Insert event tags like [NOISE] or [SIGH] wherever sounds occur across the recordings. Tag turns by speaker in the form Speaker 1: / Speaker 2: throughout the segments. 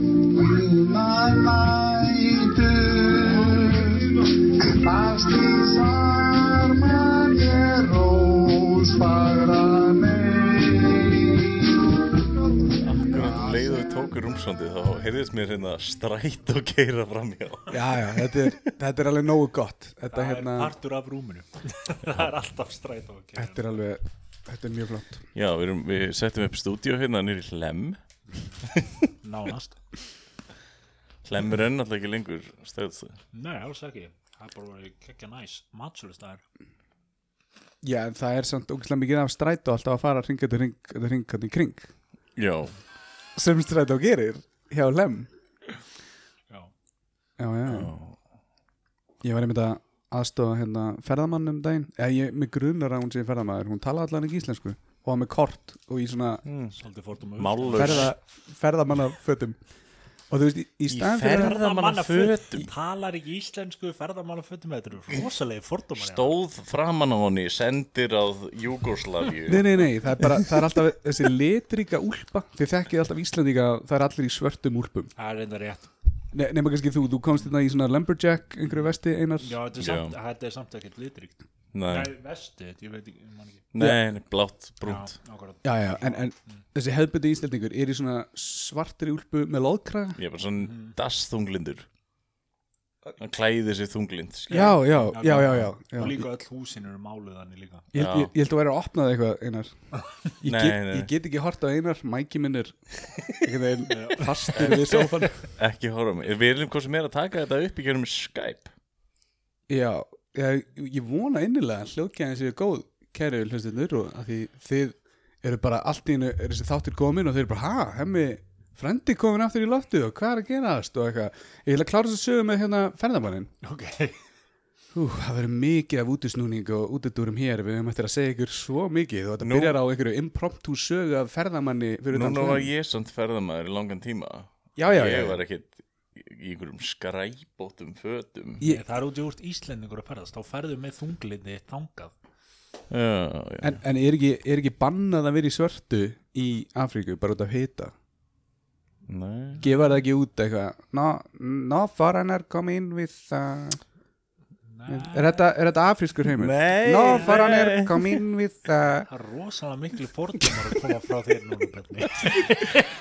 Speaker 1: my mind Ástis armar ég rós fagra megin
Speaker 2: Akkurat um leið og við tókum rúmslandið þá heyrðist mér hérna strætt og keira fram hjá.
Speaker 3: Já, já, þetta er, þetta er alveg nógu gott Þetta,
Speaker 4: Það er
Speaker 3: hérna,
Speaker 4: partur af rúminu [LAUGHS] Það er alltaf stræt og ekki
Speaker 3: þetta er alveg Þetta er mjög flott
Speaker 2: Já, við, erum, við settum upp stúdíu hérna nýri Hlem.
Speaker 4: Nánast
Speaker 2: Hlem er enn alltaf ekki lengur stöðstöð.
Speaker 4: Nei, alls ekki Það er bara verið kekja næs Matsölust það er
Speaker 3: Já, en það er samt ógæslega mikið af strætó alltaf að fara hringa til hring, þetta hring hann í kring
Speaker 2: Já,
Speaker 3: sem strætó gerir hjá Lem
Speaker 4: Já
Speaker 3: Já, já, Ég var einmitt að aðstofa hérna ferðamann um daginn Já, ég, mig grunar að hún sé ferðamaður Hún talaði allan ekki íslensku og var með kort og í svona
Speaker 4: Svolítið fórtum
Speaker 2: mállaus.
Speaker 3: ferða, ferðamannafötum Og þú veist, í, í staðan fyrir að-
Speaker 2: Ferðamannafötum.
Speaker 4: Talar ekki íslensku ferðamannafötum Þetta eru rosalegi fórtum
Speaker 2: Stóð framan á honni, sendir að Júgoslavíu.
Speaker 3: Nei, nei, nei, það er bara, það er alltaf þessi litríka úlpa, þið þekkið alltaf Íslandíka það er allir í svörtum úlpum
Speaker 4: Það er reynda rétt
Speaker 3: ne nema kannski þú, þú komst hérna í svona lumberjack einhverju vesti einar
Speaker 4: Já, þetta er samt, þetta er samt ekkert litríkt
Speaker 2: Nei,
Speaker 4: Nei, vestið, ég veit ekki, ég man ekki
Speaker 2: nei, nei, blátt, brúnt.
Speaker 4: Já, akkurat
Speaker 3: já, já, en, en þessi hefðbundi Íslandingur er í svona svartri úlpu með loðkraga
Speaker 2: Ég er bara svona mm. dassþunglindur. Hann klæði sig þunglind. skilur.
Speaker 3: já, já, já, já, já, já.
Speaker 4: Og
Speaker 3: Ég,
Speaker 4: líka öll húsin eru máluð þannig líka
Speaker 3: ég, ég, ég held að vera að opna það eitthvað einar ég,
Speaker 2: Nei,
Speaker 3: get,
Speaker 2: nei.
Speaker 3: ég get ekki hort á einar mæki minn er einhvern veginn fastur við
Speaker 2: [LAUGHS]
Speaker 3: sófan
Speaker 2: Ekki horfa á mig. Við erum hvað sem er að taka þetta upp í gerum Skype.
Speaker 3: já, ég, ég vona innilega að hljóðgæðin séu góð kæri hlustinur og að því þið eru bara allt í einu, er þessi þáttir komin og þau eru bara, ha, hemmi frendi komin aftur í loftið og hvað er að gerast og eitthvað, ég ætla að klára þess að sögum með hérna ferðamannin
Speaker 4: Ok
Speaker 3: Ú, það verður mikið af útisnúning og útidúrum hér, við höfum eftir að segja ykkur svo mikið og þetta
Speaker 2: Nú-
Speaker 3: byrjar á einhverju impromptu sögu af ferðamanni fyrir utan
Speaker 2: Núna var
Speaker 3: Hlemm.
Speaker 2: ég samt ferðamaður í langan tíma.
Speaker 3: Já, já, já,
Speaker 2: ég
Speaker 3: já.
Speaker 2: var ekkert í í einhverjum skræbótum fötum
Speaker 3: Ég-
Speaker 4: Það er út í úrt Íslendingur að ferðast Þá ferðu með þunglinni þangað
Speaker 2: já, já.
Speaker 3: En, en er, ekki, er ekki bannað að vera í svörtu í Afríku bara út af hita?
Speaker 2: Nei.
Speaker 3: Gefa það ekki út eitthvað? No, no foreigner come in with... Uh, er, þetta, er þetta afrískur heimur?
Speaker 2: Nei,
Speaker 3: No
Speaker 2: nei.
Speaker 3: foreigner come in with... Uh,
Speaker 4: Það er rosalega miklu fordumar að koma frá þér núna, Benni.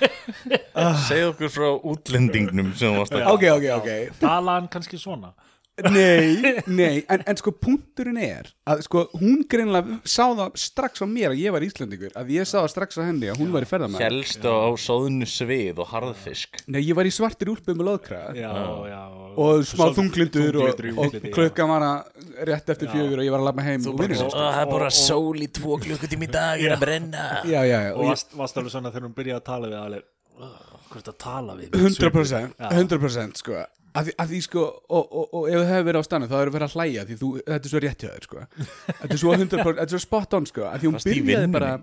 Speaker 2: segð okkur frá útlendingnum sem varst að
Speaker 3: Ah. ok, ok, ok.
Speaker 4: Tala hann kannski svona.
Speaker 3: Nei, nei, en, en sko punkturinn er að sko hún greinlega sá það strax á mér að ég var Íslandingur að ég sá það strax á henni að hún var í ferðamæð
Speaker 2: helst á sóðnu svið og harðfisk
Speaker 3: Nei, ég var í svartir úlpu með loðkraða
Speaker 4: Já, já.
Speaker 3: og smá þunglindur og,
Speaker 4: í
Speaker 3: og
Speaker 4: útliti, já.
Speaker 3: klukkan var að rétt eftir fjögur og ég var að labba heim og vinna
Speaker 2: og það er bara sól í tvo klukkutími í dag er að brenna
Speaker 3: Já, já, já,
Speaker 4: Og
Speaker 3: og ég,
Speaker 4: varst, varst alveg svona þegar hún byrjaði að tala við alveg, "Ugh, hvað er þetta að tala við?
Speaker 3: 100% 100% sko að því, að því sko, og, og, og ef það hefur verið á stannu þá erum við að hlæja því þú, þetta er svo rétt hjá þér sko þetta er svo 100% þetta er svo spot on sko að því hún
Speaker 2: Fast í
Speaker 3: byrjaði
Speaker 2: vinnunni.
Speaker 3: bara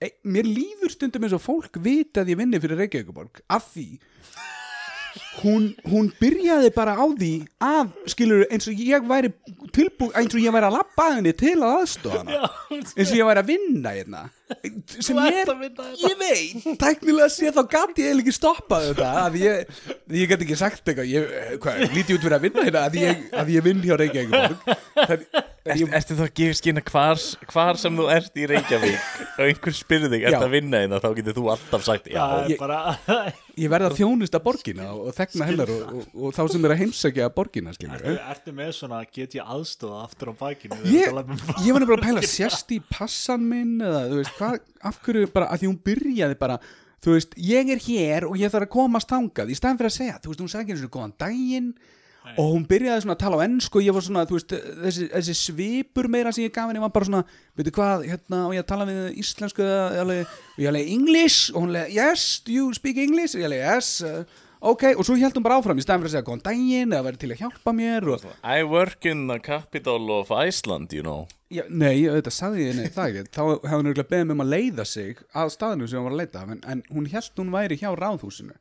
Speaker 3: Ei, mér líður stundum eins og fólk vita að ég vinni fyrir Reykjavíkuborg af því hún, hún byrjaði bara á því að skilur eins og ég væri tilbúið eins og ég væri að labba að henni til að aðstofa hana eins og ég væri að vinna hérna sem
Speaker 4: Þú
Speaker 3: ég
Speaker 4: ert
Speaker 3: er,
Speaker 4: að vinna hérna. þetta.
Speaker 3: ég veit tæknilega sé þá gæti ég eiginlega ekki stoppað þetta að ég, ég gæti ekki sagt eitthvað ég, hvað, lítið út fyrir að vinna hérna að ég, að ég vinn hjá Reykjavík
Speaker 2: Ertu þá að gefa skynna hvar, hvar sem þú ert í
Speaker 3: [LAUGHS]
Speaker 2: Reykjavík og einhver spyrði þig,
Speaker 3: Já.
Speaker 2: ert að vinna eina þá getur þú alltaf sagt já,
Speaker 4: Það er
Speaker 3: Ég-
Speaker 4: bara,
Speaker 3: ég verða þjónust að borgina og, og þegna hennar og, og, og þá sem er að heimsækja borgina skilur
Speaker 4: ertu, [LAUGHS] ertu með svona, get ég aðstofa aftur á bakinu? þegar
Speaker 3: Ég,
Speaker 4: þú talar með-
Speaker 3: ég var nefnilega að pæla sérst í passan minn eða þú veist hvað, af hverju bara að því hún byrjaði bara þú veist, ég er hér og ég þarf að komast þangað í staðan fyrir að segja, þú veist, hún sagði ekki einu svona góðan daginn og hún byrjaði svona að tala á ennsku og ég var svona, þú veist, þessi, þessi svipur meira sem ég gaf henni var bara svona veitu hvað, hérna, og ég að tala við íslensku eða- eða alveg- og ég alveg English og hún alveg, yes, do you speak English og ég alveg, yes, uh, ok, og svo held hún bara áfram í staðan fyrir að segja góðan daginn eða verið til að hjálpa mér og
Speaker 2: I work in the capital of Iceland you know
Speaker 3: Já, nei, auðvitað sagði ég nei, það ekki Þá hefði hún örgulega beðið mig um að leiða sig að staðinu sem hún var að leita af, en, en hún held hún væri hjá ráðhúsinu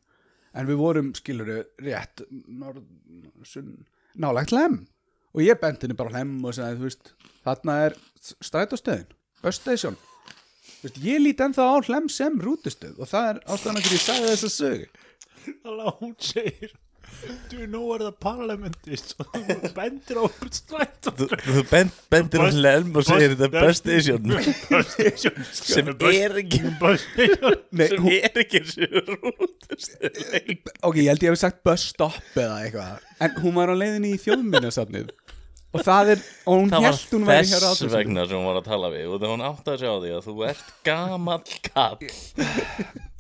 Speaker 3: En við vorum, skiluru, rétt norð, sunn, nálægt lem Og ég benti henni bara á lem og sagði, þú veist Þarna er strætóstöðin Öststation Vist, ég lít ennþá á hlem sem rútustöð og það er ástæðan okkur ég sagði þess að sög
Speaker 4: Alla [LAUGHS] hún segir Do you know where the parliament is? [LAUGHS] Og þú bendir á strætó
Speaker 2: Þú- Þú bend, bendir á
Speaker 4: Best-
Speaker 2: hlelm og segir The Best Station
Speaker 4: Best station
Speaker 2: [LAUGHS]
Speaker 4: [LAUGHS]
Speaker 2: sem er ekki
Speaker 4: Best station
Speaker 3: Nei,
Speaker 2: sem er ekki sér rútustöð
Speaker 3: ok, ég held ég hef sagt bus stop eða eitthvað en hún var á leiðinni í þjóðminnasafnið og það er, og hún
Speaker 2: Það var
Speaker 3: held hún væri hjá
Speaker 2: þess
Speaker 3: ráðhúsinu.
Speaker 2: vegna sem hún var að tala við og þegar hún átti að sjá því að þú ert gamall kall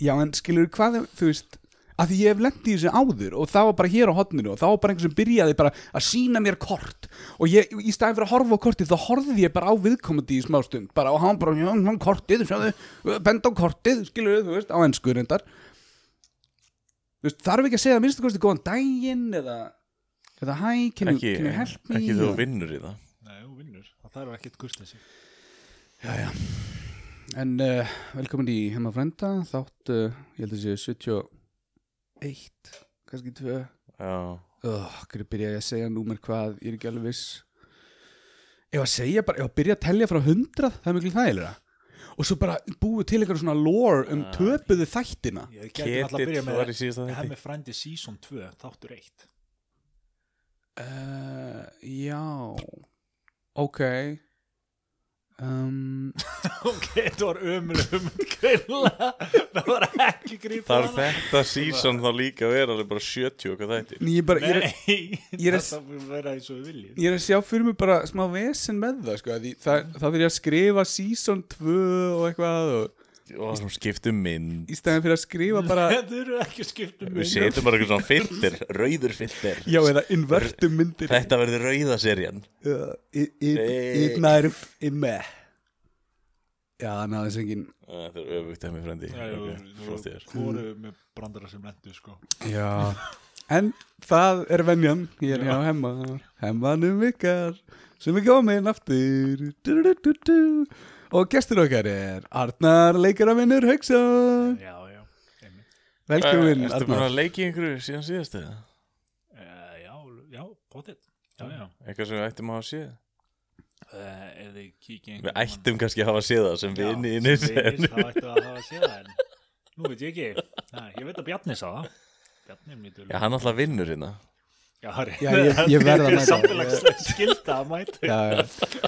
Speaker 3: Já, en skilur hvað, þú veist að því ég hef lent í þessu áður og það var bara hér á hotninu og það var bara einhver sem byrjaði bara að sína mér kort og ég, í staðin fyrir að horfa á kortið þá horfði ég bara á viðkomandi í smástund bara og hann bara, já, hann kortið, sjáðu benda á kortið, skilur þú veist, á ennsku reyndar þú veist, þarf ekki að segja að minnstu kosti góðan daginn eða, eða hæ, can you
Speaker 2: ekki,
Speaker 3: can you help me
Speaker 2: ekki þú vinnur í það
Speaker 4: [LAUGHS] Nei, hún vinnur Það er ekkert kurtið sig
Speaker 3: en uh, velkomin í heima frænda þátt, uh, ég held að sé 71 kannski 2
Speaker 2: Já,
Speaker 3: Oh, hverju byrja ég að segja númer hvað ég er ekki alveg viss ef að segja bara, ef að byrja að telja frá hundrað það er miklu þægilega og svo bara búið til einhver svona lore um töpuðu þættina
Speaker 4: Ég gæti alltaf
Speaker 2: Ketill
Speaker 4: að byrja
Speaker 2: var
Speaker 4: með
Speaker 2: í síðasta
Speaker 4: Hemmi
Speaker 2: þetta
Speaker 4: frændi season 2 Þáttur 1
Speaker 3: uh, já ok um,
Speaker 4: [LAUGHS] Ok, þetta var ömuleg ömuleg grilla Það var ekki grípa
Speaker 2: Þar þetta season þá líka að vera alveg bara 70 okkar þættir
Speaker 3: [LAUGHS] ég, bara, ég, er,
Speaker 4: Nei,
Speaker 3: ég er-
Speaker 4: þetta fyrir að vera eins og við viljum
Speaker 3: ég er að sjá fyrir mig bara smá vesen með það sko, af því, það, það fyrir að skrifa season 2 og eitthvað og,
Speaker 2: og það skiptum mynd
Speaker 3: í stæðan fyrir að skrifa
Speaker 4: [LAUGHS]
Speaker 3: bara
Speaker 4: Þetta eru ekki um skiptum
Speaker 2: Við setjum bara eitthvað svona filter, rauður filter
Speaker 3: [LAUGHS] já eða invertum myndir
Speaker 2: Þetta verður rauða serían
Speaker 3: Uh, í- í-
Speaker 2: Nei.
Speaker 3: Ídnærf í með Já, hann hafði sengin
Speaker 2: Þetta er öfugt hemmi frændi Ok, flott í þér.
Speaker 4: Hvor eru með brandara sem lendu sko
Speaker 3: Já En það er venjan Ég er hjá hemma Hemmanum ykkar sem er komin aftur du, du, du, du. Og gestur okkar er Arnar leikaravinnur
Speaker 2: Mm.
Speaker 3: Hauksson
Speaker 4: Já, já, einmitt
Speaker 3: Velkomin
Speaker 2: Ertu búin
Speaker 3: Arnar
Speaker 2: að leiki einhverju síðan síðast eða?
Speaker 4: uh, Já, já, potið Já, já
Speaker 2: Eitthvað sem við ættum að hafa séð
Speaker 4: uh, Ef þið kíkja einhvern
Speaker 2: Við ættum kannski að hafa séð það sem
Speaker 4: Já,
Speaker 2: vini
Speaker 4: sem vinir, þá ættu að hafa að sé það en Nú veit ég ekki
Speaker 2: [LAUGHS]
Speaker 4: Næ, Ég veit að Bjarni sá það Bjarni er mjög
Speaker 2: Já,
Speaker 4: dölur
Speaker 2: hann alltaf vinnur hérna
Speaker 4: Já, það er-
Speaker 3: Já,
Speaker 4: [LAUGHS]
Speaker 3: ég- ég
Speaker 4: Það
Speaker 3: verð að
Speaker 4: er
Speaker 3: mæta.
Speaker 4: samfélagslega skilta að mæta
Speaker 3: Já, já.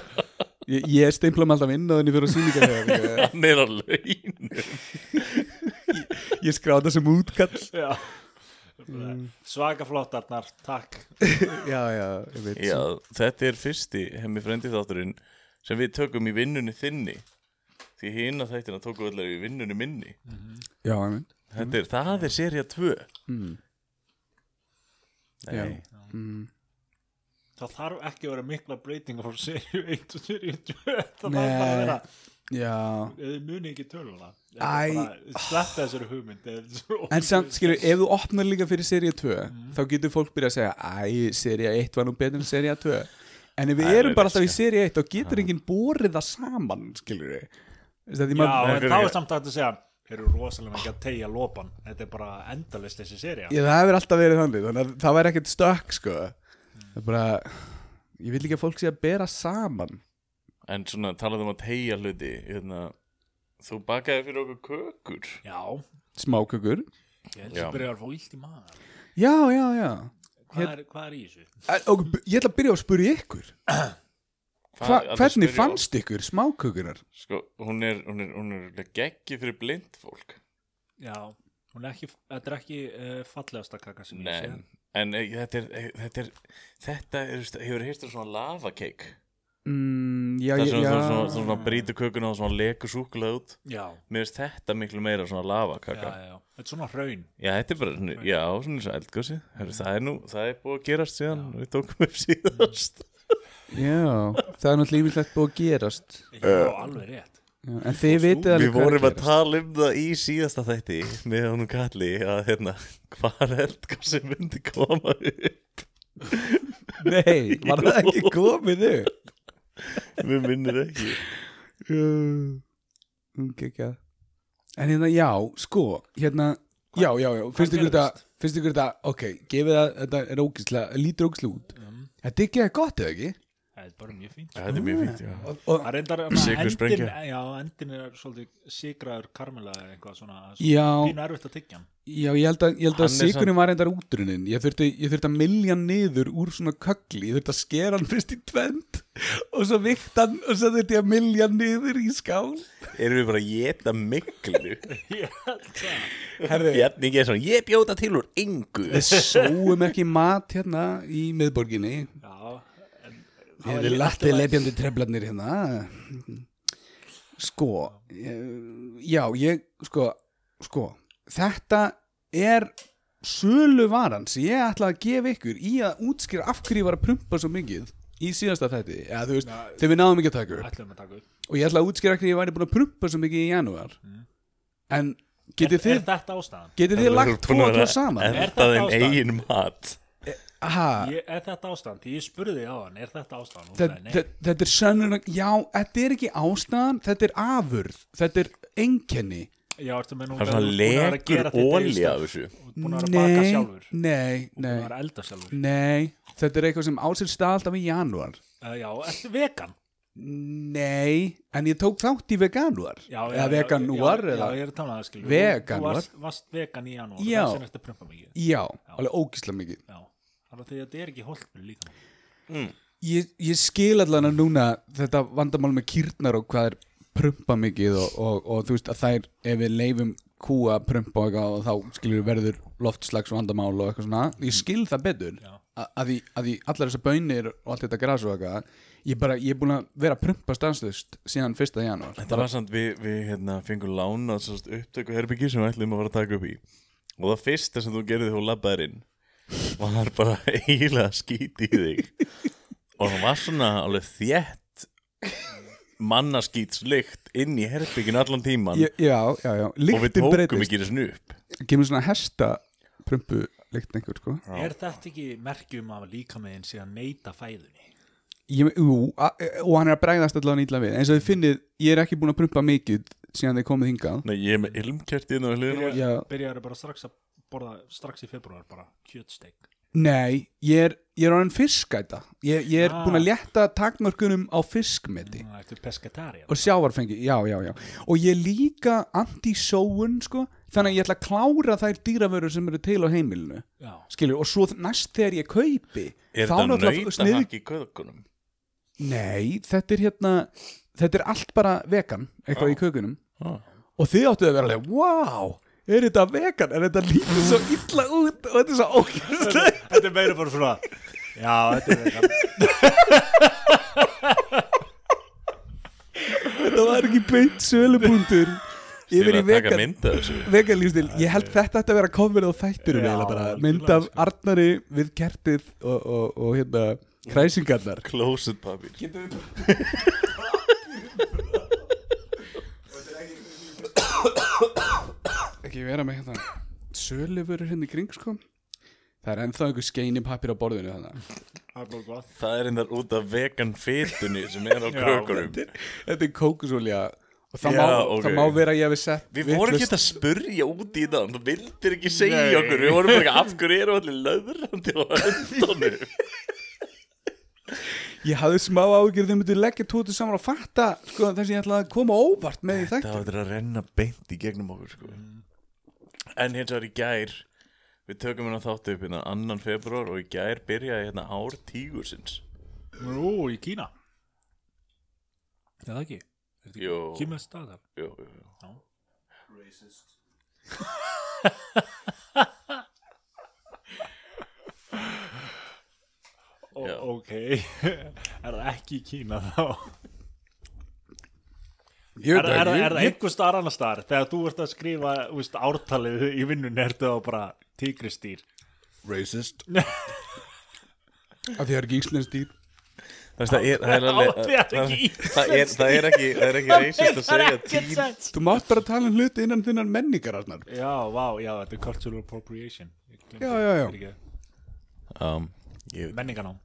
Speaker 3: Ég, ég steimpla mig alltaf inn á þenni fyrir að sýningar Ég,
Speaker 2: Hann er á laun
Speaker 3: ég skráði það sem útkall
Speaker 4: Já
Speaker 3: Mm.
Speaker 4: Svaka flott, Arnar, takk
Speaker 3: Já, já, ég veit
Speaker 2: Já, þetta er fyrsti hemmi frændi þátturinn sem við tökum í vinnunni þinni Því hina þættina tókum við allar í vinnunni minni
Speaker 3: já ég veit
Speaker 2: Þetta er, það er seria 2
Speaker 3: mm.
Speaker 2: Nei,
Speaker 3: Já. Hmm.
Speaker 4: Það þarf ekki að vera mikla breytinga frá serju 1 og serju 2 Það þarf bara að
Speaker 3: Nei,
Speaker 4: vera
Speaker 3: já
Speaker 4: Ef þið muni ekki töluna
Speaker 3: Æ.
Speaker 4: Sleppa þessari hugmynd ef þetta er svo
Speaker 3: En samt, skilur, ef þú opnar líka fyrir seríu 2 þá getur fólk byrjað að segja Æ, seríu 1 var nú betur en seríu 2 En ef við
Speaker 2: Æ,
Speaker 3: erum
Speaker 2: nei,
Speaker 3: bara alltaf í
Speaker 2: veist,
Speaker 3: seríu 1 þá getur enginn borið það saman, skilur við Þess að því
Speaker 4: Já,
Speaker 3: maður
Speaker 4: en
Speaker 2: Nei,
Speaker 4: þá
Speaker 2: fyrir-
Speaker 4: er samt hægt að segja Þeir eru rosalega mikið að tegja lopan Þetta er bara endalist þessi serja
Speaker 3: Ég, það hefur alltaf verið þannig, þannig að það væri ekkert stökk, sko Það er bara Ég vil ekki að fólk sé að bera saman
Speaker 2: En svona talaðu um að tegja hluti hérna, Þú bakaði fyrir okkur kökur
Speaker 4: Já,
Speaker 3: Smákökur
Speaker 4: ég held
Speaker 2: Já.
Speaker 4: að byrja að fá illt í maður
Speaker 3: Já, já, já
Speaker 4: Hvað, er, hvað er í þessu?
Speaker 3: En, Og b- ég ætla að byrja á að spyrja ykkur Hva,
Speaker 2: Hvað-
Speaker 3: Hvernig
Speaker 2: spyrja-
Speaker 3: fannst ykkur smákökunar?
Speaker 2: Sko, hún er, hún er, hún er geggi fyrir blind fólk
Speaker 4: Já, hún er ekki, þetta er ekki uh, fallegasta kaka sem ég
Speaker 2: Nei, en eh, þetta er, eh, þetta er Þetta er, hefur hýrt um svona lavakeik
Speaker 3: Mm, já,
Speaker 2: Það
Speaker 3: ég-
Speaker 2: sem
Speaker 3: já
Speaker 2: þú svona, þú svona brýtu kökuna og svona leku súkulega út
Speaker 4: sé Já,
Speaker 2: Mér finnst þetta miklu meira svona
Speaker 4: já,
Speaker 2: lavakaka Já,
Speaker 4: já, já Þetta er svona hraun
Speaker 2: þetta er bara, svona, já, svona eins og eldgósi Heru, Það er nú, það er búið að gerast síðan Við tókum upp síðast
Speaker 3: Já, það er náttúrulega yfirlegt búið að gerast
Speaker 4: Já, alveg rétt
Speaker 3: Já, En þið vitið alveg
Speaker 2: Við
Speaker 3: hvað er
Speaker 2: vorum að
Speaker 3: gerast.
Speaker 2: tala um það í síðasta þætti með honum kalli að hérna hvað eldgósi myndi koma [LAUGHS] upp
Speaker 3: Nei, var það ekki komið þau?
Speaker 2: Mér minnir ekki
Speaker 3: Ok, ekki En hérna, já, sko Hérna, já, já, já Finnst ykkur þetta,
Speaker 4: gerðist?
Speaker 3: finnst
Speaker 2: Mm.
Speaker 3: ykkur þetta Ok, gefið það, þetta er ógislega Lítur ógislega út Þetta er ekki gott, eða ekki?
Speaker 4: Eh, það er bara mjög fínt
Speaker 2: Þetta er mjög fínt, já
Speaker 3: og, og,
Speaker 4: það reyndar
Speaker 2: Sykursprengja.
Speaker 4: endin, já, endin er svolítið sigraður karmela eða eitthvað svona
Speaker 3: já,
Speaker 4: pínu erfitt að tyggja hann
Speaker 3: já, ég held að, ég held að
Speaker 2: Hann er
Speaker 3: sigurinn var reyndar útrunin ég þurfti, ég þurfti að milja hann niður úr svona kögli, ég þurfti að skera hann fyrst í tvend og svo vikta hann og svo þurfti ég að milja hann niður í skál
Speaker 2: Erum við bara að geta miklu
Speaker 4: [LAUGHS] ég held það
Speaker 3: herðu,
Speaker 2: Bjarni Gesson, ég bjóta til úr engu
Speaker 3: við
Speaker 2: [LAUGHS]
Speaker 3: sóum ekki mat hérna í miðborginni
Speaker 4: Já, en það
Speaker 3: Þið
Speaker 4: var
Speaker 3: eru
Speaker 4: líka
Speaker 3: latti
Speaker 4: alltaf að-
Speaker 3: lepjandi treflarnir hérna Sko eh, Já, ég sko, sko Þetta er sölu varan sem ég ætla að gefa ykkur í að útskýra af hverju ég var að prumpa svo mikið í síðasta þætti ja, þú veist,
Speaker 4: Já.
Speaker 3: þegar við náðum ekki að taka upp.
Speaker 4: Ætlum að taka upp
Speaker 3: og ég ætla að útskýra af hverju ég væri búin að prumpa svo mikið í janúar en
Speaker 4: er, Mm.
Speaker 3: getið
Speaker 4: er
Speaker 3: þið,
Speaker 4: þetta ástæðan?
Speaker 3: getið þið lagt tvo að tvo saman
Speaker 2: Er
Speaker 4: Er
Speaker 2: það
Speaker 4: þetta
Speaker 2: en
Speaker 4: ástæðan?
Speaker 2: eigin mat
Speaker 3: Aha,
Speaker 4: Ég, er þetta ástæðan? Því ég spurði þig á hann, er þetta ástæðan? Hún
Speaker 3: Þe-
Speaker 4: sagði, nei.
Speaker 3: þe- þetta er sönnur já, þetta er ekki ástæðan, þetta er afurð þetta er einkenni
Speaker 4: Já, ertu með nú
Speaker 2: Það er svona legur óli af þessu
Speaker 4: Búin að vera að baka sjálfur
Speaker 3: nei,
Speaker 4: Búin að
Speaker 3: nei,
Speaker 4: vera að elda sjálfur
Speaker 3: nei þetta er eitthvað sem ásinn stað alltaf í janúar
Speaker 4: uh, Já, ertu vegan?
Speaker 3: nei, en ég tók þátt í veganúar
Speaker 4: Já,
Speaker 3: eða veganúar
Speaker 4: já, já,
Speaker 3: eða,
Speaker 4: ég er að tala um það skilur
Speaker 3: Veganúar?
Speaker 4: Þú varst, varst vegan í janúar
Speaker 3: Já.
Speaker 4: Þessin ertu að prumpa mikið
Speaker 3: já, alveg ógísla mikið
Speaker 4: Já, þannig að því að þetta er ekki holdt fyrir líka
Speaker 3: ég, ég skil allan að núna þetta vandamál með kýrnar og hvað er prumpa mikið og, og, og þú veist að þær ef við leifum kúa prumpa og eitthvað og þá skilur verður loftslags vandamál og eitthvað svona
Speaker 2: Mm.
Speaker 3: ég skil það betur
Speaker 4: Já.
Speaker 3: A- að því, að því allar þessar bönir og allt þetta gras og eitthvað ég, bara, ég er búin að vera að prumpa stanslust síðan 1. janúar
Speaker 2: Þetta var samt við, við hérna, fengum lána upptöku herbyggi sem við ætlum að fara að taka upp í og það fyrsta sem þú gerði þú labbaðir inn var bara [LAUGHS] eiginlega skít í þig og það var svona alveg þétt mannaskýtslykt inn í herbyggin allan tíman
Speaker 3: ég, já, já, já,
Speaker 2: og við
Speaker 3: lyktin
Speaker 2: tókum
Speaker 3: breytist
Speaker 2: ekki þessu upp
Speaker 3: kemur svona hesta prumpu lykt einhver sko
Speaker 4: Er þetta ekki merkjum af líkamegin síðan neita fæðunni?
Speaker 3: ég, jú, a- e- og hann er að bregðast allan ítla við eins og þið finnið, ég er ekki búin að prumpa mikið síðan þið komið hingað
Speaker 2: Nei, ég er með ilmkert inn á hliðinu
Speaker 3: Já.
Speaker 4: Byrjaður bara strax að borða strax í februar bara kjötsteik
Speaker 3: Nei, ég er, ég er orðin fiskæta Ég, ég er
Speaker 4: Ah.
Speaker 3: búin að létta takmörkunum á fiskmeti
Speaker 4: Það ertu peskatarian
Speaker 3: og sjávarfengi, já, já, já og ég er líka anti-sóun sko, þannig að ég ætla að klára þær dýravörur sem eru til á heimilinu
Speaker 4: Já,
Speaker 3: skilur, og svo næst þegar ég kaupi
Speaker 2: Er
Speaker 3: þá
Speaker 2: þetta
Speaker 3: náttúrulega snið-
Speaker 2: nautahakk í kökunum?
Speaker 3: Nei, þetta er hérna þetta er allt bara vegan, eitthvað í kökunum
Speaker 2: Ah.
Speaker 3: og þið áttu að vera alveg, wow er þetta vegan, en þetta lítur svo illa út og þetta er svo ókjörslegt
Speaker 4: þetta er meira bara svona Já, þetta er vegan
Speaker 3: [LAUGHS] þetta var ekki beint sölubundur
Speaker 2: Ég
Speaker 3: yfir
Speaker 2: vil
Speaker 3: í
Speaker 2: að taka
Speaker 3: vegan,
Speaker 2: mynda þessu
Speaker 3: veganlífstil ég held þetta ætti að vera coverið á
Speaker 4: Já,
Speaker 3: þætturum eiginlega bara,
Speaker 4: algjörlega,
Speaker 3: mynd af
Speaker 4: sko.
Speaker 3: Arnari við kertið og, og, og hérna kræsingarnar
Speaker 2: Closet papir
Speaker 3: ekki vera með hérna sölufurur hérna í kring sko það er ennþá einhver skeinipapir á borðinu þannig
Speaker 4: Það er bara gott
Speaker 2: Það er einnig út af vegan fytunni sem
Speaker 3: [LAUGHS]
Speaker 2: er á
Speaker 4: Já,
Speaker 2: kökunum
Speaker 3: þetta er kókusolja og það,
Speaker 2: Já,
Speaker 3: má,
Speaker 2: ok.
Speaker 3: það má vera að ég hefði sett
Speaker 2: Við vorum ekki
Speaker 3: vitlaust-
Speaker 2: að spurja út í það Þú vildir ekki segja
Speaker 4: Nei.
Speaker 2: okkur Við vorum bara ekki af hverju eru allir löðrandi á öndunum
Speaker 3: [LAUGHS] ég hafði smá ágjörð þau myndi leggja tótu saman og fatta sko þess að ég ætla að koma óvart með í þætt
Speaker 2: Það var að renna beint í gegnum okkur sko. En hins vegar í gær Við tökum hérna þáttu upp hérna annan februar og í gær byrjaði hérna ár tígursins
Speaker 4: Nú, í Kína Já, það ekki
Speaker 2: Jú, jú,
Speaker 4: Kína er staðar
Speaker 2: jú, jú.
Speaker 4: Ó,
Speaker 2: Já.
Speaker 4: Ok, [LAUGHS] er það ekki í Kína þá?
Speaker 3: Ég
Speaker 4: Er, er, er,
Speaker 3: veit
Speaker 4: er
Speaker 3: ekki,
Speaker 4: það
Speaker 3: ég-
Speaker 4: einhver staðar annars staðar? Þegar þú ert að skrifa úst, ártalið í vinnunni ertu á bara tígristýr [LAUGHS]
Speaker 3: Racist Af því það er ekki íslensk dýr
Speaker 2: Það, það, er, það, er alveg,
Speaker 4: Á,
Speaker 2: það,
Speaker 4: það er
Speaker 2: það,
Speaker 4: ekki
Speaker 2: er, það er ekki Það er ekki reysist að segja
Speaker 4: ekkert
Speaker 2: tígur
Speaker 4: sens
Speaker 3: Þú mátt bara tala um hluti innan þinnar menningar Arnar.
Speaker 4: Já, vá, já, þetta er cultural appropriation Ég gleymdi-
Speaker 3: Já, já, já.
Speaker 4: fyrirgefðu.
Speaker 2: um, ég,
Speaker 4: Menningarnám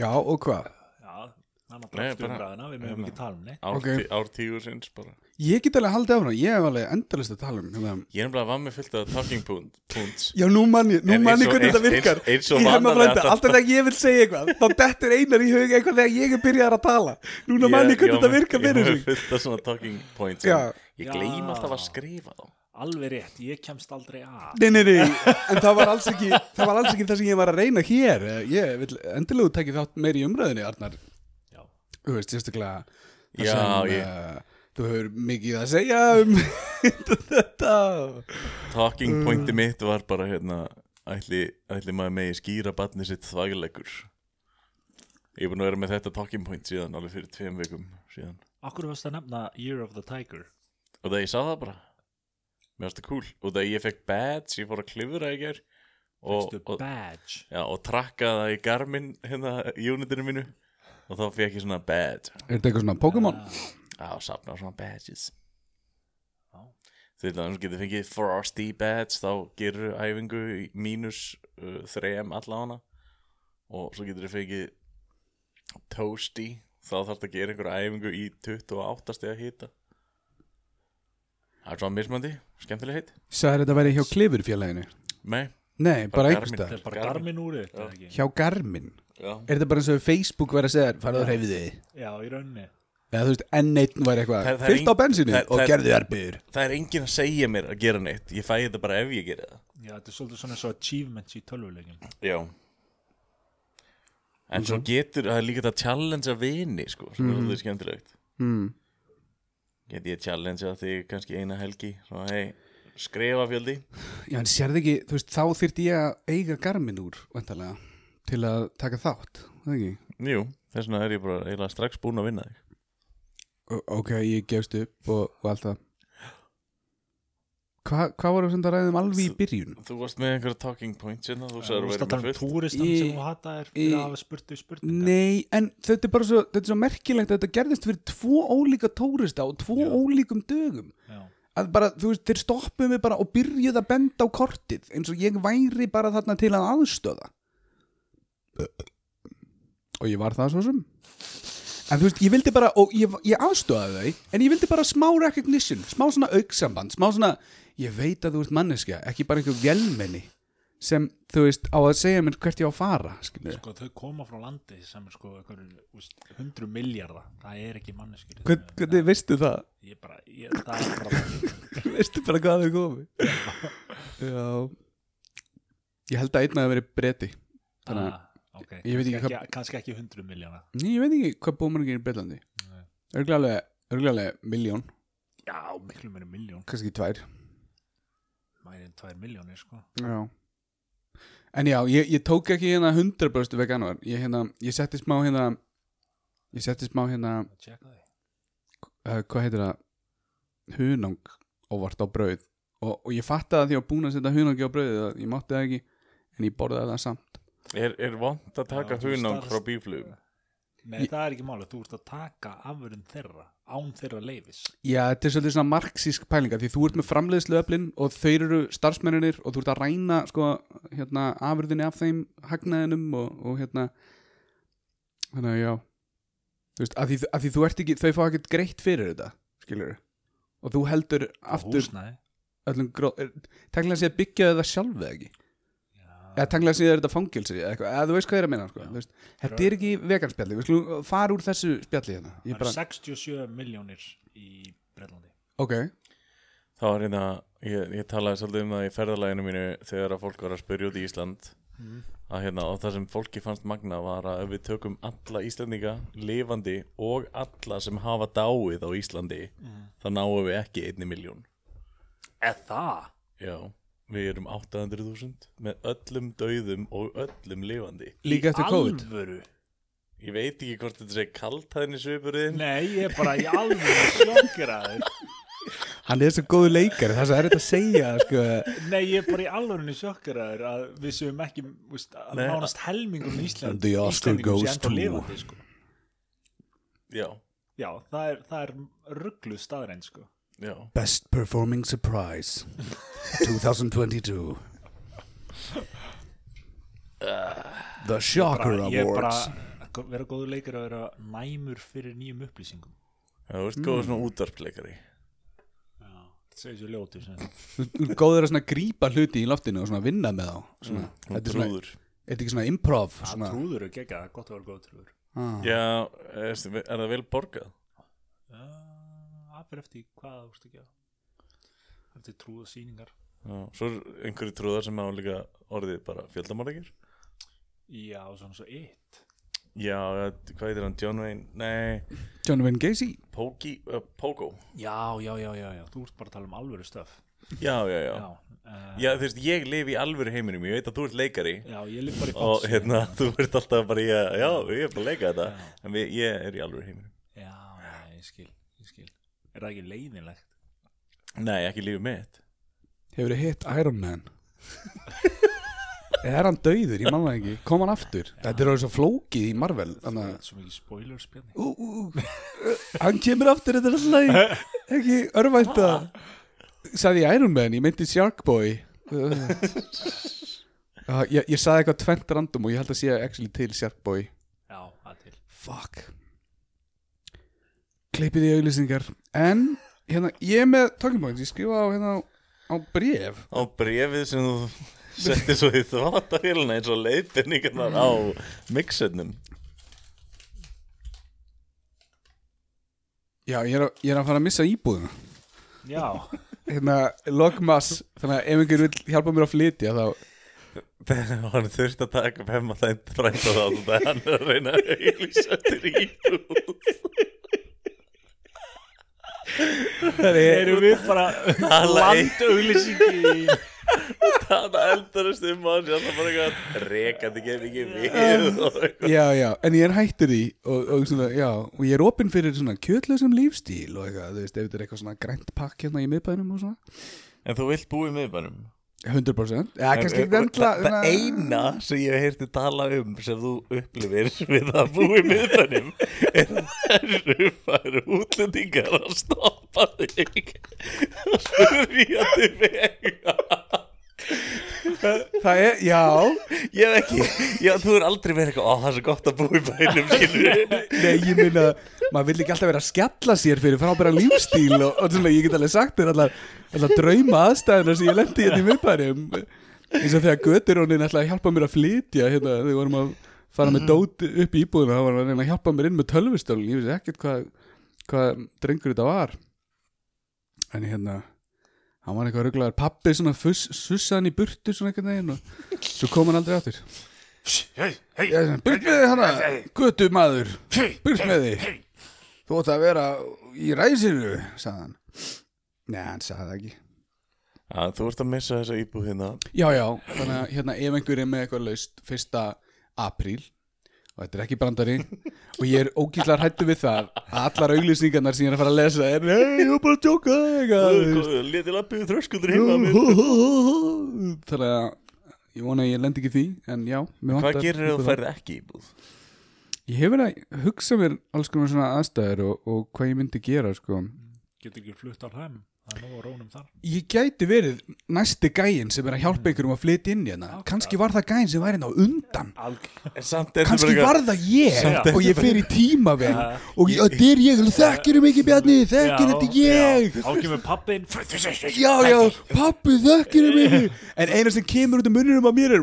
Speaker 3: Já og hvað
Speaker 4: Já, hann að
Speaker 2: Nei,
Speaker 4: brástu
Speaker 2: bara-
Speaker 4: umræðina, við mögum ekki tala um neitt
Speaker 2: Ár,
Speaker 3: Ok.
Speaker 2: okay. ártígur sinns bara
Speaker 3: Ég get alveg haldið áfram, ég hef alveg endalist að tala um hérna.
Speaker 2: Ég er nefnilega var með fullt af talking point- points
Speaker 3: Já, nú manni, nú
Speaker 2: En eins
Speaker 3: manni
Speaker 2: og-
Speaker 3: hvernig þetta
Speaker 2: eins-
Speaker 3: virkar
Speaker 2: eins- eins og
Speaker 3: Ég hef maður
Speaker 2: vanalega
Speaker 3: frænda,
Speaker 2: þetta-
Speaker 3: alltaf þegar ég vil segja eitthvað Þá dettur einar í hug eitthvað þegar ég er byrjaðar að tala Núna
Speaker 2: Ég-
Speaker 3: manni
Speaker 2: ég
Speaker 3: hvernig
Speaker 2: á
Speaker 3: þetta
Speaker 2: með-
Speaker 3: virkar fyrir
Speaker 2: Ég
Speaker 3: sig
Speaker 2: hef með fullt af svona talking points
Speaker 3: Já.
Speaker 2: en Ég gleym
Speaker 4: Já.
Speaker 2: alltaf að skrifa þá
Speaker 4: alveg rétt, ég kemst aldrei að
Speaker 3: Nei, nei, nei, en það var alls ekki Það var alls ekki það sem ég var að reyna hér Eh, Ég vil endilega þú takið þátt meir í umræðinni, Arnar
Speaker 4: Já.
Speaker 3: Þú veist, sérstaklega þar
Speaker 2: Já,
Speaker 3: sem,
Speaker 2: ég-
Speaker 3: uh, Þú hefur mikið að segja um [LAUGHS] þetta
Speaker 2: Talking pointi mitt var bara hérna Ætli, ætli maður megi skýra batni sitt þvægilegur Ég er búin að vera með þetta talking point síðan Alveg fyrir tveim vikum síðan
Speaker 4: Akkur varst að nefna Year of the Tiger
Speaker 2: Og það ég sá það bara Mér varst það cool Og það ég fekk badge, ég fór að klifra í ger og,
Speaker 4: Fyrstu
Speaker 2: og,
Speaker 4: badge
Speaker 2: já, og trakka það í Garmin hérna unitinu mínu Og þá fekk ég svona badge
Speaker 3: Er þetta eitthvað svona Pokémon?
Speaker 2: Já, safna svona badges
Speaker 4: Já.
Speaker 2: Þegar þannig getur fengið Frosty badge Þá gerur æfingu í mínus uh, þrem allána Og svo getur þið fengið Toasty Þá þarf það að gera einhverja æfingu í 28 steg að hita Það er svona mismandi Skemmtileg heit
Speaker 3: Sæður þetta væri hjá Klifurfélaginu?
Speaker 2: Nei,
Speaker 3: Nei,
Speaker 2: Bara
Speaker 3: bara
Speaker 2: Garmin.
Speaker 3: einhvers
Speaker 4: Það
Speaker 3: staðar
Speaker 4: er bara garmin úr þetta ekki
Speaker 3: Hjá Garmin
Speaker 2: já
Speaker 3: Er þetta bara eins og Facebook verið að segja þér, farðu að hreyfið þig
Speaker 4: Já, í rauninni
Speaker 3: Eða þú veist, enn einn var eitthvað
Speaker 2: Það- það er
Speaker 3: Fyllt á
Speaker 2: ein-
Speaker 3: bensinu
Speaker 2: það-
Speaker 3: og
Speaker 2: það-
Speaker 3: gerðu erbyður
Speaker 2: Það er enginn að segja mér að gera neitt Ég fæ þetta bara ef ég gera það
Speaker 4: Já, þetta er svolítið svona svo achievements í tölvulegjum
Speaker 2: Já En svo getur, það er líka þetta challenge að vini sko, sem er svolítið skemmtilegt
Speaker 3: mm.
Speaker 2: Get ég challenge að þig kannski eina helgi Svo hei, skrifa fjöldi
Speaker 3: Já, en sérðu ekki, þú veist, þá þyrfti ég að eiga Garmin úr, vantarlega Til að taka þátt, það ekki
Speaker 2: Jú, þess vegna er ég bara eiginlega strax búinn að vinna þig
Speaker 3: Ö- Ok, ég gefst upp og, og allt það Hva, Hvað voru sem það ræðum alveg um í byrjun?
Speaker 2: Þú varst með einhverja talking point hérna, þú
Speaker 4: Þú
Speaker 2: sagður
Speaker 4: veist
Speaker 2: verið
Speaker 4: að tala
Speaker 2: með
Speaker 4: um
Speaker 2: fullt
Speaker 4: túristan
Speaker 3: Í-
Speaker 4: sem þú hataðir fyrir
Speaker 3: í-
Speaker 4: að hafa spurt í spurningar
Speaker 3: Nei, en þetta er bara svo, þetta er svo merkilegt að þetta gerðist fyrir tvo ólíka tórista og tvo
Speaker 4: Já.
Speaker 3: ólíkum dögum
Speaker 4: Já.
Speaker 3: að bara, þú veist, þeir stoppuðu mig bara og byrjuðu að benda á kortið eins og ég væri bara þarna til að aðstöða og ég var það svo sem en þú veist, ég vildi bara og ég, ég aðstöðaði þau en ég vildi bara smá recognition, smá svona auksamband smá svona, ég veit að þú ert manneskja ekki bara einhver vélmenni sem, þú veist, á að segja mér hvert ég á að fara skilur.
Speaker 4: Sko, þau koma frá landi sem er sko hundru miljardar það er ekki manneskir
Speaker 3: Hvern, hvernig veistu það? [LAUGHS]
Speaker 4: ég bara, ég, það er bara
Speaker 3: veistu bara hvað þau komi já ég held að einn að það veri breti Þannig að-
Speaker 4: ah, okay.
Speaker 3: Ég veit ekki
Speaker 4: kannski, ekki, kannski ekki hundru miljardar
Speaker 3: Nei, ég veit ekki hvað búmenningin í Breitlandi
Speaker 4: Nei.
Speaker 3: Örglega alveg miljón,
Speaker 4: já, miklu meira miljón,
Speaker 3: kannski tvær
Speaker 4: mæri en tvær miljónir sko.
Speaker 3: Já En já, ég, ég tók ekki hérna 100% veganuar Ég, hérna, ég setti smá hérna Ég setti smá hérna
Speaker 4: Að tjekka því.
Speaker 3: uh, Hvað heitir það? Hunang óvart á brauð Og, og ég fattaði að því að ég var búin að setja hunangi á brauðið að Ég mátti það ekki En ég borðaði það samt
Speaker 2: Er, er vant að taka
Speaker 4: Já, þú
Speaker 2: hunang
Speaker 4: starfst-
Speaker 2: frá bíflugum?
Speaker 4: nei,
Speaker 3: Ég-
Speaker 4: það er ekki máli, þú ert að taka afurinn þeirra, án þeirra leifis
Speaker 3: Já, þetta er svolítið svona marxísk pælinga því þú ert með framleiðsluöflin og þeir eru starfsmenninir og þú ert að ræna sko, hérna, afurðinni af þeim hagnaðinum og, og hérna þannig að já þú veist, að því, að því þú ert ekki, þau fá ekkert greitt fyrir þetta, skilur og þú heldur aftur
Speaker 4: húsnæði
Speaker 3: öllum gró, er, tenglega séð byggja það sjálf eða ekki
Speaker 4: já,
Speaker 3: eða tenglega séð er þetta fangilsi eða, eitthvað, eða þú veist hvað ég er að minna sko,
Speaker 4: Já.
Speaker 3: þú veist, þetta er ekki veganspjalli, við skulum fara úr þessu spjalli hérna,
Speaker 4: það
Speaker 3: ég
Speaker 4: eru
Speaker 3: bara,
Speaker 4: 67 miljónir í Breitlandi
Speaker 3: ok
Speaker 2: Þá var hérna, ég, ég talaði svolítið um það í ferðalaginu mínu Þegar að fólk var að spyrja út í Ísland
Speaker 3: Mhm.
Speaker 2: að hérna, og það sem fólki fannst magna var að ef við tökum alla Íslandinga lifandi og alla sem hafa dáið á Íslandi
Speaker 3: Mhm.
Speaker 2: þá náum við ekki einni miljón
Speaker 4: eða það
Speaker 2: já, við erum 800.000 með öllum dauðum og öllum lifandi
Speaker 3: líka eftir COVID
Speaker 4: alvöru
Speaker 2: ég veit ekki hvort þetta sé kaltæðin í svipurðin
Speaker 4: Nei, ég er bara í alveg sjokkeraður
Speaker 3: Hann er svo góðu leikari, það er þetta að segja sko.
Speaker 4: Nei, ég er bara í alveg sjokkeraður að við séum ekki veist, að
Speaker 2: Nei.
Speaker 4: nánast helmingum í Ísland
Speaker 3: And the Oscar
Speaker 4: Íslendingum sé
Speaker 3: goes
Speaker 4: ennþá
Speaker 3: to-
Speaker 4: lifandi, sko.
Speaker 2: já,
Speaker 4: Já, það er, það er rugglu staðræn sko.
Speaker 2: já,
Speaker 3: Best Performing Surprise 2022 The Shocker
Speaker 4: bara, Ég er bara Go- vera góður leikar að vera næmur fyrir nýjum upplýsingum
Speaker 2: þú veist
Speaker 3: Mm.
Speaker 2: góður svona útarpleikari
Speaker 4: já, segir sér ljóti sem
Speaker 3: góður að svona grípa hluti í loftinu og svona vinna með þá svona,
Speaker 2: Hún
Speaker 3: þetta er svona,
Speaker 2: trúður
Speaker 3: er þetta ekki svona improv
Speaker 4: svona...
Speaker 3: svona,
Speaker 4: trúður er gegga, gott að vera góð trúður
Speaker 3: ah,
Speaker 2: Já, er, er það vel borgað?
Speaker 4: það fyrir eftir hvað þú veist ekki að eftir trúða sýningar
Speaker 2: Já, svo er einhverju trúðar sem hafa líka orðið bara fjöldamorðingir
Speaker 4: já, svona svo eitt
Speaker 2: Já, eh, hvað heitir hann, John Wayne? Nei,
Speaker 3: John Wayne Gacy
Speaker 2: Pogi, uh, Pogo
Speaker 4: já, já, já, já, já, þú ert bara að tala um alvöru stöf
Speaker 2: Já, já, já
Speaker 4: já,
Speaker 2: Já,
Speaker 4: eh,
Speaker 2: þú veist, ég lifi í alvöru heiminum, ég veit að þú ert leikari
Speaker 4: já, ég lif bara í
Speaker 2: Og
Speaker 4: fantasy.
Speaker 2: hérna, þú ert alltaf bara í að, já, ég er bara að leika þetta En við, ég er í alvöru heiminum
Speaker 4: já, já, ég skil, ég skil er það ekki leiðinlegt?
Speaker 2: Nei, ekki lífið mitt
Speaker 3: hefur hitt Iron Man [LAUGHS] eða er hann döiður, ég manna ekki kom hann aftur, þetta er alveg svo flókið í Marvel
Speaker 4: það
Speaker 3: þannig
Speaker 4: er
Speaker 3: að
Speaker 4: svo mikið spoilers björni
Speaker 3: Ú, ú, ú. hann kemur aftur þetta er alltaf í- ekki örvænta sagði ég Iron Man, ég myndi Sharkboy uh, Ah, ég, ég sagði eitthvað tvent random og ég held að sé actually til Sharkboy
Speaker 4: já, það til
Speaker 3: Fuck Kleipið í auglýsingar En hérna, ég er með talking points Ég skrifa á, hérna, á bref
Speaker 2: Á brefið sem þú [LAUGHS] settir svo í þvátafélina eins og leiðbyrningarnar á mixernum
Speaker 3: Já, ég er, að, ég er að fara að missa íbúðina
Speaker 4: já,
Speaker 3: Hérna, logmass Þannig að ef einhver vill hjálpa mér að flytja Þá,
Speaker 2: Þegar hann þurfti að taka upp hefma þænt frænda þá Þannig að hann er að reyna að auðlýsa þér í íbúð
Speaker 4: erum [LAUGHS] við bara landauglýsingi
Speaker 2: Þannig að eldarist um hann sé alltaf bara eitthvað Rekandi gef ekki við [LAUGHS] og eitthvað.
Speaker 3: já, já, en ég er hættur því og, og, svona, já, og ég er opinn fyrir svona kjötlausum lífstíl og eitthvað, þú veist, ef þetta er eitthvað svona grænt pakk hérna í miðbænum og svona
Speaker 2: En þú vilt búið með bænum
Speaker 3: 100% Já, kannski ekki
Speaker 2: eh,
Speaker 3: um
Speaker 2: það,
Speaker 3: endla
Speaker 2: það eina sem ég hef heyrti tala um sem þú upplifir við að búið með bænum er að það eru útlendingar að stoppa þig og spyrja þig vega
Speaker 3: Það er, já,
Speaker 2: Ég hef ekki, já, þú er aldrei verið eitthvað, ó, það er svo gott að búa í bænum, [LAUGHS] skilur
Speaker 3: Nei, ég meina, maður vil ekki alltaf vera að skjalla sér fyrir frábæra lífstíl og, og svona, ég get alveg sagt þér allar, allar drauma aðstæðuna sem ég lendi hérna í miðbærum eins og þegar göturónin ætlaði að hjálpa mér að flytja hérna, þegar við vorum að fara með dót upp í íbúðuna, þá var hann að reyna að hjálpa mér inn með tölvustölun, ég vissi ekkert hvað hvað drengur þetta var en hérna hann var eitthvað rugglaður pappi svona fuss, sussaðan í burtu svona einhvern veginn og svo kom hann aldrei áttir
Speaker 4: hei, hei,
Speaker 3: burt með þið hana, götu maður
Speaker 4: hei
Speaker 3: burt með þið
Speaker 4: hei
Speaker 3: Þú ætti að vera í ræsinu, sagði hann. Nei, hann sagði það ekki.
Speaker 2: Já, þú ert að missa þessa íbúð hérna
Speaker 3: Já, já, þannig að hérna, ef einhver er með eitthvað laust fyrsta apríl, og þetta er ekki brandari, og ég er ógíslar hættu við það, að allar auglýsingarnar sem ég er að fara að lesa er, hei, ég er bara að tjóka, eitthvað, þú veist.
Speaker 2: Letið lappið þröskuldur heima minn
Speaker 3: [LAUGHS] Þannig að ég vona að ég lendi ekki í því, en já, mér
Speaker 2: Hvað
Speaker 3: vantar
Speaker 2: gerir þú
Speaker 3: íbúð.
Speaker 2: færð ekki íbúð?
Speaker 3: Ég hef verið að hugsa mér alls konar svona aðstæður og, og hvað ég myndi gera, sko.
Speaker 4: getur ekki flutt á hlæm það er nóg að rónum þar
Speaker 3: Ég gæti verið næsti gæin sem er að hjálpa ykkur um að flytja inn hérna Kanski var það gæin sem væri hérna á undan
Speaker 4: algjörlega
Speaker 2: En samt er
Speaker 3: Kanski
Speaker 2: bara
Speaker 3: var það ég og ég fer í tímavel
Speaker 4: Já.
Speaker 3: Og ég- þetta er ég, þekkir um ekki bjarni, þekkir þetta ég
Speaker 4: þá kemur pappin já,
Speaker 3: Já, já, pappi þekkir um ekki [LAUGHS] En eina sem kemur út af munninum að mér er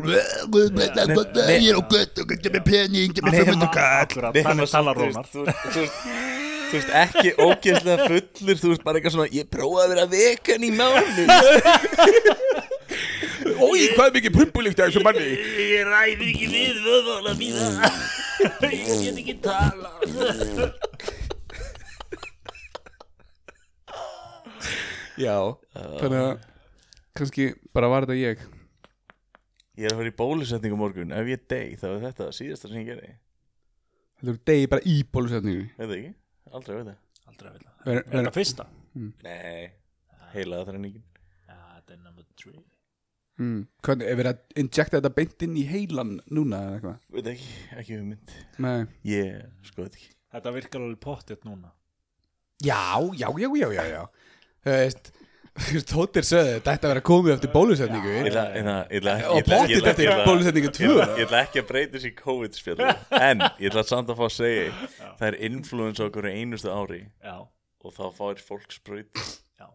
Speaker 3: Ég er á gött og gett með pening Gett með 500 kall
Speaker 4: akkurat, þannig tala
Speaker 2: þú
Speaker 4: rónar
Speaker 2: veist, þú veist- þú veist- Þú veist ekki ógeðslega fullur Þú veist bara eitthvað svona Ég prófaði að vera vegan í
Speaker 3: [LAUGHS]
Speaker 2: mánu
Speaker 3: Ói, hvað er mikið pumpulikt af þessu manni
Speaker 4: ég ræði ekki við vöðvóla mína ég get ekki tala
Speaker 3: Já, þannig að kannski bara var þetta ég
Speaker 2: Ég er að fara í bólusetningu á morgun Ef ég dey þá er þetta síðasta sem ég gerði
Speaker 3: Þetta er degi bara í bólusetningu
Speaker 2: Veit það ekki? Aldrei veit það
Speaker 4: aldrei að vilja
Speaker 3: Ver-
Speaker 4: er
Speaker 3: ver-
Speaker 4: það fyrsta?
Speaker 2: Nei Heilaða þræningin
Speaker 4: já, þetta er number 3
Speaker 3: Mm. Hvernig, er verið að injekta þetta beint inn í heilan núna eða eitthvað?
Speaker 2: Veit það ekki, ekki hugmynd
Speaker 3: Nei.
Speaker 2: Ég sko þetta ekki
Speaker 4: þetta virkar alveg pottitt núna
Speaker 3: Já, já, já, já, já, já. Þú veist, [LAUGHS] Tóttir sögðu þetta ætti að vera komið eftir bólusetningu
Speaker 2: Ég ætla- ég ætla- ég
Speaker 3: Og
Speaker 2: ætla- ég
Speaker 3: pottþétt
Speaker 2: ætla-
Speaker 3: eftir
Speaker 2: ég ætla-
Speaker 3: bólusetningu
Speaker 2: ég
Speaker 3: tvö.
Speaker 2: ætla- Ég ætla ekki að breyta þessi COVID-spjallu En ég ætla samt að fá að segja Það er influence á hverju einustu ári
Speaker 4: já,
Speaker 2: Og þá fáir fólk spröyti
Speaker 4: Já.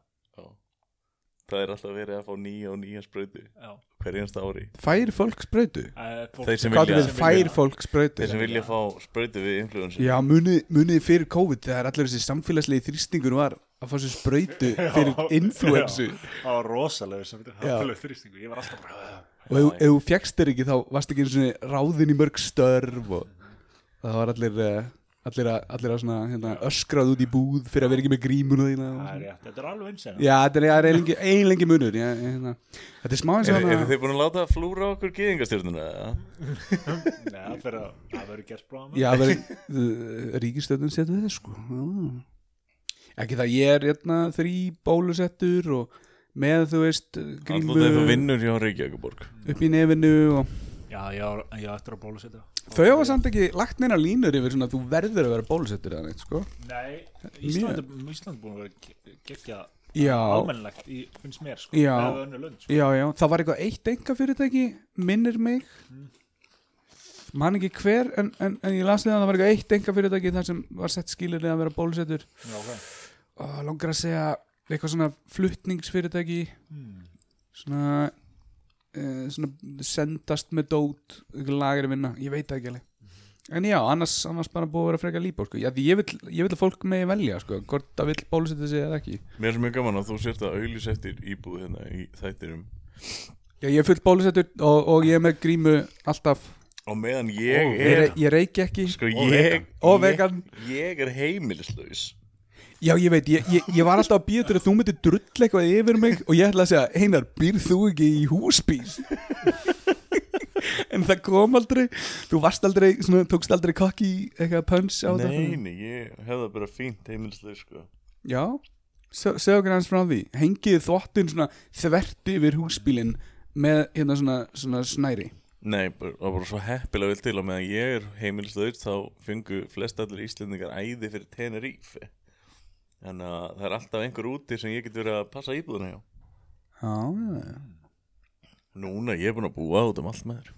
Speaker 2: Það er alltaf verið að fá nýja og nýja spröyti
Speaker 4: já
Speaker 2: Hver einasta ári
Speaker 3: Fær fólk sprautu?
Speaker 4: Eh, fólk-
Speaker 2: Þeir sem
Speaker 3: Hvað
Speaker 2: vilja-
Speaker 3: er við fær fólk sprautu?
Speaker 2: Þeir sem vilja fá spröyti við influensu
Speaker 3: Já, munið munið fyrir COVID þegar allir þessi samfélagslegi þrýstingur var að fá sér sprautu fyrir influensu
Speaker 4: Já, það var rosalega sem þetta
Speaker 3: Já.
Speaker 4: hafðuleg þrýstingu ég var alltaf bara
Speaker 3: og ef, ef þú fjækst þér ekki þá varst ekki einu sinni ráðin í mörg störf og það var allir eh, allir að, allir að svona, hérna, öskrað út í búð fyrir að vera ekki með grímuna þína og
Speaker 4: það er
Speaker 3: svona.
Speaker 4: rétt, þetta er alveg eins en
Speaker 3: Já, þetta er- það er eiginlega- eiginlega munur já, hérna. Þetta er smá eins og
Speaker 2: Eru eru
Speaker 3: hana
Speaker 2: þið búin að láta flúra okkur gýðingastjörnuna?
Speaker 4: það fyrir að það verður gert bráðum
Speaker 3: Já, það er ríkistöðun setur þið sko Já. Ekki það ég er hérna, þrý bólusettur og með þú veist
Speaker 2: Alltaf þegar þú
Speaker 3: grímu
Speaker 2: vinnur hjá Reykjavíkuborg
Speaker 3: upp í nefinu og
Speaker 4: já, ég á ég á eftir að bólusetja
Speaker 3: Þau hafa samt ekki lagt neina línur yfir svona að þú verður að vera bólusettur eða neitt sko
Speaker 4: nei, Ísland er Ísland er búin að vera ge- gegja
Speaker 3: Já.
Speaker 4: almennlegt í, finnst mér sko
Speaker 3: Já.
Speaker 4: það er önnu lönd sko
Speaker 3: Já, já, það var eitthvað eitt enga fyrirtæki minnir mig man ekki hver en, en, en ég las liðan að það var eitthvað eitt enga fyrirtæki þar sem var sett skilirlega að vera bólusettur
Speaker 4: já, ok
Speaker 3: og langar að segja eitthvað svona fluttningsfyrirtæki Hmm. svona uh, svona sendast með dót eitthvað lagri vinna, ég veit það ekki alveg en já, annars, annars bara búið að vera frekar lípa sko. já, því ég vil, ég vil að fólk megi velja sko, hvort það vil bólusetja sig eða ekki
Speaker 2: Mér er svo mjög gaman að þú sért að auglýsa eftir íbúð hérna í þættinum
Speaker 3: já, ég er full bólusettur og, og ég er með grímu alltaf
Speaker 2: Og meðan ég
Speaker 3: ég,
Speaker 2: er
Speaker 3: re ég reiki ekki
Speaker 2: Sko ég
Speaker 3: Og
Speaker 2: ég-
Speaker 3: vegan.
Speaker 2: Ég er heimilislaus
Speaker 3: já ég veit, ég, ég, ég var alltaf að býja til að þú myndir drull eitthvað yfir mig og ég ætla að segja, Einar, býr þú ekki í húsbís en það kom aldrei þú varst aldrei, svona, tókst aldrei kokki eitthvað punch á það
Speaker 2: Neini, ég hefði bara fínt heimilislaus sko.
Speaker 3: já, se- segðu okkur hans frá því hengið þvottin svona þvert yfir húsbílinn með hérna svona, svona snæri
Speaker 2: Nei, bara- það var bara svo heppilega vel til og meðan ég er heimilislaus þá fengu flest allir Íslendingar æði fyrir Tenerife Þannig að það er alltaf einhver úti sem ég get verið að passa íbúðuna hjá
Speaker 3: já, já, já,
Speaker 2: Núna ég er búin að búa út um allt með þér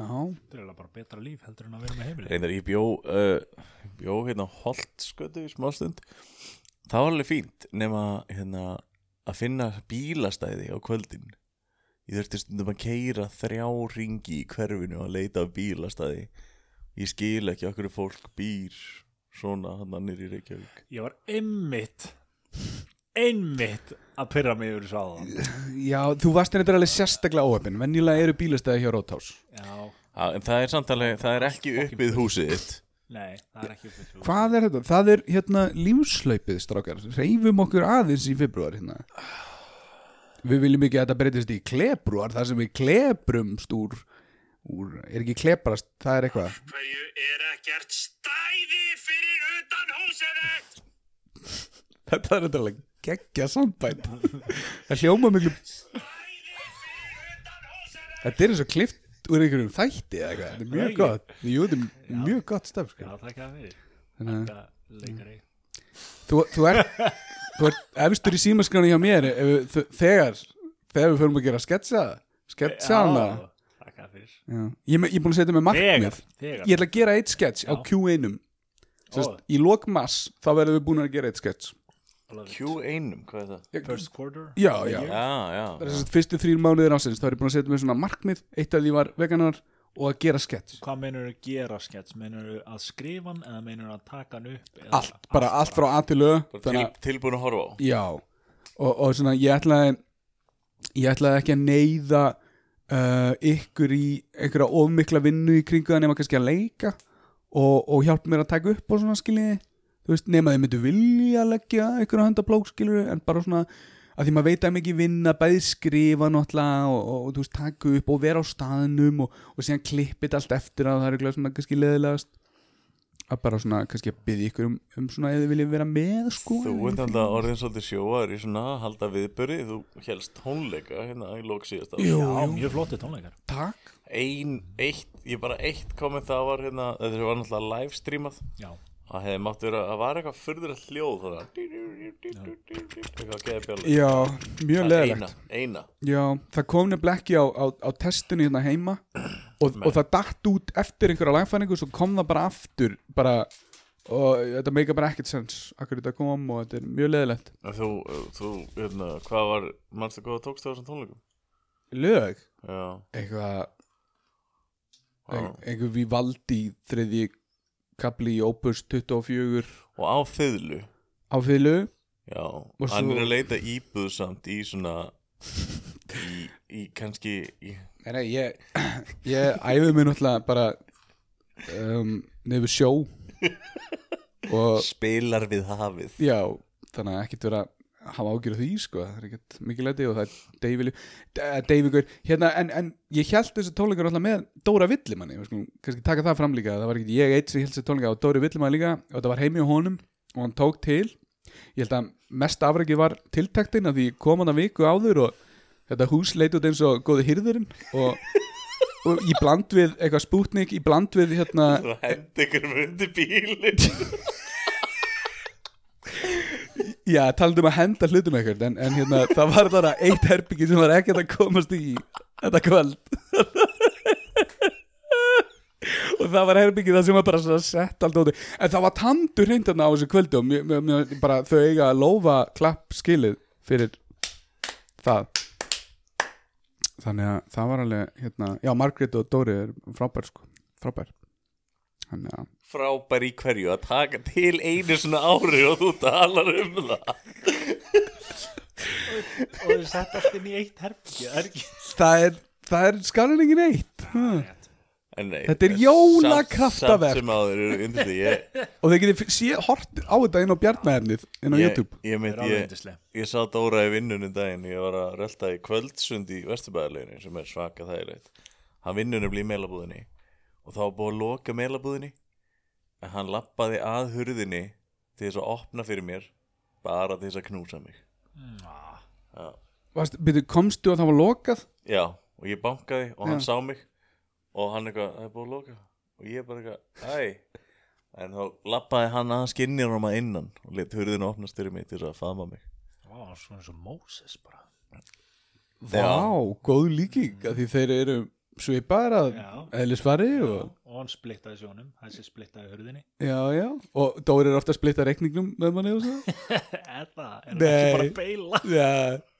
Speaker 3: já
Speaker 4: þetta er eiginlega bara betra líf heldur en að vera með heimili
Speaker 2: Reyndar ég bjó, uh, bjó hérna holt skötu í smástund Það var alveg fínt nema hérna, að finna bílastæði á kvöldin Ég þurfti stundum að keira þrjá ringi í hverfinu að leita að bílastæði Ég skil ekki okkur fólk býr svona hann annir í Reykjavík
Speaker 4: ég var einmitt einmitt að pyrra mig yfir þessu áðan
Speaker 3: já, þú varst þetta alveg sérstaklega óöfn venjulega eru bílastæði hjá Róthás
Speaker 4: já,
Speaker 2: ha, En það er samtalið, það er ekki uppið húsið þitt
Speaker 4: nei, það er ekki uppfyllt
Speaker 3: Hvað er þetta? Það er hérna lífslaupið, strákar. Reyfum okkur aðeins í februar hérna. Við viljum ekki að þetta breytist í klebruar, þar sem við klebrumst úr, úr er ekki klebrast, það er eitthvað.
Speaker 5: hverju er ekkert stæði fyrir utan húsið þitt?
Speaker 3: Þetta er þetta alveg geggja sambænd. það hljóma miklu,
Speaker 5: Stæði fyrir utan húsið þitt!
Speaker 3: þetta er eins og klift úr einhverjum þætti eða eitthvað. Þetta er mjög gott. Jú, þetta er mjög gott
Speaker 4: já,
Speaker 3: stöf. Sko.
Speaker 4: það er ekki að verið
Speaker 3: Þannig að
Speaker 4: þetta leikari
Speaker 3: þú, þú er, þú er efstur í símaskráni hjá mér ef, þú, þegar, þegar við förum að gera sketsa, sketsa hana.
Speaker 4: takk að fyrir
Speaker 3: Já. Ég, me- ég er búin að setja með markmið
Speaker 4: Þegar, þegar.
Speaker 3: Ég ætla að gera eitt sketch á
Speaker 4: Já.
Speaker 3: Q1-um
Speaker 4: Ó.
Speaker 3: Í lok mass þá verðum við búin að gera eitt sketch
Speaker 2: Q1, hvað er það?
Speaker 4: First quarter
Speaker 3: Já, já
Speaker 2: Já, já,
Speaker 3: Það er þess að fyrstu þrýr mánuðir ásins þá er ég búin að setja með svona markmið Eitt af því var veganar og að gera sketch
Speaker 4: Hvað meinur þú gera skets? Meinur þú að skrifa hann eða meinur þú að taka hann upp? Eða,
Speaker 3: Allt, bara allt frá A til Ö
Speaker 2: Til,
Speaker 3: Þannig að,
Speaker 2: tilbúin að horfa á
Speaker 3: já og, og svona, ég ætlaði Ég ætlaði ekki að neyða uh, ykkur í einhverja ofmikla vinnu í kringu það nema kannski að leika og, og hjálpa mér að taka upp og svona skiljiði þú veist, nema þið myndu vilja leggja einhverja handa blók skilur en bara svona að því maður veit að mikið vinna bæði skrifa náttúrulega og, og, og þú veist, taka upp og vera á staðnum og, og síðan klippið allt eftir að það er eitthvað svona kannski leðilegast að bara svona kannski að byggja ykkur um, um svona eða þið viljið vera með sko
Speaker 2: Þú ert alltaf orðin svolítið sjóar í svona halda viðböri, þú helst tónleika hérna í lók síðast árs.
Speaker 3: Jú,
Speaker 4: Já,
Speaker 3: jú,
Speaker 4: mjög flotti tónleikar
Speaker 3: takk
Speaker 2: Ein, eitt, ég bara eitt komið það var hérna, þetta var náttúrulega livestreamað,
Speaker 4: Já,
Speaker 2: Það hefði mátt vera, það var eitthvað furðurlega hljóð þannig Eitthvað að geða bjálf
Speaker 3: já, mjög leðilegt
Speaker 2: Eina, eina
Speaker 3: Já, það kom nefnilega ekki á, á, á testinu hérna heima og, og það datt út eftir einhverja lagfæringu svo kom það bara aftur bara, og þetta make bara ekkert sense akkur þetta kom og þetta er mjög leðilegt
Speaker 2: En Þú, þú, hérna, hvað var, mannstu góða tókst á þessum tónleikum?
Speaker 3: Lög?
Speaker 2: Já,
Speaker 3: Eitthvað
Speaker 2: já.
Speaker 3: ein- einhver við valdi þriði kapli í Opus 24
Speaker 2: Og á fiðlu
Speaker 3: á fylgu
Speaker 2: Já,
Speaker 3: svo-
Speaker 2: hann er að leita íbúð samt í svona Í, í kannski í,
Speaker 3: Nei, nei, ég, [CLEARS THROAT] ég æfði mig náttúrulega bara um, nefnir sjó og
Speaker 2: Spilar við hafið
Speaker 3: Já, þannig að ekkert vera að hafa ágjur því, sko, það er ekkert mikilæti og það er Dave Dave Davíkur, hérna, en, en ég held þessi tónleikar alltaf með Dóra Villimanni, við skulum kannski taka það fram líka, það var ekkert ég eitt sem held þessi tónleika og Dóri Villimanni líka og það var heimi á honum og hann tók til ég held að mest afrækið var tiltaktin að því kom hann að viku áður og þetta hús leit út eins og góði hýrðurinn og, og í bland við eitthvað spútnik, í bland við hérna,
Speaker 2: [LAUGHS] Þú hendi ykkur undir bílinn
Speaker 3: Já, talandi um að henda hlutum ekkert en, en hérna, það var bara eitt herbyggi sem var ekkert að komast í þetta kvöld og það var herbyggi það sem var bara svona sett allt óti en það var tandur hreint þarna á þessu kvöldi og mjö, mjö, mjö, bara þau eiga að lófa klapp skilið fyrir það þannig að það var alveg hérna, já, Margrét og Dóri er frábær sko, frábær þannig að
Speaker 2: Frábær í hverju að taka til einu svona ári og þú talar um það
Speaker 4: og það er sett allt inn í eitt herbyggja það er [LAUGHS] ekki
Speaker 3: það er, það er skarningin eitt hmm.
Speaker 2: En nei,
Speaker 3: Þetta er
Speaker 2: en samt- Samt
Speaker 3: jólakraftaverk.
Speaker 2: sem áður eru undir því Ég,
Speaker 3: og þeir getið sé hort á þetta inn á bjarnæðnið inn á
Speaker 2: ég,
Speaker 3: YouTube
Speaker 2: ég, mynd,
Speaker 4: Það er alveg
Speaker 2: ég,
Speaker 4: yndisleg.
Speaker 2: ég sá Dóra í vinnunum daginn Ég var að rölda í kvöldsund í Vesturbæðarleginu sem er svaka þægilegt Hann vinnunum í meilabúðinni og þá var búið að loka meilabúðinni en hann lappaði að hurðinni til þess að opna fyrir mér bara til þess að knúsa mig
Speaker 3: Varst, byrju, komstu og það var lokað
Speaker 2: Já, og ég bankaði og hann
Speaker 3: Já.
Speaker 2: sá mig og hann eitthvað, það er búið að loka og ég bara eitthvað, æ en þá lappaði hann að skinnir hann að innan og let hurðin opnast fyrir mig til þess að faðma mig
Speaker 4: Vá, svona eins og Moses bara
Speaker 3: Vá, góð líking að því þeir eru svipaðir að
Speaker 4: Já.
Speaker 3: eðlisfari og
Speaker 4: og hann splittaði sjónum, þessi splittaði hurðinni
Speaker 3: já, já, og Dóri er ofta að splitta reikningnum með manni
Speaker 2: [LAUGHS]
Speaker 3: og svo
Speaker 4: er það, er það
Speaker 3: Nei.
Speaker 4: ekki bara að beila
Speaker 3: Já,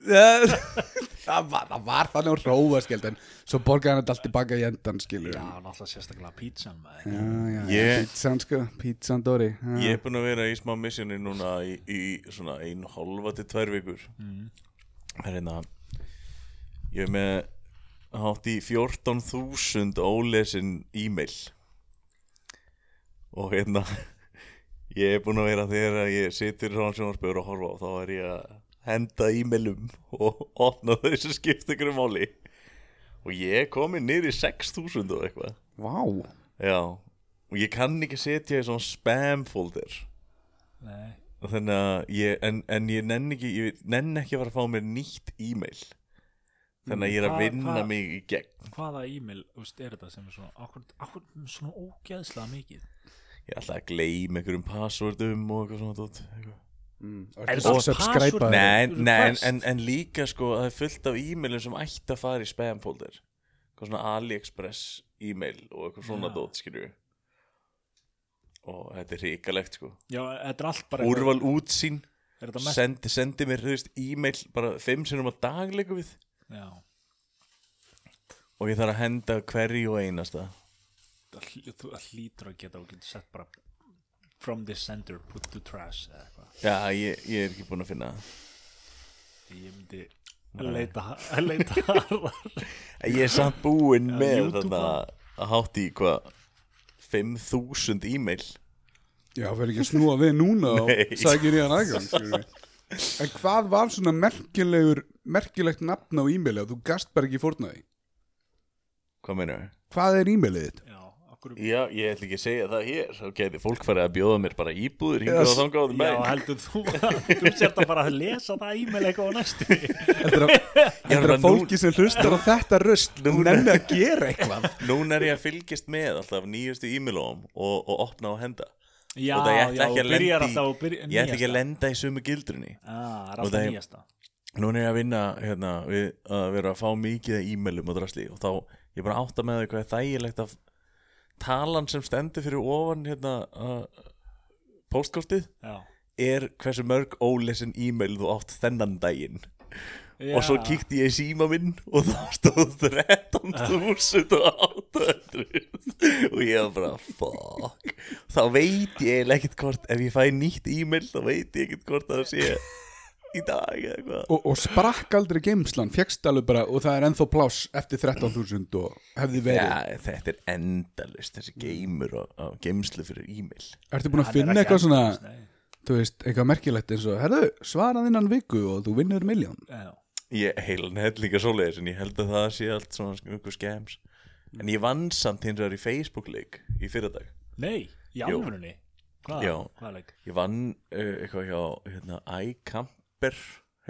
Speaker 3: já [LAUGHS] það, var, það var þannig að róa skeld en svo borgaði hann þetta allt tilbaka í endan skilur
Speaker 4: já,
Speaker 3: já,
Speaker 4: náttúrulega sérstaklega pítsan maður
Speaker 3: já, já,
Speaker 2: Ég-
Speaker 3: pítsan sko, pítsan Dóri já.
Speaker 2: Ég er búin að vera í smá missioni núna í, í svona einu hálfa til tvær vikur Það er hérna Ég er með hátt í 14.000 ólesin e-mail og hérna [LAUGHS] ég er búin að vera þegar að ég situr svona sjónarspöður og horfa á þá er ég að henda e-mailum [LAUGHS] og opna þau sem skipt ykkur máli og ég er komin niður í 6.000 og eitthvað
Speaker 3: Vá,
Speaker 2: Já, og ég kann ekki setja í svona spam folder
Speaker 4: Nei.
Speaker 2: og þannig að ég, en, en ég nenn ekki, ég nenn ekki að fara að fá mér nýtt e-mail þannig að ég er að
Speaker 4: Mm, Hvað-
Speaker 2: vinna
Speaker 4: hvað-
Speaker 2: mig í gegn
Speaker 4: hvaða e-mail þú veist, er þetta sem er svona akkur, akkur, svona ógeðslega mikið
Speaker 2: ég er alltaf að gleyma einhverjum passvördum og eitthvað svona dót eitthvað.
Speaker 4: er
Speaker 3: Og subscribe að-
Speaker 2: Nei, en- nei, en, en, en líka sko að það er fullt af e-mailum sem ætti að fara í spam folder eitthvað svona AliExpress e-mail og eitthvað svona
Speaker 4: Já.
Speaker 2: dót skilju og þetta er hrikalegt sko
Speaker 4: já, þetta er allt bara
Speaker 2: úrval útsýn
Speaker 4: er þetta mest
Speaker 2: sendi, sendi mér, þú veist, e-mail bara fimm sinnum á dag leikum við
Speaker 4: já,
Speaker 2: og ég þarf að henda hverju og einasta
Speaker 4: það hl- þú það hlýtur að geta og getur sett bara from the center, put to trash eða eitthvað
Speaker 2: Já, ég, ég er ekki búinn að finna það
Speaker 4: ég myndi að leita að [LAUGHS] leita harðar
Speaker 2: En [LAUGHS] Ég er samt búinn með
Speaker 4: YouTube
Speaker 2: þarna að hátt í hvað 5.000 e-mail
Speaker 3: Já, verður ekki að snúa við núna og
Speaker 2: Nei.
Speaker 3: sækir í hann aðgang skilur við. En hvað var svona merkilegur merkilegt nafn á e-maili að þú gast bara ekki fórnaði?
Speaker 2: Hvað meinar þau?
Speaker 3: Hvað er e-mailið þitt?
Speaker 4: já, akkur
Speaker 2: Já, ég ætla ekki að segja það hér Þá geti fólk farið að bjóða mér bara íbúður hingað
Speaker 3: Yes.
Speaker 2: og þangað á því
Speaker 4: Já,
Speaker 2: bæn
Speaker 4: heldur þú [LAUGHS] að þú sért að bara að lesa það e-mail eitthvað á næstu
Speaker 3: Heldur að, heldur að
Speaker 2: bara nú-
Speaker 3: fólki sem hlustar á þetta röst
Speaker 2: Núna.
Speaker 3: nenni að gera eitthvað
Speaker 2: Núna er ég að fylgjast með alltaf nýjustu e-mailum og, og opna og henda
Speaker 4: [LAUGHS] Já,
Speaker 2: Og það ég ætla
Speaker 4: já,
Speaker 2: ekki að
Speaker 4: og byrjar
Speaker 2: lenda í-
Speaker 4: alltaf og byrjar
Speaker 2: Ég ætla ekki að lenda í sömu gildrunni
Speaker 4: Ah,
Speaker 2: Og
Speaker 4: rátt
Speaker 2: það-
Speaker 4: að nýjasta
Speaker 2: Núna er ég að vinna hérna, við að vera að fá mikið af e-mailum og drasli og þá ég er bara átta með því hvað er þægilegt að talan sem stendur fyrir ofan hérna, uh, postkortið
Speaker 4: Já
Speaker 2: er hversu mörg ólesin e-mail þú átt þennan daginn og svo
Speaker 4: Já.
Speaker 2: kíkti ég í síma minn og þá stóð 13.800 og ég var bara fuck þá veit ég eiginlega ekkert hvort ef ég fæ nýtt e-mail þá veit ég ekkert hvort það sé í dag eða eitthvað
Speaker 3: og, og sprakk aldrei geimslan fegst alveg bara og það er ennþá pláss eftir 13.000 og hefði verið
Speaker 2: Já, Mm. þetta er endalust þessi geimur og, og geimslu fyrir e-mail
Speaker 3: ertu búin
Speaker 4: Hann
Speaker 3: að
Speaker 4: er
Speaker 3: finna
Speaker 4: ekki
Speaker 3: eitthvað svona
Speaker 4: endalaus, nei.
Speaker 3: þú veist, eitthvað merkilegt eins og herðu, svarað innan viku og þú vinnur miljón
Speaker 4: Já.
Speaker 2: Ég heilan held líka svoleiðis en ég held að það sé allt svona sk- einhver skems En ég vann samt hins vegar í Facebook-leik í fyrradag
Speaker 4: Nei, í
Speaker 2: Jú.
Speaker 4: alvörunni Hvað?
Speaker 2: Já.
Speaker 4: Hvað leik?
Speaker 2: Ég vann uh, eitthvað hjá hérna, iCamper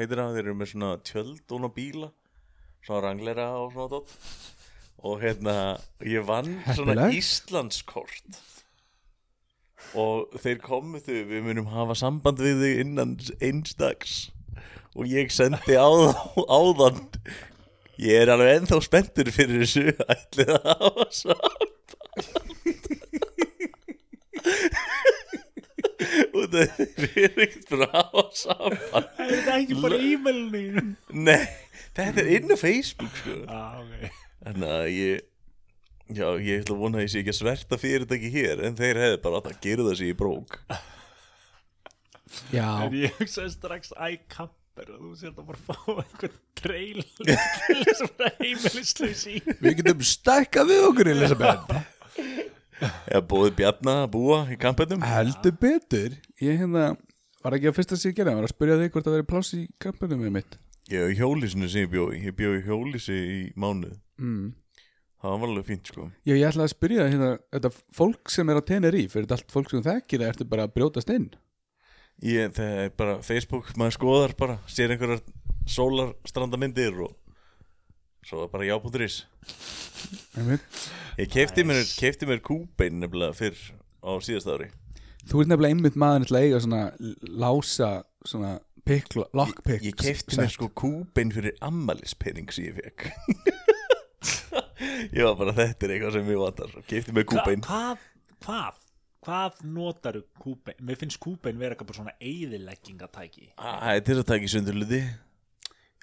Speaker 2: heitir það, þeir eru með svona tjöld og bíla svona ranglera og svona dótt og hérna, ég vann svona
Speaker 3: Heppilegt.
Speaker 2: Íslandskort og þeir komu þau, við munum hafa samband við þau innan einstags og ég sendi á, áðan ég er alveg ennþá spenntur fyrir þessu ætlið að hafa samband og þeir eru ekkert bara að hafa samband
Speaker 4: Það er ekki bara e-mailinu
Speaker 2: Nei, þetta er inn á Facebook sko.
Speaker 4: ah, okay.
Speaker 2: Þannig að ég Já, ég ætla að vona að ég sé ekki að sverta fyrirtæki hér En þeir hefði bara átt að gera það sér í brók
Speaker 3: já,
Speaker 4: En ég hugsaði strax iCamper og þú sér það bara að fá einhvern trail til þess að vera heimilislaus í
Speaker 3: [LAUGHS] við getum stækkað við okkur Elisabeth
Speaker 2: Eða bóðið Bjarna að búa í kampetnum
Speaker 3: heldur betur ég hérna, var ekki að fyrsta sem ég gerði var að spyrja þig hvort það verið pláss í kampinu með mitt
Speaker 2: Ég hef í hjólísinu sem ég bjóði Ég bjóði í hjólísi í mánuð
Speaker 3: mm.
Speaker 2: Það var alveg fínt sko
Speaker 3: já, ég ætlaði að spyrja þig hérna, þetta fólk sem er á Teneríf er þetta allt fólk sem þú þekkir eða ertu bara að brjótast inn
Speaker 2: ég, Það er bara Facebook, maður skoðar bara Sér einhverjar sólarstrandamindir Og svo er bara jábúndurís
Speaker 3: Einmitt.
Speaker 2: Ég kefti mér, kefti mér kúbein nefnilega fyrr á síðast ári
Speaker 3: þú ert nefnilega einmitt maður til að eiga svona l- lása, svona pick, lock pick
Speaker 2: Ég kefti mér sko kúbin fyrir ammælispenning sem ég fekk [LAUGHS] Ég var bara þetta er eitthvað sem ég vantar og kefti mér kúbin
Speaker 4: Hvað, hvað, hvað notaru kúbein? Mér finnst kúbein vera eitthvað bara svona eyðileggingatæki
Speaker 2: Það er til að taka í sundur hluti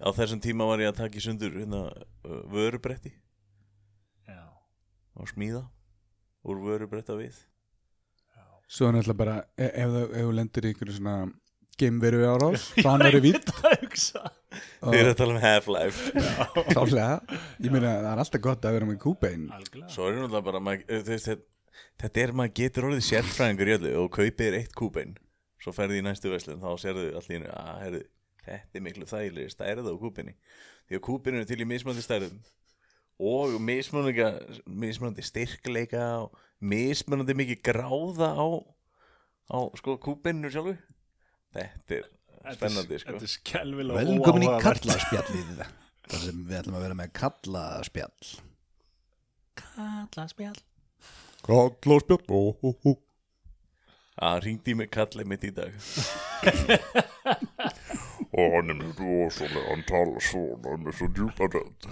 Speaker 2: Á þessum tíma var ég að taka í sundur hérna, uh, vörubretti
Speaker 4: Já,
Speaker 2: og smíða úr vörubretta við
Speaker 3: Svo er náttúrulega bara e- ef þú- ef þú lendir í einhverju svona geimveru árás
Speaker 2: [LAUGHS]
Speaker 3: frá annari vít
Speaker 4: þetta hugsa
Speaker 3: og
Speaker 2: Þeir eru að tala um Half-Life
Speaker 3: klálega ég meina það er alltaf gott að vera með kúbein
Speaker 4: Algjörlega
Speaker 2: Svo er náttúrulega bara maður, uh, þú veist, þetta- Þetta er maður getur orðið sérfræðingur í öllu og kaupir eitt kúbein Svo ferði í næstu veslun þá sérðu allir innu að "Ah, herðu, þetta er miklu þægilegri stærð á kúbinni Því að kúbinu er til í mismandi stærðum og mismunandi, mismunandi styrkleika og mismunandi mikið gráða á, á sko kúbinu sjálfu Þetta er spennandi sko
Speaker 4: Þetta er skelvilega
Speaker 6: Velkomin í
Speaker 4: óáhugavert.
Speaker 6: kallaspjallið
Speaker 3: [LAUGHS]
Speaker 6: Það sem við ætlum að vera með kallaspjall
Speaker 4: Kallaspjall
Speaker 6: Kallaspjall ó, ó, ó.
Speaker 2: Það ringdi Ah, í mig kallið mitt í dag
Speaker 7: Og hann er mjög rosalega, hann talar svona, hann er svo djúpa
Speaker 3: [LAUGHS]
Speaker 7: rödd.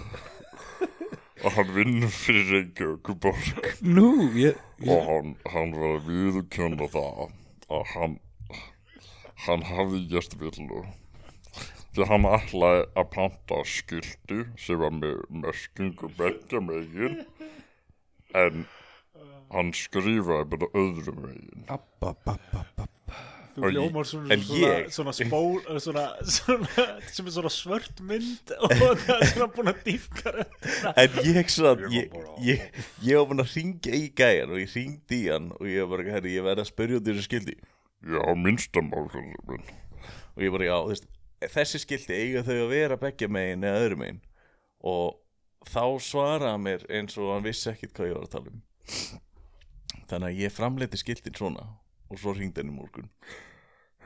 Speaker 7: Og hann vinnur fyrir Reykjavíkuborg
Speaker 3: Nú, ég,
Speaker 7: og hann, hann var að viðurkjöna það að hann, hann hafði gert villu. Því hann ætlaði að panta skilti sem var með meskingu beggja megin en hann skrifaði bara öðrum megin.
Speaker 3: abba, abba, abba.
Speaker 4: Þú
Speaker 7: Og ég-
Speaker 4: ljómar svona,
Speaker 2: en
Speaker 4: svona,
Speaker 2: ég-
Speaker 4: svona spól svona, svona, sem er svona svört mynd og það er svona búin að dýfka röddina
Speaker 2: En ég sann, ég, ég, ég var búin að ringja í gæjan og ég ringdi í hann og ég var bara, herri, ég verði að spyrja út þessu skildi
Speaker 7: Já, minnstamálkvöldur minn.
Speaker 2: og ég bara, já, þú veist, þessi skildi eiga þau að vera beggja megin eða öðru megin og þá svaraði hann mér eins og hann vissi ekkit hvað ég var að tala um Þannig að ég framleiti skildin svona og svo ringdi hann í morgun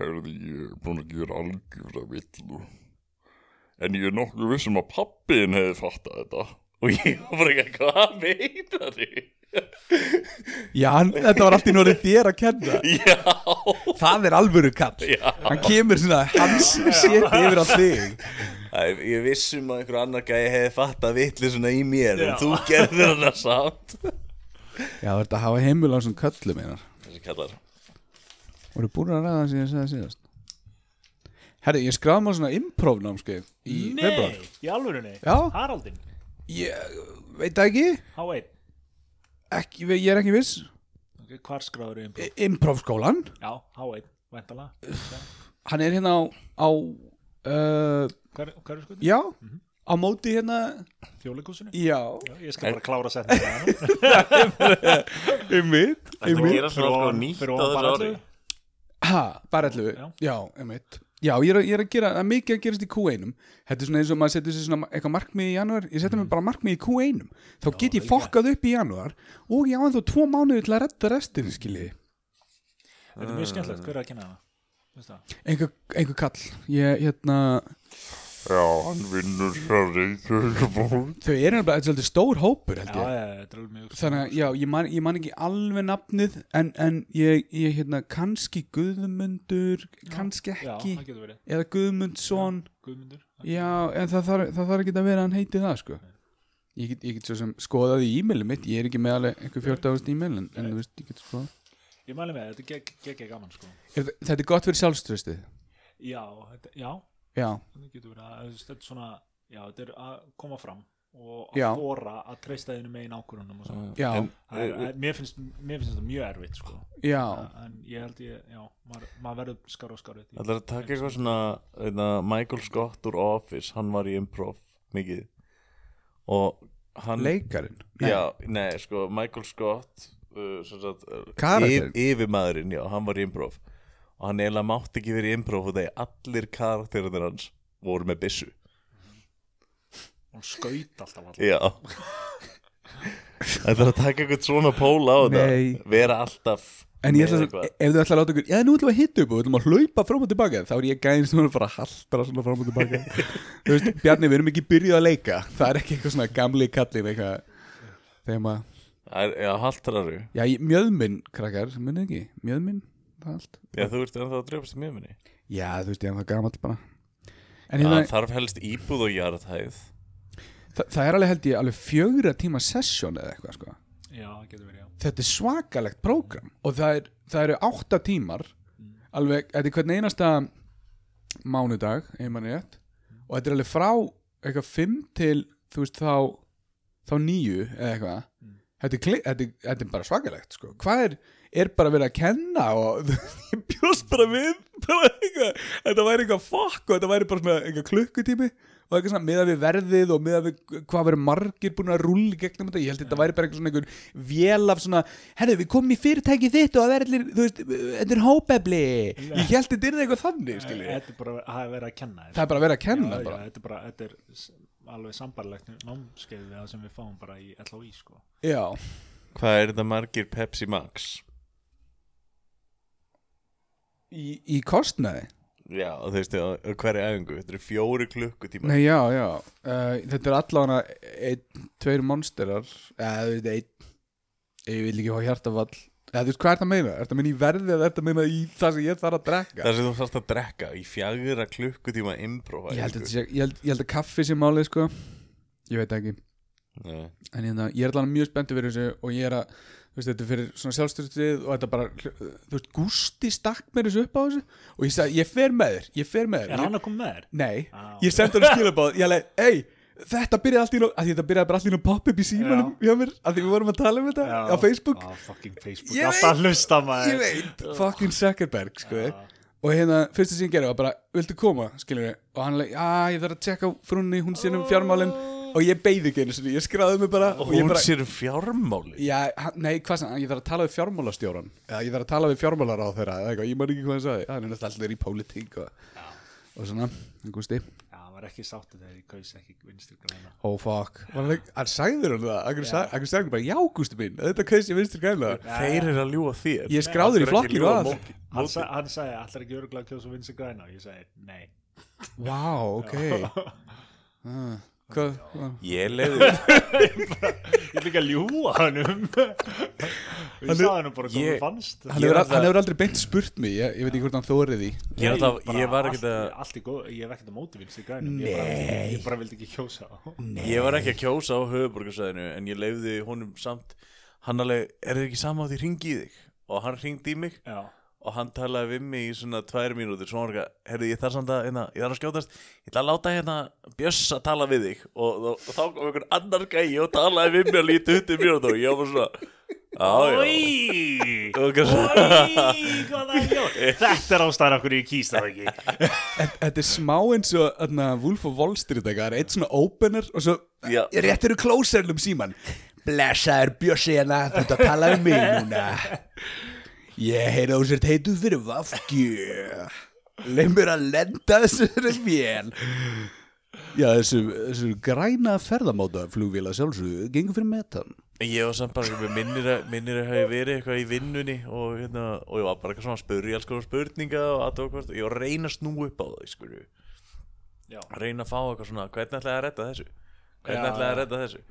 Speaker 7: Herði, ég er búin að gera algjörða villu. En ég er um
Speaker 2: Ah.
Speaker 7: nokkuð vissum að pappiðin hefði fattað þetta.
Speaker 2: og ég var bara, eitthvað, hvað meinar þið?
Speaker 3: Já, hann, þetta var allt í norið þér að kenna
Speaker 2: [LAUGHS] Já,
Speaker 3: Það er alvöru kall
Speaker 2: Já.
Speaker 3: Hann kemur svona, hans seti yfir á þig
Speaker 2: Æ, ég vissum að einhver annar gæði hefði fattað vitli svona í mér
Speaker 4: Já.
Speaker 2: en þú gerðir hana samt
Speaker 3: Já, þetta hafa heimil á svona köllu meinar
Speaker 2: Þessi kallar
Speaker 3: Voru búin að ræða það sem ég sagði síðast Herri, ég skráði maður svona improv námskeið í februar
Speaker 4: Nei, í alvörunni
Speaker 3: Já.
Speaker 4: Haraldin,
Speaker 3: Ég veit það ekki,
Speaker 4: há einn
Speaker 3: ekki Ég er ekki viss
Speaker 4: Hvar skráður um?
Speaker 3: I- Improvskólan,
Speaker 4: Já, há einn, vantala
Speaker 3: hann er hérna á, á uh,
Speaker 4: Hver, hver er skoðið?
Speaker 3: Já,
Speaker 2: Mhm.
Speaker 3: á móti hérna
Speaker 4: Þjóðleikúsinu?
Speaker 3: Já,
Speaker 4: Ég skal bara klára setninga
Speaker 3: um mitt
Speaker 2: Það sko gera
Speaker 4: Fyrir ofan- fyrir ofan bara allir.
Speaker 3: Ha, bara allu,
Speaker 4: Já.
Speaker 3: já, um mitt Já, ég er, að- ég er að gera, það er mikið að gerast í Q1 Þetta er svona eins og maður setur sér svona eitthvað markmið í janúar, ég setja mér
Speaker 4: Mhm.
Speaker 3: bara markmið í Q1 Þá get ég fokkað upp í janúar og ég á ennþá tvo mánuði til að redda restin, skilji
Speaker 4: Þetta er mjög skemmtilegt, hver er að kynna það? Veist það?
Speaker 3: Einhver, einhver kall, ég, hérna
Speaker 7: Já, hann vinnur hjá Reykjavík
Speaker 3: Þau eru nefnilega, þetta er svolítið stór hópur, held
Speaker 4: Já,
Speaker 3: ég
Speaker 4: já, þetta er alveg mjög
Speaker 3: Þannig að, já, ég man, ég man ekki alveg nafnið En, en ég, ég, hérna, kannski Guðmundur, kannski
Speaker 4: Já,
Speaker 3: ekki
Speaker 4: það getur verið
Speaker 3: Eða Guðmundsson
Speaker 4: Guðmundur
Speaker 3: Já, en það þarf, það þarf ekki að vera að hann heiti það sko. ég, get, ég get svo sem skoðað í e-mailum mitt, ég er ekki með alveg einhver 14.000 e-mail en, en þú veist, ég get skoðað
Speaker 4: Ég mæli með, þetta er gegg- gegg gegg gaman sko
Speaker 3: er, þa- Þetta er gott fyrir sjálfströstið
Speaker 4: Já, þetta, já,
Speaker 3: Já,
Speaker 4: þetta getur verið að- Þetta er svona, já, þetta er að koma fram og
Speaker 3: Já. Mm.
Speaker 4: að þóra að treysta þínu megin ákvörunum og svona
Speaker 3: já,
Speaker 4: Það er- það er- Mér finnst mér finnst þetta mjög erfitt sko
Speaker 3: já
Speaker 4: En ég held ég, já, maður maður verður skar og skar
Speaker 2: Það er að taka eitthvað svona einna, Michael Scott úr Office Hann var í improv mikið Og hann
Speaker 3: Leikarin
Speaker 2: Já, nei, sko, Michael Scott uh, sem sagt, uh,
Speaker 3: Karakterinn?
Speaker 2: Yfirmaðurinn, já, hann var í improv Og hann eiginlega mátti ekki verið í improv Og þegar allir karakterinir hans voru með byssu
Speaker 4: Hún skaut alltaf alltaf
Speaker 3: [LAUGHS]
Speaker 2: Já Þetta er að taka eitthvað svona póla á þetta
Speaker 3: Nei.
Speaker 2: Vera alltaf
Speaker 3: En ég
Speaker 2: með
Speaker 3: ætla
Speaker 2: eitthvað.
Speaker 3: að, ef þú ætla að láta ykkur, já nú ætlum við að hitta upp og við ætlum að hlaupa fram og tilbaka þá er ég gæðin sem er bara að haldra svona fram og tilbaka [LAUGHS] Þú veist, Bjarni, við erum ekki byrjuð að leika það er ekki eitthvað svona gamli kallin eitthvað þegar maður
Speaker 2: Það er- Já, haltraru
Speaker 3: Já, ég- mjöðminn, krakkar, munið ekki, mjöðminn, það allt.
Speaker 2: Já, þú ert ennþá að drefast í mjöminni
Speaker 3: Já, þú veist, ég er það gamall bara.
Speaker 2: Það
Speaker 3: En hérna,
Speaker 2: þarf helst íbúð og jarðhæð
Speaker 3: þa það er alveg held ég alveg fjögra tíma sessjón eða eitthvað, sko.
Speaker 4: Já, það getur verið, já
Speaker 3: Þetta er svakalegt prógram og það, er, það eru átta tímar, alveg, þetta er hvern einasta mánudag, ef mann er rétt, og þetta er alveg frá eitthvað fimm til, þú veist, þá, þá níu eða eitthvað. Þetta er, kli- þetta, er, þetta er bara svakalegt, sko. Hvað er, er bara verið að kenna og [LAUGHS] ég bjóst bara við, bara eitthvað, þetta væri eitthvað fokk og þetta væri bara svona eitthvað klukkutími og eitthvað svona miðað við verðið og miðað við hvað verið margir búin að rúli gegnum þetta. Ég held þetta væri bara eitthvað svona einhver vél af svona, herru, við komum í fyrirtæki þitt og það er allir, þú veist, þetta er hópefli. Ég held þetta er eitthvað þannig, skiljið.
Speaker 4: Þetta er bara að vera að kenna þér
Speaker 3: Það er bara verið að
Speaker 4: Já,
Speaker 3: kenna
Speaker 4: já,
Speaker 3: bara.
Speaker 4: þetta er bara, þetta er s- alveg sambarlegt námskeið við það sem við fáum bara í LHI sko.
Speaker 3: Já,
Speaker 2: Hvað er þetta margir Pepsi Max?
Speaker 3: í, í kostnaði.
Speaker 2: Já, þú veist, á- á hverju æfingu Þetta eru fjóri klukkutíma
Speaker 3: Nei, já, já uh, Þetta er allavega einn, tveir monsterar eða þú veit, einn ég vil ekki hafa hjartafall eða þú veist, hvað er það að meina? Er það að meina í verði eða er það að meina í það sem ég þarf að drekka?
Speaker 2: Það sem þú þarfst að drekka í fjagra klukkutíma improv
Speaker 3: Ég held, að þetta sé, ég, held, ég held að kaffi sé málið, sko Ég veit ekki
Speaker 2: Nei.
Speaker 3: en hérna, ég er allavega mjög spenntið fyrir þessu og ég er að, þú veist, þetta er fyrir svona sjálfstyrtið og þetta bara, þú veist, Gústi stakk mér þessu upp á þessu og ég sagði, ég fer með þér, ég fer með þér
Speaker 4: Er
Speaker 3: Ég-
Speaker 4: hann að koma með þér?
Speaker 3: Nei,
Speaker 4: Á.
Speaker 3: ég sendi hann skilabóð Ég alveg, ei, þetta byrjaði allt í nú að Þetta byrjaði bara allt í nú popp upp í símanum hjá mér að því við vorum að tala um þetta á Facebook
Speaker 4: Á fucking Facebook,
Speaker 3: Ég
Speaker 4: alltaf að hlusta
Speaker 3: Ég
Speaker 4: maður
Speaker 3: veit, fucking Zuckerberg, sko Og hérna, fyrsta sem ég gerði var bara Viltu koma, skilur við Og hann alveg, já, ég þarf að tjekka á frunni, hún sér um fjármálin Og ég beigði ekki einu sinni, ég skráði mig bara Og,
Speaker 2: Hún
Speaker 3: ég bara,
Speaker 2: sér um fjármáli
Speaker 3: já, hann- nei, hvað sem, ég þarf að tala við fjármálastjóran Eða ég þarf að tala við fjármálar á þeirra eða eitthvað, Ég man ekki hvað hann sagði, hann er náttúrulega alltaf í pólitík og, og svona, hann gústi
Speaker 4: Já, hann var ekki sáttu þegar ég kaus ekki vinstri græna
Speaker 3: Oh fuck Var Hann hann sagði hann það Akkur sagði hann sagði bara Já Gústi minn Þetta kaust ég vinstri gæla
Speaker 2: Þeir eru að ljúa þér
Speaker 3: Ég er skráður í
Speaker 2: Þeir eru ekki
Speaker 3: flokkinu
Speaker 2: ljúga
Speaker 3: og allt.
Speaker 2: móki-
Speaker 4: Hann, sa hann sagði, allar ekki örgulega að kjósa vinstri græna og ég sagði, nei
Speaker 3: Vá,
Speaker 2: [LAUGHS]
Speaker 3: ok Ah, Hvað hva?
Speaker 2: Ég leiði
Speaker 4: [LAUGHS] Ég ætla ekki að ljúa hann
Speaker 3: [LAUGHS]
Speaker 4: um Ég sagði hann bara hvað
Speaker 2: ég-
Speaker 4: hann fannst
Speaker 3: Hann
Speaker 2: Ég er
Speaker 3: hefur,
Speaker 2: alltaf-
Speaker 3: hann hefur aldrei beint spurt mig, ég, ég veit ekki hvort hann þórið því
Speaker 2: Ég, er alltaf,
Speaker 4: bara
Speaker 2: ég var
Speaker 4: allt-
Speaker 2: ekkert að
Speaker 4: Allt í góð, ég var ekkert að móti vinst í grænum Ég bara, ég bara vildi ekki kjósa á
Speaker 2: Ég var ekki að kjósa á höfuborgarsæðinu en ég leiði honum samt hann alveg, er þið ekki sama á því ringi í þig og hann ringdi í mig
Speaker 4: Já,
Speaker 2: og hann talaði við mig í svona tvær mínútur svo hann var ekki, herri ég þarf samt að hérna, ég þarf að skjótast, ég ætla að láta hérna Björs að tala við þig og, og, og þá kom einhvern annar gæi og talaði við mig að líti hundi mínútur og ég var bara svona já, já
Speaker 4: Í,
Speaker 2: og eitthvað svona,
Speaker 4: hvað það er ljóð Þetta er ástæðan okkur ég kýst það ekki
Speaker 3: Þetta er smá eins og atna, Wolf of Wall Street eitthvað, það er eitt svona opener og svo
Speaker 2: já,
Speaker 3: réttir úr klóserlum síman
Speaker 6: um Blessaður Bjössi hérna, þú ert að tala um mig núna Ég heyra þú sért heituð fyrir vafgju Leif mér að lenda þessari vél
Speaker 3: Já, þessu, þessu græna ferðamáta flugvél að sjálfsögðu, gengur fyrir metan
Speaker 2: Ég var samt bara, mér minnir að, minnir að hafi verið eitthvað í vinnunni og, hérna, og ég var bara eitthvað svona að spyrja í alls konar spurninga og aðtöku hvort, ég var að reyna að snú upp á það, skurðu.
Speaker 4: Já.
Speaker 2: Reyna að fá eitthvað svona, hvernig ætlaði að redda þessu? Hvernig
Speaker 4: Já,
Speaker 2: ætlaði að
Speaker 4: já.
Speaker 2: redda þessu?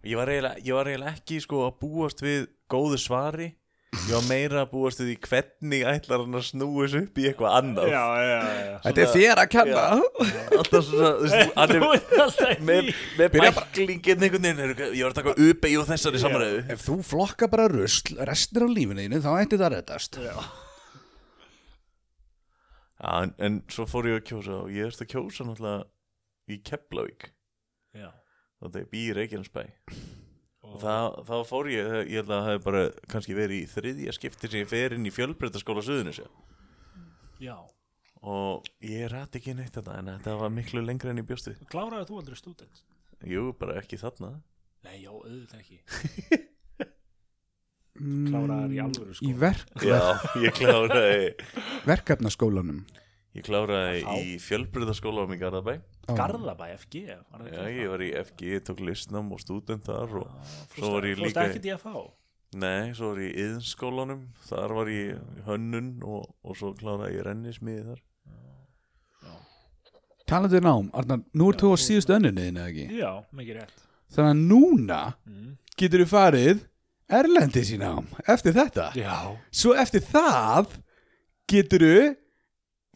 Speaker 2: Og ég var eiginlega, ég var eiginlega ekki sko að búast við góðu svari, ég var meira að búast við því hvernig ætlar hann að snú þessu upp í eitthvað annað.
Speaker 4: Já, já, já
Speaker 6: Þetta er þér að kenna
Speaker 2: [LAUGHS] Alltaf svona, þú veist, hann
Speaker 4: [LAUGHS] Þú
Speaker 2: er...
Speaker 4: ert alltaf í-
Speaker 2: Með, með bæklingin einhvern veginn heyrðu, Ég var að taka upp í og þessari samræðu
Speaker 6: Ef þú flokka bara rusl restir af lífinu þínu, þá ætti það að reddast
Speaker 2: Já, en, en svo fór ég að kjósa og ég erst að kjósa náttúrulega í Keflavík
Speaker 4: Já.
Speaker 2: og það er bí í Reykjanesbæ og
Speaker 4: Og-
Speaker 2: það, þá fór ég, ég held að það hefði bara kannski verið í þriðja skipti sem ég fer inn í fjölbreytaskóla Suðunisja
Speaker 4: Já,
Speaker 2: og ég rætti ekki neitt þetta en þetta var miklu lengra enn í bjóstið
Speaker 4: kláraði þú aldrei stúdent?
Speaker 2: Jú, bara ekki þarna
Speaker 4: Nei, já, auðvitað ekki Kláraði í alvöru
Speaker 3: Í
Speaker 4: sko
Speaker 3: verk,
Speaker 2: Já, [LAUGHS] ég kláraði
Speaker 3: verkefnaskólanum
Speaker 2: ég kláraði
Speaker 4: Þá.
Speaker 2: í fjölbreytaskóla á mig Garðabæ
Speaker 4: Garðabæ, FG var það
Speaker 2: Já,
Speaker 4: ekki
Speaker 2: ég var í FG, ég tók listnám og stúdent þar og svo var ég
Speaker 4: Fórstu
Speaker 2: líka
Speaker 4: ekki DFH?
Speaker 2: Nei, svo var ég í yðnskólanum, þar var ég í hönnun og, og svo kláraði ég rennismiði þar.
Speaker 3: Talandi um nám, Arnar, nú ert þú á síðustu önninni þinni, eða ekki?
Speaker 4: Já, mikið rétt
Speaker 3: Þannig að núna
Speaker 4: Mm.
Speaker 3: getur þú farið erlendis í nám eftir þetta.
Speaker 4: Já
Speaker 3: Svo eftir það getur þú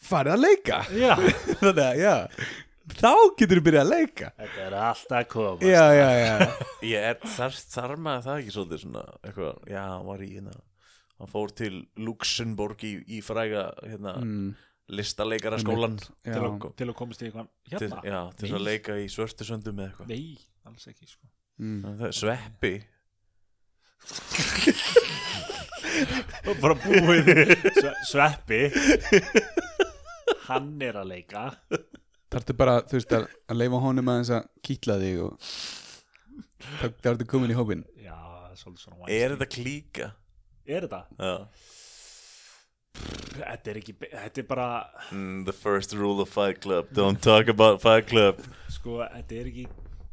Speaker 3: farið að leika. [LAUGHS]
Speaker 4: Já
Speaker 3: Þannig að, já, þá getur þú byrjað að leika.
Speaker 4: Þetta er alltaf að koma
Speaker 3: Já, já,
Speaker 4: [LAUGHS]
Speaker 3: já.
Speaker 2: Ég er, þar, þar maður það ekki svolítið svona, eitthvað, já, hann var í hérna, hann fór til Luxemburg í, í fræga, hérna,
Speaker 3: Mm,
Speaker 2: listaleikara skólan.
Speaker 3: já.
Speaker 4: til, að, til að komast í eitthvað
Speaker 2: Til,
Speaker 4: Hérna?
Speaker 2: já, til þess að
Speaker 4: Nei.
Speaker 2: leika í svörtusöndum eða eitthvað.
Speaker 4: Nei, alls ekki sko
Speaker 3: Mm.
Speaker 2: Það er Sveppi.
Speaker 4: Bara búið Sve, [LAUGHS] Sveppi Hann er að leika
Speaker 3: Þarftu bara, þú veist, að, að leifa honum aðeins að kýtla þig og þá þá ertu komin í hópin.
Speaker 4: Já, það er svolítið svona Weinstein.
Speaker 2: Er þetta klíka?
Speaker 4: Er þetta?
Speaker 2: Já.
Speaker 4: Þetta er ekki Þetta er bara
Speaker 2: Mm, the first rule of Fight Club, don't talk about Fight Club.
Speaker 4: Sko, þetta er ekki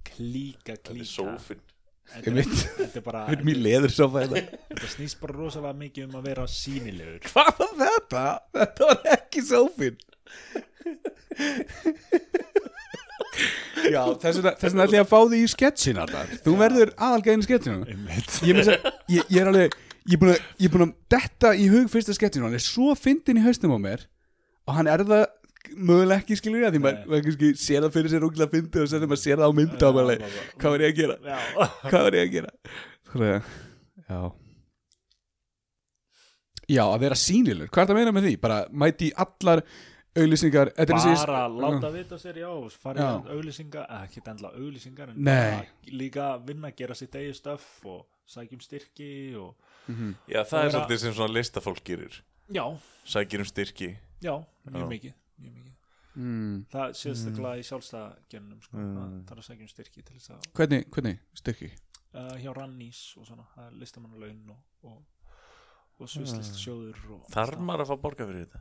Speaker 4: klíka
Speaker 2: Þetta er
Speaker 4: klíka
Speaker 2: sófinn.
Speaker 4: Þetta
Speaker 3: Ég
Speaker 4: er,
Speaker 3: veit,
Speaker 4: þetta er bara
Speaker 3: við [LAUGHS] erum í leður svo fæðið.
Speaker 4: Þetta snýst bara rosalega mikið um að vera sínilegur
Speaker 3: Hvað var þetta? Þetta var ekki sófinn Já, þess vegna þess vegna ætla ég að fá því í sketsin Arnar. Þú verður aðalgæðin í sketsinu [LAUGHS] ég, meira að segja- ég, ég er alveg Ég er búin að- ég er búin að detta í hug fyrsta sketsinu Hann er svo fyndin í haustum á mér Og hann er það mögulega ekki skilur ég að Því maður maður kannski sér það fyrir sér úkilega fyndi Og sér það maður sér það á mynda og maður er alveg, Hvað var ég að gera?
Speaker 4: Já
Speaker 3: hvað var ég að gera þannig að Sko, já já að vera sýnilegur hvað er það að meina með því bara mæti í allar auðlýsingar
Speaker 4: bara
Speaker 3: bara
Speaker 4: láta vita sér já, fara
Speaker 3: Mm. Já.
Speaker 4: í auðlýsingar eh, ekki endla auðlýsingar en
Speaker 3: Nei.
Speaker 4: bara líka vinna, gera sitt eigi stöf og sækjum styrki og
Speaker 3: Mhm.
Speaker 2: Já, það er
Speaker 4: Vera-
Speaker 2: svolítið sem svona listafólk gerir.
Speaker 4: já,
Speaker 2: Sækir um styrki.
Speaker 4: já, mjög
Speaker 2: Já.
Speaker 4: mikið mjög mikið
Speaker 3: mm.
Speaker 4: það séðst mm. í sjálfstæðagenum sko, mm. það er að sækjum styrki til þess að
Speaker 3: hvernig hvernig styrki
Speaker 4: uh, hjá Rannís og svona, það er listamannalaun og, og og svislist sjóður og
Speaker 2: Þarf maður að fá borga fyrir þetta?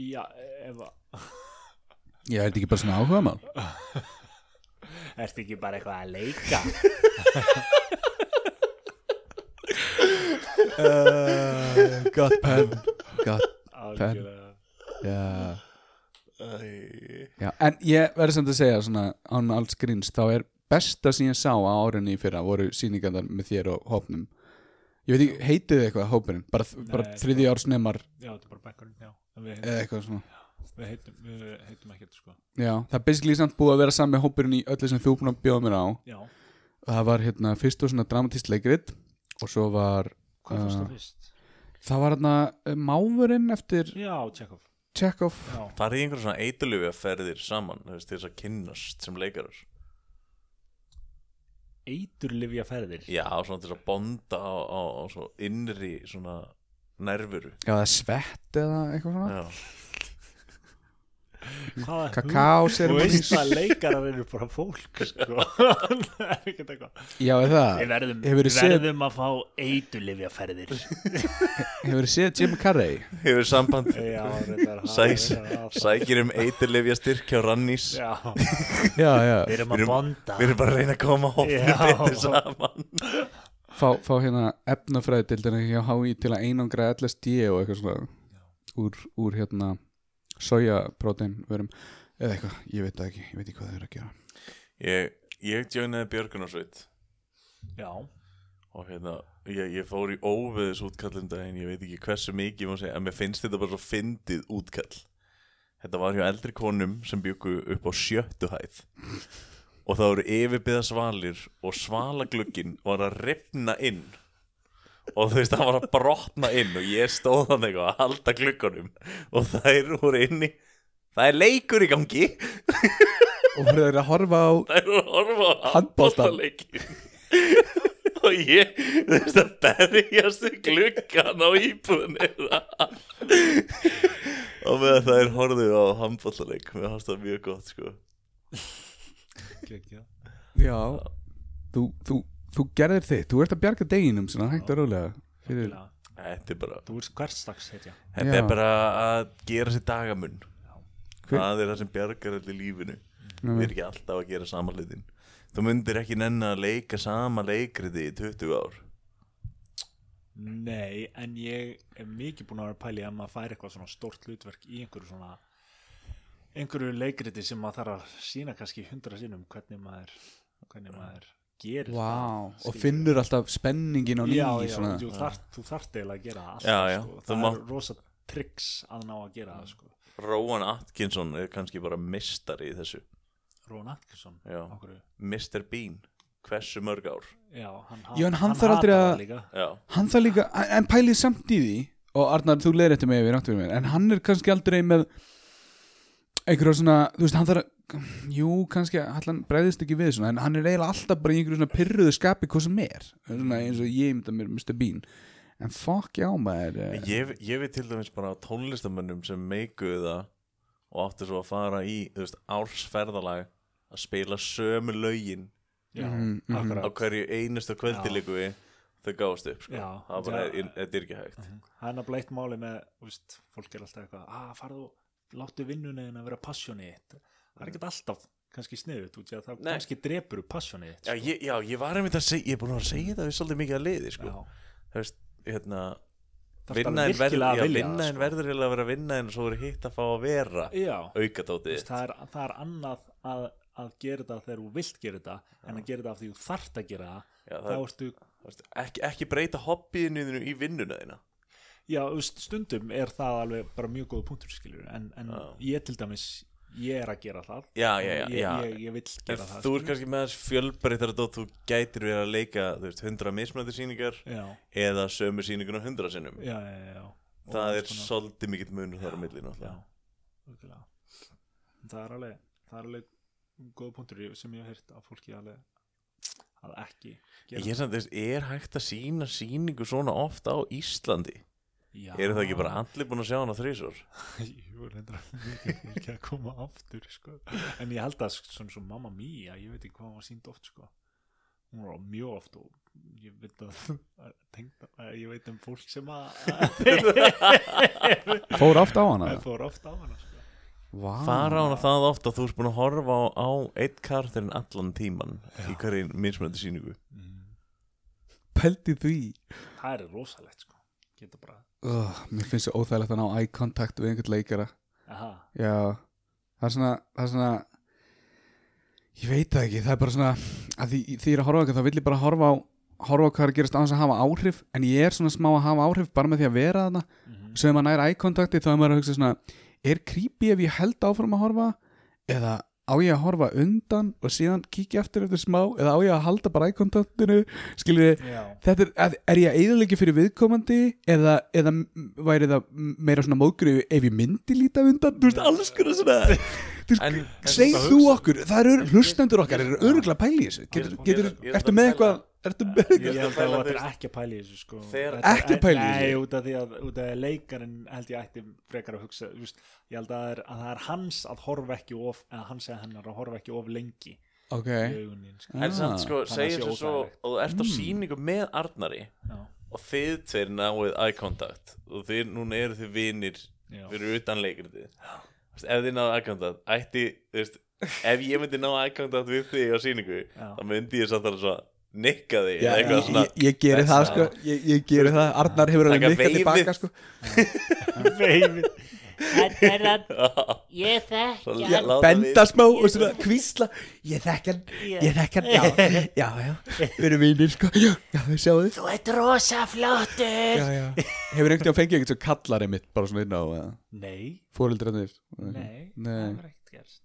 Speaker 4: já, ef að
Speaker 3: já er þetta ekki bara svona áhuga mál
Speaker 4: ertu ekki bara eitthvað að leika
Speaker 3: uh, gott pen gott
Speaker 4: Algjörlega.
Speaker 3: já
Speaker 2: Æ,
Speaker 3: Já, en ég verður samt að segja svona án alls grins, þá er besta sem ég sá á árunni í fyrra voru sýningarnar með þér og hópnum ég veit ekki, heitið þið eitthvað hópurinn bara, bara
Speaker 4: Nei,
Speaker 3: þriði ársnemar
Speaker 4: já, þetta er bara bekkurinn, já En við,
Speaker 3: eða eitthvað svona
Speaker 4: við heitum, við heitum ekkert sko
Speaker 3: Já, það er basically samt búið að vera sami hópurinn í öllu sem þú búin að bjóða mér á
Speaker 4: já,
Speaker 3: það var hérna fyrst og svona dramatist leikrit og svo var
Speaker 4: hvað fórst
Speaker 3: Ah.
Speaker 4: það fyrst?
Speaker 3: það var hérna eh, Máfurinn eftir
Speaker 4: já, Tjekov
Speaker 3: Chekhov
Speaker 4: já,
Speaker 2: Farið í einhverjum svona eitulöfi að ferðir saman þú veist, til þess að kynnast sem leikarar
Speaker 4: eiturlifja ferðir
Speaker 2: Já, svona til þess að bonda á, á, á svo innri svona nervuru
Speaker 3: Já, það er svett eða eitthvað svona
Speaker 2: Já,
Speaker 4: Hvaða Þú
Speaker 3: Kakao ceremonies
Speaker 4: veist að leikarar eru bara fólk sko. Það er ekkert eitthvað
Speaker 3: Já, er það
Speaker 4: Við verðum,
Speaker 3: Ah. Hefurðu
Speaker 4: við
Speaker 3: séð-
Speaker 4: verðum að fá eitulifjaferðir
Speaker 3: Hefur þið séð Jim Carrey?
Speaker 2: hefur samband
Speaker 4: Já, reyndar það
Speaker 2: Sæs,
Speaker 4: reyndar það.
Speaker 2: sækir um eiturlefja styrkja og rannís
Speaker 4: Já,
Speaker 3: Já, já
Speaker 4: við erum að
Speaker 2: erum-
Speaker 4: bonda
Speaker 2: Við erum bara að reyna að koma hópinu
Speaker 4: Já.
Speaker 2: betur saman
Speaker 3: Fá, fá hérna efnafræðildina hjá HÍ til að einangra LSD og eitthvað svona úr, úr hérna sojaprótein verum eða eitthvað, ég veit það ekki, ég veit ekki hvað það er að gera
Speaker 2: Ég, ég djónaði Björgunarsveit
Speaker 4: Já,
Speaker 2: og hérna, ég, ég fór í óveðis útkallum daginn, ég veit ekki hversu mikið ég má segja, en mér finnst þetta bara svo fyndið útkall þetta var hjá eldri konum sem byggu upp á sjöttu hæð og það voru yfirbyða svalir og svalaglugginn var að ripna inn og þú veist það var að brotna inn og ég stóð þannig eitthvað að halda gluggunum og þær voru inni það er leikur í gangi
Speaker 3: og voru þeir að horfa á
Speaker 2: þær voru að horfa á
Speaker 3: Handboltann.
Speaker 2: handbóltaleikin [LAUGHS] og ég þú veist að berjast við gluggan á íbúðinni og meðan þær horfðu á handbóltaleik mér fannst það mjög gott sko
Speaker 4: geggjað
Speaker 3: Já Þú, þú, þú gerðir þitt, þú ert að bjarga deginum svona hægt og rólega fyrir,
Speaker 4: Nefnilega.
Speaker 2: þetta er bara,
Speaker 4: Þú ert hverstags heitja
Speaker 2: þetta
Speaker 3: Já.
Speaker 2: er bara að gera sér dagamun
Speaker 3: Hver- Mm.
Speaker 2: það er það sem bjargar allir lífinu við
Speaker 3: Nei,
Speaker 2: erum ekki alltaf að gera sama hlutin þú myndir ekki nenni að leika sama leikriti í 20 ár
Speaker 4: Nei, en ég er mikið búin að vera að pæli að maður fær eitthvað svona stórt hlutverk í einhverju svona einhverju leikriti sem maður þarf að sína kannski hundra sinnum hvernig maður hvernig maður gerir
Speaker 3: Vá,
Speaker 4: það,
Speaker 3: og
Speaker 4: skilurðu.
Speaker 3: finnur alltaf spenningin á
Speaker 4: já,
Speaker 3: nýju
Speaker 4: já,
Speaker 3: svona
Speaker 4: jú, þart, þú þarft eiginlega að gera það alltaf,
Speaker 2: Já, já,
Speaker 4: sko.
Speaker 2: þú
Speaker 4: það
Speaker 2: mátt-
Speaker 4: er rosa triks að ná að gera það sko.
Speaker 2: Róan Atkinson er kannski bara mistari í þessu
Speaker 4: Rón Atkinson
Speaker 2: Já.
Speaker 4: af hverju?
Speaker 2: Mr. Bean, hversu mörg ár
Speaker 4: já, hann,
Speaker 3: Já, en hann
Speaker 4: hann
Speaker 3: þarf aldrei
Speaker 4: hatar
Speaker 3: að-
Speaker 4: það líka.
Speaker 2: já,
Speaker 3: hann það líka, en pælið samt í því og Arnar, þú leir eftir mig ef ég ráttur mér en hann er kannski aldrei með einhverja svona, þú veist, hann þarf að jú, kannski, hann breyðist ekki við svona, en hann er eiginlega alltaf bara í einhverju svona pyrruðu skapi hvað sem er, svona eins og ég mynda mér Mr. Bean, en fuck já maður, eh,
Speaker 2: ég, ég veit til dæmis bara af tónlistamönnum sem meikuðu það og áttu svo að fara í þú veist, ársferðalag að spila sömu lögin
Speaker 4: já,
Speaker 3: Mhm, mhm.
Speaker 2: á
Speaker 4: akkurat
Speaker 2: hverju einustu kvöldi
Speaker 4: Já.
Speaker 2: líku við þau gáðast upp sko.
Speaker 4: Já.
Speaker 2: það var bara,
Speaker 4: Já.
Speaker 2: er- þetta er ekki hægt
Speaker 4: það er nafnilega eitt máli með þú veist, fólk er alltaf eitthvað að farðu, láttu vinnunniðin að vera passjónið þitt það er ekkert alltaf kannski sniðut út í að það
Speaker 2: Nei.
Speaker 4: kannski sko. drepur passjónið þitt
Speaker 2: já ég, já, ég var einmitt að segja, ég er búin að vera að segja það við svolítið mikið að liði sko. þú veist, hérna vinnaðin verður, já,
Speaker 4: sko.
Speaker 2: vinnaðin verður eiginlega að vera vinnaðin og svo er hitt að fá að vera
Speaker 4: já, þú
Speaker 2: aukatótið
Speaker 4: veist, það, er, það er annað að, að gera þetta þegar þú vilt gera þetta en að gera þetta af því þú þarft að gera það,
Speaker 2: Já, það-
Speaker 4: þá ertu,
Speaker 2: Þú veist, ekki, ekki breyta hobbyinu þínu í vinnuna þína
Speaker 4: já, þú veist, stundum er það alveg bara mjög góða punktur skilur en, en ég til dæmis ég er að gera það
Speaker 2: Já, já, já,
Speaker 4: ég,
Speaker 2: já.
Speaker 4: Ég, ég vil
Speaker 2: En
Speaker 4: gera það sko.
Speaker 2: þú er
Speaker 4: skilurðu.
Speaker 2: kannski með þess fjölbreyttar dót þú gætir verið að leika þú veist, 100 mismunandi síningar
Speaker 4: já,
Speaker 2: eða sömu síninguna 100 sinnum
Speaker 4: já, já, já, já. Og
Speaker 2: það
Speaker 4: alls
Speaker 2: er
Speaker 4: konar-
Speaker 2: svolítið mikill munur þar á milli náttúrulega.
Speaker 4: já, virkilega. það er alveg það er alveg góða punktur í- sem ég hef heyrt að fólki alveg að ekki
Speaker 2: ég er, samt, þú veist, er hægt að sína síningu svona ofta á Íslandi
Speaker 4: já,
Speaker 2: eru það ekki bara
Speaker 4: [LAUGHS]
Speaker 2: allir búin að sjá hana þrísor
Speaker 4: Jú, reyndar mikið fólk að koma aftur sko. en ég held að sk- svona svo mamma mía, ég veit ekki hvað hún var sínd oft sko. hún var mjög oft og ég veit að, [LAUGHS] að, tengd, að ég veit um fólk sem
Speaker 2: [LAUGHS]
Speaker 4: að
Speaker 3: fór oft á hana
Speaker 4: að fór oft á hana sko.
Speaker 3: Vá.
Speaker 2: fara á hana það ofta að þú ert búin að horfa á, á eitt karakterinn allan tíman í hverju mismunandi síningu
Speaker 3: pældi því
Speaker 4: Mm. það er rosalegt sko. geta bara
Speaker 3: oh, mér finnst það óþægilegt að ná eye contact við einhvern leikara
Speaker 4: aha,
Speaker 3: Já, það er svona, það er svona Ég veit það ekki, það er bara svona að því, því ég er að horfa ekki, þá vill ég bara horfa á horfa á hvað er að gerast á þess að hafa áhrif en ég er svona smá að hafa áhrif bara með því að vera þarna mm -hmm. sem að næra ækontakti þá er maður að hugsa svona er creepy ef ég held áfram að horfa eða á ég að horfa undan og síðan kíkja aftur eftir smá eða á ég að halda bara ækontaktinu skiljiði,
Speaker 4: Já.
Speaker 3: þetta er, að- er ég að eðalegi fyrir viðkomandi eða, eða m- væri það m- meira svona móðgri ef ég myndi líta undan, þú veist, alls konar svona þú
Speaker 2: En-
Speaker 3: veist,
Speaker 2: en
Speaker 3: segð
Speaker 2: þetta
Speaker 3: þú
Speaker 2: hugsa-
Speaker 3: okkur það eru hlustendur okkar, eru öruglega pæli í þessu getur,
Speaker 2: Ég-
Speaker 3: getur,
Speaker 2: ég- ég-
Speaker 3: ertu með
Speaker 2: ég-
Speaker 3: eitthvað ertu með
Speaker 4: Ég
Speaker 2: Ég ætla að
Speaker 4: held að þetta er
Speaker 2: pæla,
Speaker 4: ekki að pæla í þessu sko
Speaker 2: Þegar-
Speaker 4: Þetta-
Speaker 3: Ekki pæla í þessu?
Speaker 4: Nei, út af því að, út af því að leikarinn held ég ætti frekar að hugsa þú veist, Ég held að það, er, að það er hans að horfa ekki of eða hans eða hennar að horfa ekki of lengi
Speaker 3: ok,
Speaker 4: í augunin sko.
Speaker 2: En samt
Speaker 3: Ah,
Speaker 2: sko,
Speaker 4: þannig að
Speaker 2: segjum
Speaker 4: sé
Speaker 2: þessu svo
Speaker 4: óþægilegt. Hmm.
Speaker 2: og þú ert á sýningu með Arnari
Speaker 4: Já,
Speaker 2: og þið tveir náið eye contact og þið núna eru þið vinir
Speaker 4: Já.
Speaker 2: fyrir utan leikritið Þú veist, ef þið náðu eye contact ætti, þú veist, ef ég myndi ná eye contact við þig á sýningu
Speaker 4: Já. [LAUGHS]
Speaker 2: þá myndi ég samt alveg svo nikka þig eða
Speaker 3: Já, ég,
Speaker 2: eitthvað svona
Speaker 3: ég, ég geri það
Speaker 2: Besta.
Speaker 3: sko ég, ég geri það, Arnar hefur alveg
Speaker 2: Taka
Speaker 3: mikkað
Speaker 2: veifið.
Speaker 3: tilbaka sko
Speaker 4: Baby.
Speaker 8: Þetta er að ég þekki
Speaker 2: Já,
Speaker 8: hann.
Speaker 2: láta
Speaker 6: benda smá og svona kvísla ég þekk hann, ég þekk hann já, já, já, við erum vinir sko já, já, sjáðu
Speaker 8: Þú ert rosa flottur.
Speaker 3: já, já. hefur einhvern veginn fengið einhvern sem kallar einmitt bara svona inn á uh,
Speaker 4: Nei,
Speaker 3: fóreldrarnir
Speaker 4: nei,
Speaker 3: Mhm. Nei.
Speaker 4: það var ekkert gerst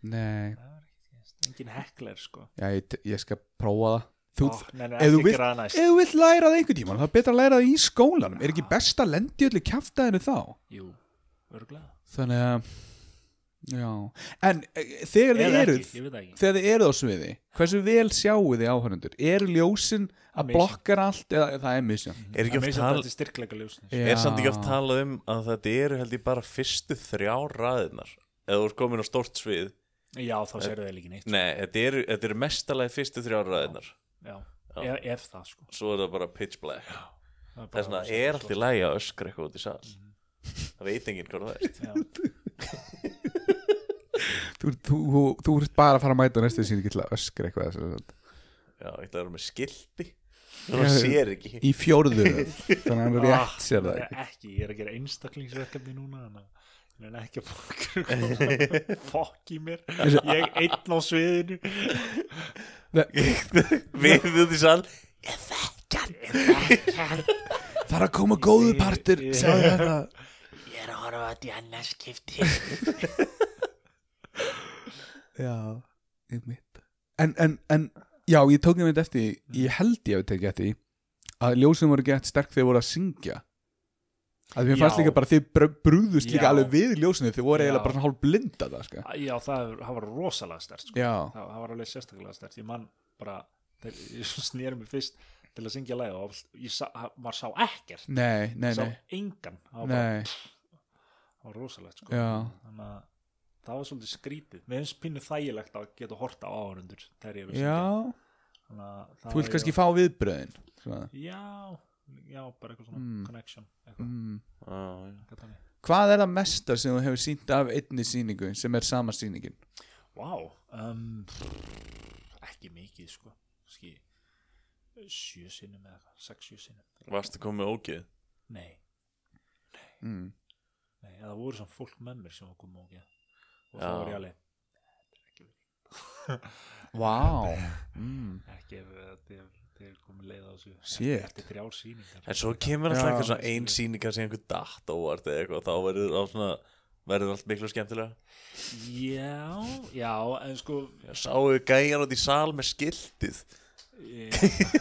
Speaker 3: nei,
Speaker 4: Það var ekkert gerst, engin hekler sko
Speaker 3: já, ég, ég skal prófa það
Speaker 4: Ó,
Speaker 3: þú,
Speaker 4: nei, nei,
Speaker 3: ef þú
Speaker 4: ekki
Speaker 3: vilt-
Speaker 4: gera það næst
Speaker 3: Ef þú vill læra það einhvern tímann, þá er betra að læra það í skólanum. Er ekki
Speaker 4: Ah.
Speaker 3: best að lendi öllu kjaftaðinu þá?
Speaker 4: Jú, örgulega
Speaker 3: Þannig að, já. En e, þegar þið
Speaker 4: Eða
Speaker 3: eruð,
Speaker 4: ekki, ég veit það ekki
Speaker 3: þegar þið eruð á sviði, hversu vel sjáu þið áhörnundur? Er ljósin að
Speaker 4: Amazing.
Speaker 3: blokkar allt? Eða, það er misjan.
Speaker 2: er ekki oft
Speaker 4: Amazing
Speaker 2: tala
Speaker 4: þetta er styrkleika ljósnir
Speaker 2: er samt ekki oft talað um að þetta eru held ég bara fyrstu þrjá raðirnar eða þú ert komin á stórt svið
Speaker 4: Já, þá serðu það líka neitt sko.
Speaker 2: nei, þetta eru, þetta eru mestalagi fyrstu þrjá raðirnar
Speaker 4: Já, ef, ef það sko
Speaker 2: svo er það bara pitch black
Speaker 4: Það bara
Speaker 2: þess vegna
Speaker 4: rosa-
Speaker 2: er allt í lægi að öskra eitthvað út í sal það veit enginn hvað [LAUGHS] það er
Speaker 4: Já.
Speaker 3: Þú, þú, þú, þú ert bara að fara að mæta næstu sín ekki til að öskra eitthvað. sem sagt.
Speaker 2: já, ég ætla að vera með skilti það sér ekki
Speaker 3: Í fjórðu. röð. Þannig að hann er
Speaker 4: Ah,
Speaker 3: rétt sér það
Speaker 4: ég-
Speaker 3: ekki.
Speaker 4: ekki, ég er að gera einstaklingsverkefni núna þannig að ég er ekki að fokk [LAUGHS] fokk í mér ég einn á sviðinu
Speaker 2: við út í sal
Speaker 3: Það er að koma góðu partur, sagði þetta.
Speaker 8: Ég er að horfa á þetta í annarskipti.
Speaker 3: Já, ég mitt En, en, en, já, ég tók nefnt eftir því, Ég held ég að við tekið eftir því, að ljósin voru gett sterk þegar voru að syngja að mér
Speaker 4: Já.
Speaker 3: fannst líka bara þið br- brugðust líka
Speaker 4: Já.
Speaker 3: alveg við ljósinu þið voru
Speaker 4: Já.
Speaker 3: eiginlega bara svona hálf blinda það sko.
Speaker 4: já, það, er- það var rosalega stert sko.
Speaker 3: Já,
Speaker 4: það, það var alveg sérstaklega stert ég man bara, þegar ég [LAUGHS] snýri mig fyrst til að syngja læg og ég sá, maður sá ekkert
Speaker 3: nei, nei,
Speaker 4: sá
Speaker 3: nei
Speaker 4: engan það var, bara,
Speaker 3: Nei,
Speaker 4: það var rosalegt sko.
Speaker 3: Já.
Speaker 4: þannig að það var svolítið skrítið mér finnst pínu þægilegt að geta horta á áhörundur þegar ég er að
Speaker 3: já,
Speaker 4: syngja. Þannig að það
Speaker 3: þú vilt
Speaker 4: var-
Speaker 3: kannski fá viðbröðin svona.
Speaker 4: já, já, bara eitthvað svona
Speaker 3: Mm.
Speaker 4: connection eitthvað,
Speaker 3: mm.
Speaker 2: Já, já.
Speaker 4: eitthvað þannig.
Speaker 3: Hvað er það mesta sem þú hefur sýnt af einni sýningu sem er sama sýningin?
Speaker 4: Vá um, ekki mikið sko Ski, sjö sinnum eða eitthvað, sex sjö sinnum
Speaker 2: varstu komið ógið
Speaker 4: nei,
Speaker 3: Mm.
Speaker 4: nei, eða það voru svona fólk með mér sem var komið og og
Speaker 2: Já.
Speaker 4: það voru ég alveg
Speaker 3: Vá mm.
Speaker 4: ekki ef eh, þið þið er komið leið á þessu
Speaker 3: Shit.
Speaker 4: eftir þrjár sýningar
Speaker 2: En svo kemur alltaf
Speaker 3: Já.
Speaker 2: eitthvað svona ein sýningar sem einhver datt óvart eða eitthvað þá verður það svona verður allt miklu skemmtilega
Speaker 4: já, já, en sko
Speaker 2: Já, Sáu gæjar út í sal með skiltið
Speaker 4: ég,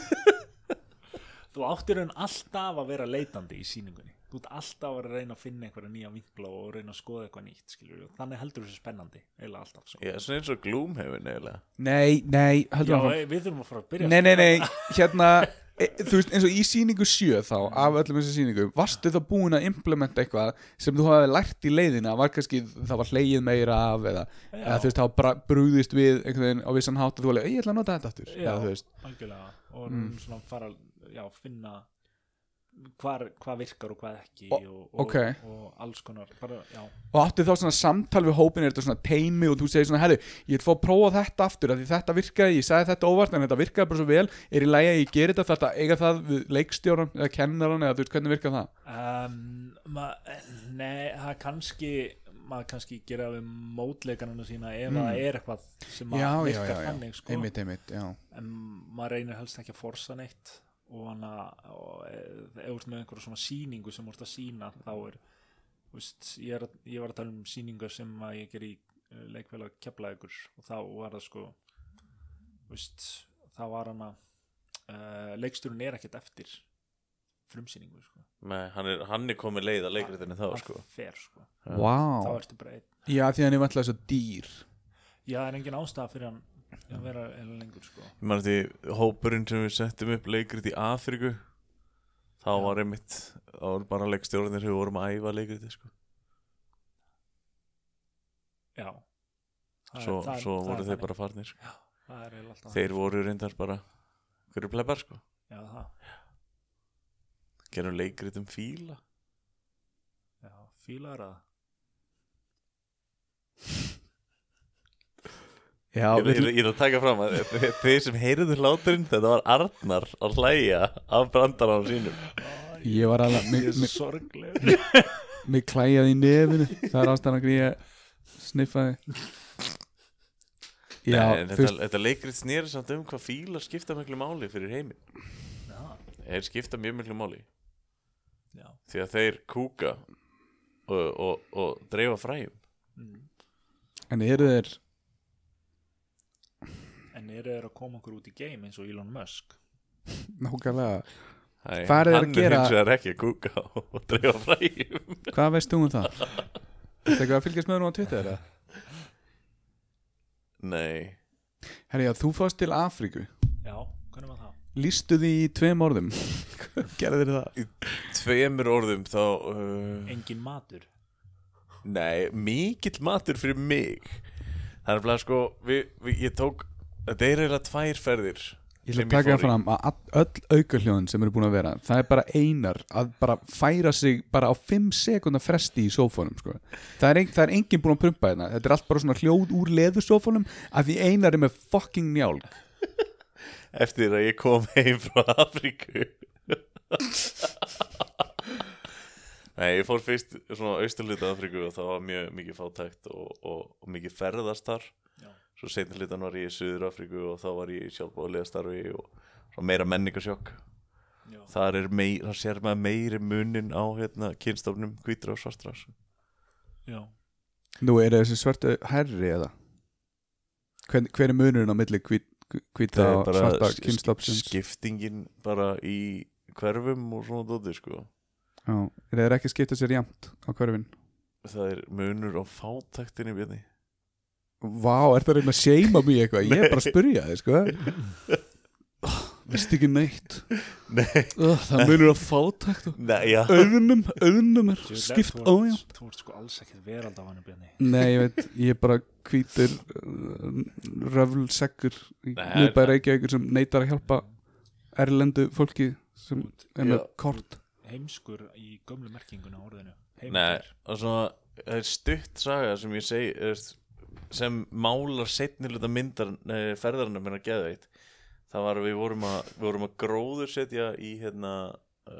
Speaker 4: þú áttir raun alltaf að vera leitandi í sýningunni þú ert alltaf að reyna að finna einhverja nýja vinkla og reyna að skoða eitthvað nýtt skilur þannig heldur þessu spennandi, eiginlega alltaf sko.
Speaker 2: Já, svona eins og glúmhefin eiginlega
Speaker 3: Nei, nei,
Speaker 4: Já,
Speaker 3: heldur áfram.
Speaker 4: e, við þurfum að fara að byrja
Speaker 3: Nei, nei, nei, hérna e, Þú veist, eins og í sýningu sjö þá af öllum þessum sýningum, varstu þá búin að implementa eitthvað sem þú hafi lært í leiðina var kannski, það var hleyið meira af eða, eða þú veist, þá bara brúðist við einhvern veginn á vissan hátt og þú alveg, "Ei, ég ætla að nota þetta aftur, eða þú veist Mm.
Speaker 4: algjörlega og svona fara að já, finna hvar, hvað virkar og hvað ekki
Speaker 3: O-
Speaker 4: og, og,
Speaker 3: ok.
Speaker 4: og alls konar bara, já,
Speaker 3: og áttu þá svona samtal við hópin er þetta svona teimi og þú segir svona, herru, ég ætla að fá að prófa þetta aftur af því þetta virkaði, ég sagði þetta óvart en þetta virkaði bara svo vel, er í lagi að ég geri þetta þetta eiga það við leikstjóran eða kennaran eða þú veist, hvernig virkað það?
Speaker 4: um, ma, nei, það er kannski maður kannski gera við mótleikarnana sína ef það er eitthvað sem
Speaker 3: Mm. já,
Speaker 4: maður
Speaker 3: já, já,
Speaker 4: virkar
Speaker 3: já,
Speaker 4: þannig sko.
Speaker 3: einmitt, einmitt, já
Speaker 4: en maður reynir helst ekki að forsa neitt og hann að og, eh, ef þú ert með einhverja svona sýningu sem þú ert að sýna þá er þú veist, ég, er, að- ég var að tala um sýningar sem að ég ger í e, leikfélag keflaðugur og þá var það sko þú veist, þá var hann að uh, leikstjórun er ekkert eftir frumsýningu sko.
Speaker 2: Nei, hann er, hann er komið leið að leikritinni þá
Speaker 4: Það
Speaker 2: sko
Speaker 4: fer sko, þá
Speaker 3: Vá,
Speaker 4: ertu bara einn
Speaker 3: já því hann er vantlega svo dýr
Speaker 4: já, það er engin ástæða fyrir hann að vera enn lengur sko
Speaker 2: Ég man því hópurinn sem við settum upp leikrit í Afríku Þá var einmitt, þá var bara leikstjórnir sem við vorum að æfa leikriti sko
Speaker 4: já Það er-
Speaker 2: Svo,
Speaker 4: það er-
Speaker 2: svo
Speaker 4: það er
Speaker 2: voru þeir
Speaker 4: þannig.
Speaker 2: bara farnir sko.
Speaker 4: það er eiginlega alltaf
Speaker 2: Þeir voru reyndar bara, hverju plebar sko
Speaker 4: já, það
Speaker 2: Gerum leikrit um fíla
Speaker 4: Já, fílar að
Speaker 3: Já,
Speaker 2: Ég, ég, ég er að taka fram að þeir sem heyrðu hláturinn Þetta var Arnar að hlæja af brandarann sínum
Speaker 3: ég var alveg
Speaker 4: Ég er
Speaker 3: mig-
Speaker 4: svo
Speaker 3: mig-
Speaker 4: sorglegur
Speaker 3: mig klæjaði í nefinu það er ástæðan að ég sniffaði Já,
Speaker 2: Nei, en
Speaker 3: þú
Speaker 2: þetta,
Speaker 3: veist
Speaker 2: þetta leikrit snýri samt um hvað fílar skipta miklu máli fyrir heiminn Þeir skipta mjög miklu máli
Speaker 4: Já.
Speaker 2: Því að þeir kúka og, og, og dreifa fræjum
Speaker 3: en eru þeir
Speaker 4: En eru þeir að koma okkur út í game eins og Elon Musk
Speaker 3: nákvæmlega
Speaker 2: Æ,
Speaker 3: Hvað eru þeir að
Speaker 2: Hann er
Speaker 3: gera-
Speaker 2: hins vegar ekki að kúka [LAUGHS] og dreifa fræjum
Speaker 3: Hvað veist þú um það? Þetta ekki að fylgjast með honum á Twitter eða?
Speaker 2: Nei,
Speaker 3: Herri, já, þú fórst til Afríku
Speaker 4: Já, hvernig var það?
Speaker 3: Lýstu því í tveim orðum Gerðir það?
Speaker 2: tveimur orðum þá uh,
Speaker 4: Engin matur
Speaker 2: Nei, mikill matur fyrir mig Það er bara sko við, við, Ég tók, þetta er eiginlega tvær ferðir
Speaker 3: Ég ætla
Speaker 2: sem
Speaker 3: að taka
Speaker 2: fór í.
Speaker 3: fram að all- öll aukahljóðin sem eru búin að vera það er bara einar að bara færa sig bara á 5 sekundar fresti í sófónum sko. það, er ein, það er enginn búin að prumpa hérna. þetta þetta er allt bara svona hljóð úr leðu sófónum að því einar er með fucking njálg
Speaker 2: Eftir að ég kom heim frá Afríku Nei, ég fór fyrst svona austurluta Afríku og það var mjög mikið fátækt og, og, og mikið ferðastar
Speaker 4: Já.
Speaker 2: Svo seinni hlutan var ég í Suður Afríku og þá var ég í sjálfbóðlegastarfi og svo meira menningasjokk
Speaker 4: Já.
Speaker 2: Þar er meir, þar sér maður meiri munin á hérna kynstofnum hvítra og svartra
Speaker 4: Já,
Speaker 3: Nú er þessi svörtu herri eða hver, hver er munurinn á milli hvít, hvíta
Speaker 2: það er
Speaker 3: og svarta
Speaker 2: bara sk-
Speaker 3: kynstopsins
Speaker 2: skiptingin bara í hverfum og svona dóti sko
Speaker 3: er þeir ekki að skipta sér jæmt á hverfin
Speaker 2: það er munur á fátæktinni björni
Speaker 3: Vá, er það reyna að seima mig eitthvað ég er bara að spyrja þið sko oh, veist ekki neitt
Speaker 2: nei,
Speaker 3: oh,
Speaker 2: Eh.
Speaker 3: það munur á fátækt og
Speaker 2: nei, já
Speaker 3: auðnum, auðnum er
Speaker 4: Þú-
Speaker 3: skipt
Speaker 4: þú
Speaker 3: á
Speaker 4: ert-
Speaker 3: já
Speaker 4: Þú ert sko alls ekkert verald á hann Bjarni
Speaker 3: Nei, ég veit, ég er bara hvítur uh, röflsekkur í
Speaker 2: Nei,
Speaker 3: miðbæri Reykjavíkur sem neitar að hjálpa erlendu fólki sem er með
Speaker 2: Já.
Speaker 3: kort
Speaker 4: Heimskur í gömlu merkinguna á orðinu
Speaker 2: nei,
Speaker 4: Heimskur
Speaker 2: og svona það er stutt saga sem ég segi þú veist, sem málar setni hluta myndar nei, ferðarinn minna geðveitt það var að við vorum að, við vorum að gróður setja í hérna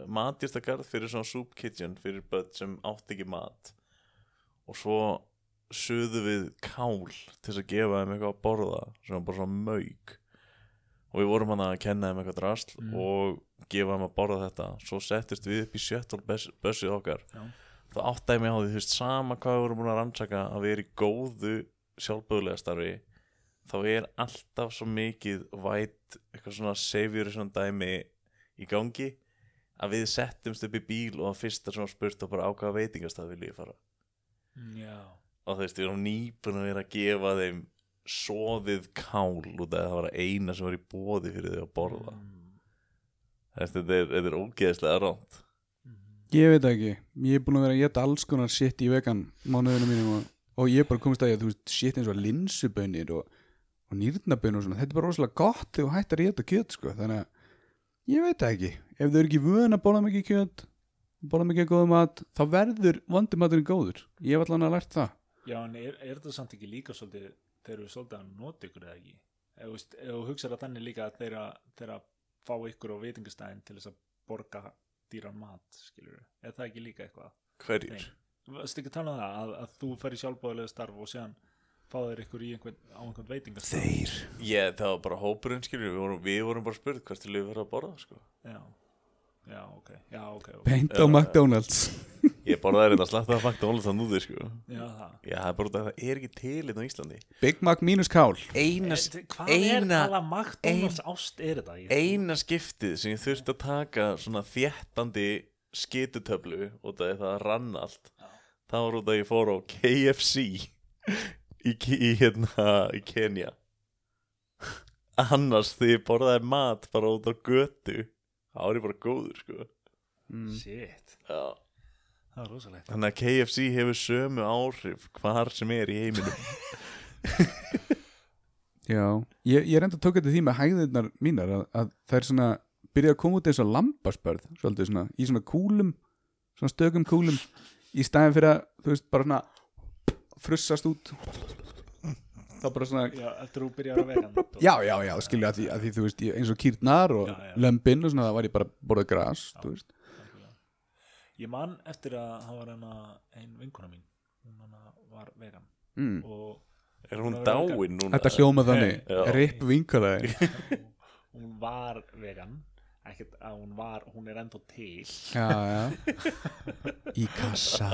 Speaker 2: matjastakarð fyrir svona soup kitchen fyrir börn sem átt ekki mat og svo suðu við kál til þess að gefa þeim eitthvað að borða sem var bara svona mauk og við vorum hann að kenna þeim eitthvað drasl
Speaker 4: Mm.
Speaker 2: og gefa þeim að borða þetta svo settist við upp í sjöttól bössið okkar
Speaker 4: Já.
Speaker 2: þá áttaði mig á því þú veist sama hvað við vorum búin að rannsaka að við erum í góðu sjálfböðulega starfi þá er alltaf svo mikið væt eitthvað svona savior svona dæmi í gangi að við settumst upp í bíl og að fyrsta svona spurt og bara á hvaða veitingastað vil ég fara
Speaker 4: Já,
Speaker 2: og þú veist, við erum nýbúin að vera að gefa þeim soðið kál út af að það var að eina sem var í bóði fyrir þau að borða
Speaker 4: Mm,
Speaker 2: Þessi, þetta er, þetta er ógeðslega ránt
Speaker 3: Ég veit það ekki, ég er búin að vera að geta alls konar shit í vegan mánuðinu mínum og, og ég er bara komist að ég, þú veist, shit eins og linsubönir og, og nýrnabönir og svona, þetta er bara rosalega gott þegar þú hættar að geta kjöt, sko, þannig að ég veit það ekki, ef þau eru ekki vöðan að borða mikið kjöt, borða mikið góðum mat, þá verður vondumaturinn góður, ég hef allan að lært það.
Speaker 4: já en er, er það samt ekki líka svolítið þeir eru svolítið að nota ykkur eða ekki Ef þú veist, ef þú hugsar að þannig líka að þeir að, þeir að fá ykkur á veitingastæðin til þess að borga dýran mat skilur, er það ekki líka eitthvað
Speaker 2: hverjir?
Speaker 4: Nei. varst ekki að tala um það að, að þú fer í sjálfbóðilega starf og séðan fá þér ykkur í einhvern, á einhvern veitingastarf
Speaker 6: Þeir
Speaker 2: Ég, það var bara hópurinn skilur Við vorum, við vorum bara spurt hvert til við verðum að borða sko.
Speaker 4: já, já, ok, já, ok, okay.
Speaker 3: Beint á McDonalds
Speaker 2: Ég borðaði reynda að slatta að fakta Ólega það núði sko.
Speaker 4: Já, það.
Speaker 2: Já, það er bara út af að það er ekki til Þetta á Íslandi
Speaker 3: Big Mac mínus kál
Speaker 2: Eina,
Speaker 4: Eh, Hvað er
Speaker 2: eina,
Speaker 4: hvaða McDonalds ást er þetta? Ég,
Speaker 2: eina skiptið sem ég þurfti að taka Svona þéttandi skitutöflu Út af því það rann allt Það var út af að ég fór á KFC Í, Ke- í, hérna, í Kenya Annars þegar ég borðaði mat Bara út á götu Það var ég bara góður sko
Speaker 4: Shit,
Speaker 2: Já
Speaker 4: það er rosalegt
Speaker 2: Þannig að KFC hefur sömu áhrif hvar sem er í heiminum
Speaker 3: Já, ég, ég reynda að tóka þetta því með hægðirnar mínar að, að það er svona byrja að koma út eins og lambaspörð svolítið svona, í svona kúlum svona stökum kúlum í staðin fyrir að, þú veist, bara svona frussast út þá bara svona,
Speaker 4: Já, eftir þú byrjar að vegan
Speaker 3: já, já, já, skilja að því, að því þú veist, ég- eins og kýrnar og
Speaker 4: Já,
Speaker 3: já,
Speaker 4: já.
Speaker 3: lömbin og svona, það var ég bara að borða gras, þú veist
Speaker 4: Ég man eftir að það var hana ein vinkona mín hún hana var vegan
Speaker 3: mm.
Speaker 4: og
Speaker 2: Er hún dáin núna?
Speaker 3: Þetta hljóma þannig,
Speaker 2: Já.
Speaker 3: rip vinkaði
Speaker 4: hún var vegan ekkert að hún var, hún er enda til
Speaker 3: Já, já Í kassa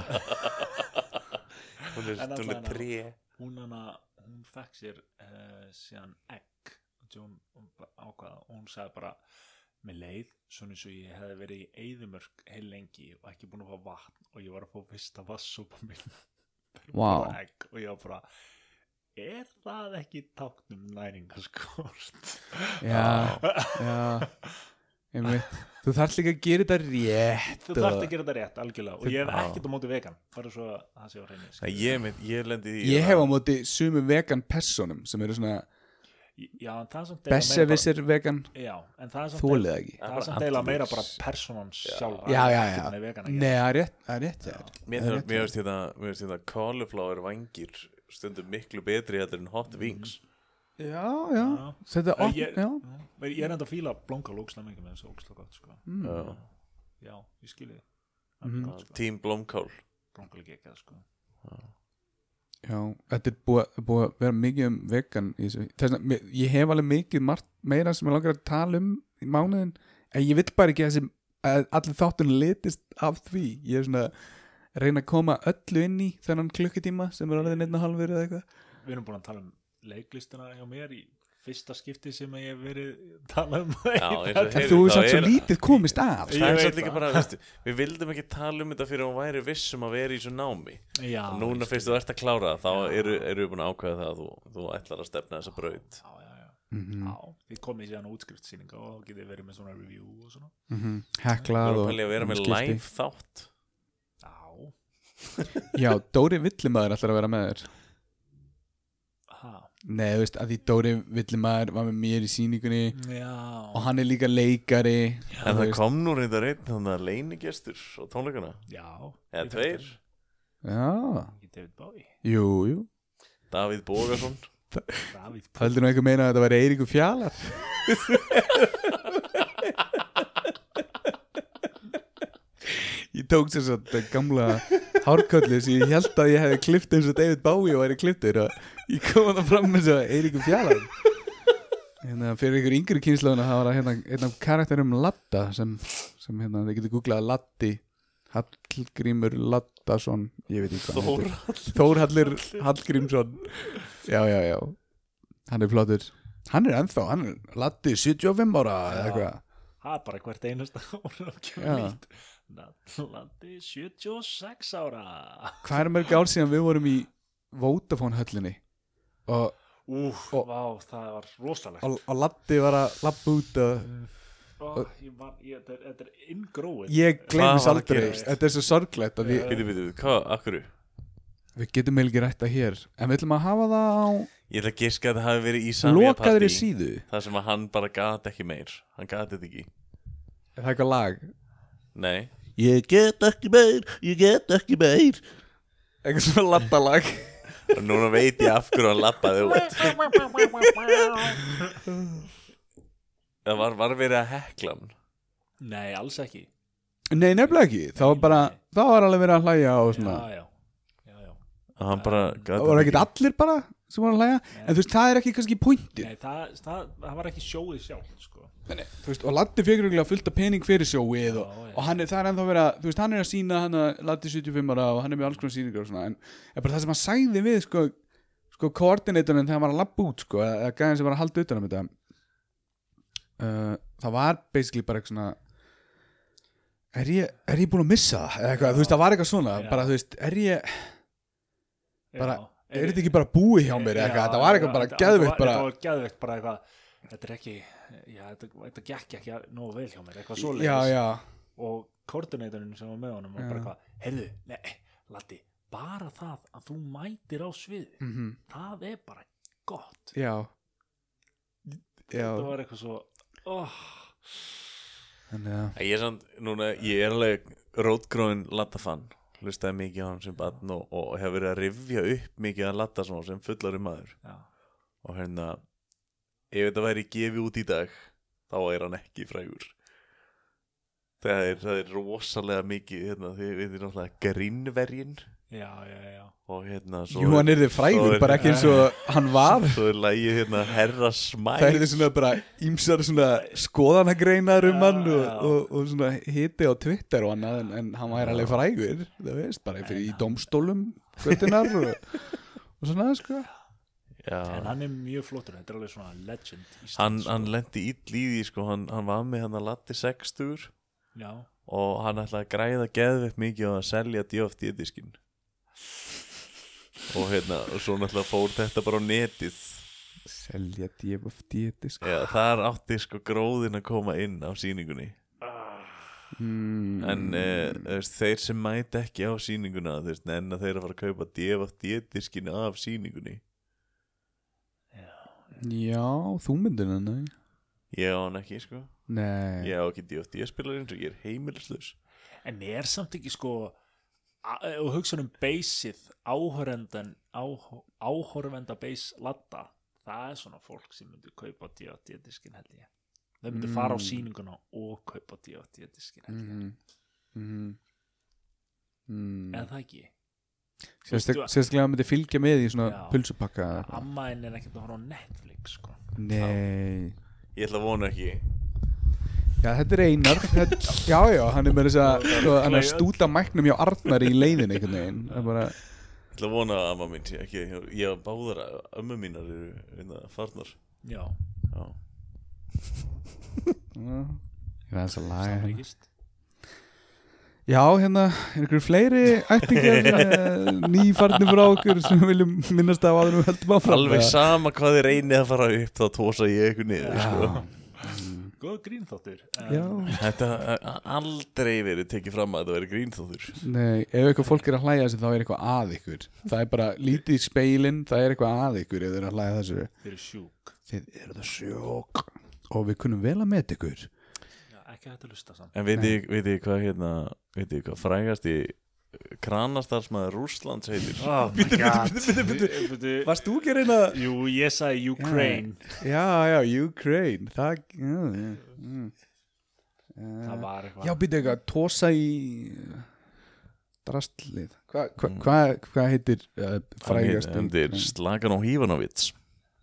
Speaker 2: Hún er, hún
Speaker 4: En
Speaker 2: er
Speaker 4: allavega.
Speaker 2: tré
Speaker 4: hún hana, hún fekk sér uh, síðan egg og hún hún bara ákvað og hún sagði bara með leið, svona eins og ég hefði verið í eyðumörk heil lengi og ekki búin að fá vatn og ég var að fá fyrsta vassúpa minn Þegar hún
Speaker 3: Vá.
Speaker 4: borðaði egg, og ég var bara er það ekki um táknum næringaskort
Speaker 3: Já, já einmitt. Þú þarf líka að gera þetta rétt
Speaker 4: [LAUGHS] þú
Speaker 3: og-
Speaker 4: þarft að gera þetta rétt algjörlega og ég hef
Speaker 2: Já.
Speaker 4: ekkert á móti vegan bara svo að það sé á reyni
Speaker 2: Nei, ég, með, ég lendi í
Speaker 3: Ég hef á móti sumu vegan personum sem eru svona
Speaker 4: já, en það er samt eiginlega meira bara-
Speaker 3: besservissir vegan
Speaker 4: já, en það er samt
Speaker 3: þólið það ekki
Speaker 4: það er samt
Speaker 2: Allir.
Speaker 4: eiginlega meira bara personan sjálf
Speaker 3: Já, já, já,
Speaker 4: Nei, vegan,
Speaker 3: Nei, það er rétt, það er rétt það er.
Speaker 2: Mér
Speaker 3: Það er
Speaker 2: finnst-
Speaker 3: rétt.
Speaker 2: mér finnst þetta Mér finnst þetta cauliflower vangir stundum miklu betri þetta en hot wings
Speaker 3: Já, já,
Speaker 4: Já.
Speaker 3: þetta er opn,
Speaker 4: ég,
Speaker 3: já
Speaker 4: já. ég er enda að fíla blónka lókslega mikið með þessu ókslega gott sko.
Speaker 2: mm.
Speaker 4: já, ég skilji
Speaker 3: Mhm.
Speaker 4: mm.
Speaker 2: uh, Team Blómkál
Speaker 4: blónka líka ekki sko.
Speaker 3: Já, þetta er búið búið að vera mikið um vegan í þessu. Þess vegna, mér- ég hef alveg mikið margt meira sem ég langar að tala um í mánuðin, en ég vill bara ekki að þessi, að allir þáttunum litist af því, ég er svona að reyna að koma öllu inn í þennan klukkutíma sem er alveg neitt og halvur eða eitthvað
Speaker 4: við erum búin að tala um leiklistina hjá mér í fyrsta skipti sem ég hef verið að tala um
Speaker 2: Já, eins og
Speaker 3: en
Speaker 2: Heyrðu,
Speaker 3: þú
Speaker 2: þá
Speaker 3: er satt svo
Speaker 2: er-
Speaker 3: lítið komist af
Speaker 4: Ég
Speaker 2: Það er
Speaker 4: veit
Speaker 2: satt líka
Speaker 4: það.
Speaker 2: bara, veistu, við vildum ekki tala um þetta fyrir að hún væri vissum að vera í þessu námi
Speaker 4: já,
Speaker 2: Núna fyrst þú ert að klára það, þá eru, eru við búin að ákveða það að þú, þú ætlar að stefna þessa braut
Speaker 4: já, já, já.
Speaker 3: Mhm, Mm.
Speaker 4: já, þið komið síðan á útskriftsýninga og þá getið verið með svona review og svona
Speaker 3: mm -hmm.
Speaker 2: Þú
Speaker 3: heklað
Speaker 2: erum
Speaker 3: og
Speaker 2: að vera með
Speaker 3: skipti.
Speaker 2: live þátt
Speaker 4: já,
Speaker 3: [LAUGHS] já, Dóri Villimæður ætlar að vera með þér
Speaker 4: ha,
Speaker 3: nei, þú veist, að því Dóri Villimæður var með mér í síningunni og
Speaker 4: já
Speaker 3: hann er líka leikari
Speaker 2: En
Speaker 3: þú
Speaker 2: það
Speaker 3: veist.
Speaker 2: kom nú reyndar einn þannig að leinigestur á tónleikana
Speaker 4: já,
Speaker 2: Eða
Speaker 4: ég
Speaker 2: tveir.
Speaker 4: þekki hann.
Speaker 3: já,
Speaker 4: Ekki David Bowie,
Speaker 3: jú, jú
Speaker 2: Davíð Bógason
Speaker 4: David Bowie
Speaker 3: Haldur nú einhver meina að þetta var Eiríku Fjalar Ég tók sér svo þetta gamla hárköllu sem ég held að ég hefði klift eins og David Bowie og væri kliftur og ég kom það fram með svo Eiríku Fjalar Hérna fyrir ykkur yngri kynslauna það var að hérna, hérna karakterum Latta sem, sem hérna þið getur googlað Latti Hallgrímur Lattason ég veit ekki hvað hann heitir. Þórhallir Hallgrímsson Já, já, já Hann er flottur Hann er ennþá, hann er Latti 75 ára eða eitthvað
Speaker 4: Það er bara hvert einasta [LAUGHS] ára að
Speaker 3: Já.
Speaker 4: kemur lít. Natlandi 76 ára.
Speaker 3: Hvað er mörg ár síðan við vorum í Vodafone höllinni og,
Speaker 4: Úf,
Speaker 3: Og-
Speaker 4: vá, það var rosalegt.
Speaker 3: og, og Latti var að lappa út og
Speaker 4: Ó, ég var, ég, þetta, er- þetta er inngróið.
Speaker 3: ég
Speaker 2: Hvað var
Speaker 3: gleymis
Speaker 2: að
Speaker 3: aldrei
Speaker 2: gerast?
Speaker 3: Þetta er svo sorglegt að við,
Speaker 2: Býtu, býtu, hvað, akkur?
Speaker 3: við getum eiginlega ekki rætt að hér en við ætlum að hafa það á
Speaker 2: Ég ætla að giska að það hafi verið í
Speaker 3: lokaðri
Speaker 2: samvíapartí
Speaker 3: síðu
Speaker 2: Það sem að hann bara gat ekki meir Hann gat þetta ekki
Speaker 3: Er það eitthvað lag?
Speaker 2: Nei
Speaker 6: Ég get ekki meir, ég get ekki meir
Speaker 3: Eitthvað svona lattalag
Speaker 2: Og núna veit ég af hverju hann lappaði út Það var, var verið að hekla hann
Speaker 4: Nei, alls ekki.
Speaker 3: Nei, nefnilega ekki, það var bara það var alveg verið að hlæja og svona
Speaker 4: já, já, já, já.
Speaker 2: að hann bara gat
Speaker 3: það voru ekkert
Speaker 2: ekki-
Speaker 3: allir bara sem voru að hlæja en þú veist, það er ekki kannski pointin
Speaker 4: Nei, það, það, það var ekki sjóðið sjálf sko.
Speaker 3: Þú veist, og Latti fekir örugglega fullt af pening fyrir sjóið og,
Speaker 4: Já, já.
Speaker 3: og hann er, það er ennþá verið að þú veist, hann er að sína hann að Latti 75 ára og hann er með alls konar sýningar og svona en, en bara það sem hann sagði við sko, sko koordinatorinn þegar hann var að labba út sko, eða gæðin sem var að halda utan um þetta uh, það var basically bara eitthvað svona er ég, er ég búin að missa það eða eitthvað, þú veist, það var eitthvað svona
Speaker 4: Já.
Speaker 3: bara, þú veist, er ég, bara,
Speaker 4: Já.
Speaker 3: er þetta ekki bara búið hjá mér eða eitthvað, það var eitthvað bara
Speaker 4: þetta-
Speaker 3: geðveikt bara,
Speaker 4: þetta var geðveikt bara eitthvað þetta er ekki, já, þetta, þetta gekk ekki nógu vel hjá mér, eitthvað svoleiðis
Speaker 3: já, já
Speaker 4: og koordinatorinn sem var með honum var bara
Speaker 3: Já.
Speaker 4: eitthvað, heyrðu, nei, Latti bara það að þú mætir á svið
Speaker 3: mm
Speaker 4: það er bara gott
Speaker 3: Já Já
Speaker 4: þetta var eitthvað svo oh,
Speaker 3: Þannig að
Speaker 2: Ég er samt, núna, ég er alveg rótgróin Lattafann, hlustaði mikið á hann sem batn og, og hef verið að rifja upp mikið að Latta svona sem fullari maður
Speaker 4: já,
Speaker 2: og hérna ef þetta væri gefið út í dag þá er hann ekki frægur það er, það er rosalega mikið hérna, þið veitir náttúrulega grinnverjin
Speaker 4: já, já, já
Speaker 2: og hérna svo
Speaker 3: Jú, hann er þið frægur,
Speaker 2: svo er-
Speaker 3: bara ekki eins og hann var
Speaker 2: svo er lægið hérna herra smæk
Speaker 3: Það er þið svona bara ímsar svona skoðanagreinar um
Speaker 4: Já,
Speaker 3: hann og,
Speaker 4: já.
Speaker 3: og, og svona hiti á Twitter og annað en, en hann væri alveg frægur, það veist, bara fyrir í domstólum kvöldinar og, og svona, sko
Speaker 4: en
Speaker 2: Já,
Speaker 4: hann er mjög flottur, þetta er alveg svona legend Íslands,
Speaker 2: hann,
Speaker 4: sko.
Speaker 2: hann lendi ill í því sko, hann, hann var með hann að latti sextur
Speaker 4: sko. já,
Speaker 2: og hann ætlaði að græða geðveitt mikið á að selja DFD-diskin og hérna og svo náttúrulega fór þetta bara á netið
Speaker 3: Selja djöfuf djöti, sko
Speaker 2: Já, þar átti sko gróðin að koma inn á sýningunni
Speaker 3: mm,
Speaker 2: en mm. veist, þeir sem mæti ekki á sýninguna þú veist, en að þeir að fara að kaupa DFD-diskin af sýningunni
Speaker 3: Já, þú myndir hann, nei
Speaker 2: ég á hann ekki sko
Speaker 3: Nei
Speaker 2: ég á ekki DFD-spilarinn svo ég er heimilislaus
Speaker 4: en er samt ekki sko a- og hugsa um beysið áhorvendan áhorvenda beys latta það er svona fólk sem myndi kaupa D.O.D.-diskin held ég þau myndi fara á
Speaker 3: Mm.
Speaker 4: sýninguna og kaupa D.O.D.-diskin held ég
Speaker 3: Mhm. Mhm. Mm.
Speaker 4: eða það ekki
Speaker 3: Sérstak,
Speaker 4: Veistu að-
Speaker 3: sérstaklega myndi fylgja með í svona
Speaker 4: Já.
Speaker 3: pulsupakka eða eitthvað.
Speaker 4: amma henn er ekkert að horfa á Netflix sko.
Speaker 3: Nei
Speaker 2: ég ætla að vona ekki
Speaker 3: Já, þetta er Einar þetta, Já, já, hann er með þess að sko, hann er að
Speaker 4: Kleið.
Speaker 3: stúta mæknum hjá Arnar í leiðin einhvern veginn Það er bara,
Speaker 2: ég ætla að vona að amma mín sé ekki ég á báðar að ömmu mínar eru hérna, farnar
Speaker 4: já,
Speaker 2: Já.
Speaker 3: já, Ég veðans að laga hérna
Speaker 4: samleikist
Speaker 3: Já, hérna, er ykkur fleiri ættingar eh, nýfarnir frá okkur sem við viljum minnast af áður en við höldum áfram
Speaker 2: alveg sama hvað þið reynið að fara upp þá tósa ég eitthvað niður sko.
Speaker 4: góð grínþáttur
Speaker 3: Já,
Speaker 2: þetta ha- aldrei verið tekið fram að þetta veri grínþóður
Speaker 3: nei, ef eitthvað fólk er að hlæja þessu þá er eitthvað að ykkur Það er bara lítið í speilin, það er eitthvað að ykkur ef þau eru að hlæja þessu
Speaker 4: þeir eru sjúk
Speaker 3: Þið eru það sjók Og við kunum vel að meta ykkur
Speaker 4: já, ekki hægt að lusta samt
Speaker 2: en vitið vitið þið hvað hérna vitið þið hvað frægast í kranastarsmaður Rússlands heitir
Speaker 4: [LAUGHS] oh my god
Speaker 3: Varst þú ekki að reyna
Speaker 4: jú, ég sagði Ukraine
Speaker 3: Já, já, Ukraine Það, já, já mm. Eh,
Speaker 4: það var eitthvað
Speaker 3: Já, býta eitthvað, tósa í eh, drastlið Hvað hva,
Speaker 4: Mm.
Speaker 3: hva, hva heitir uh, frægast í-
Speaker 2: hann heitir Slagan og Hívanovits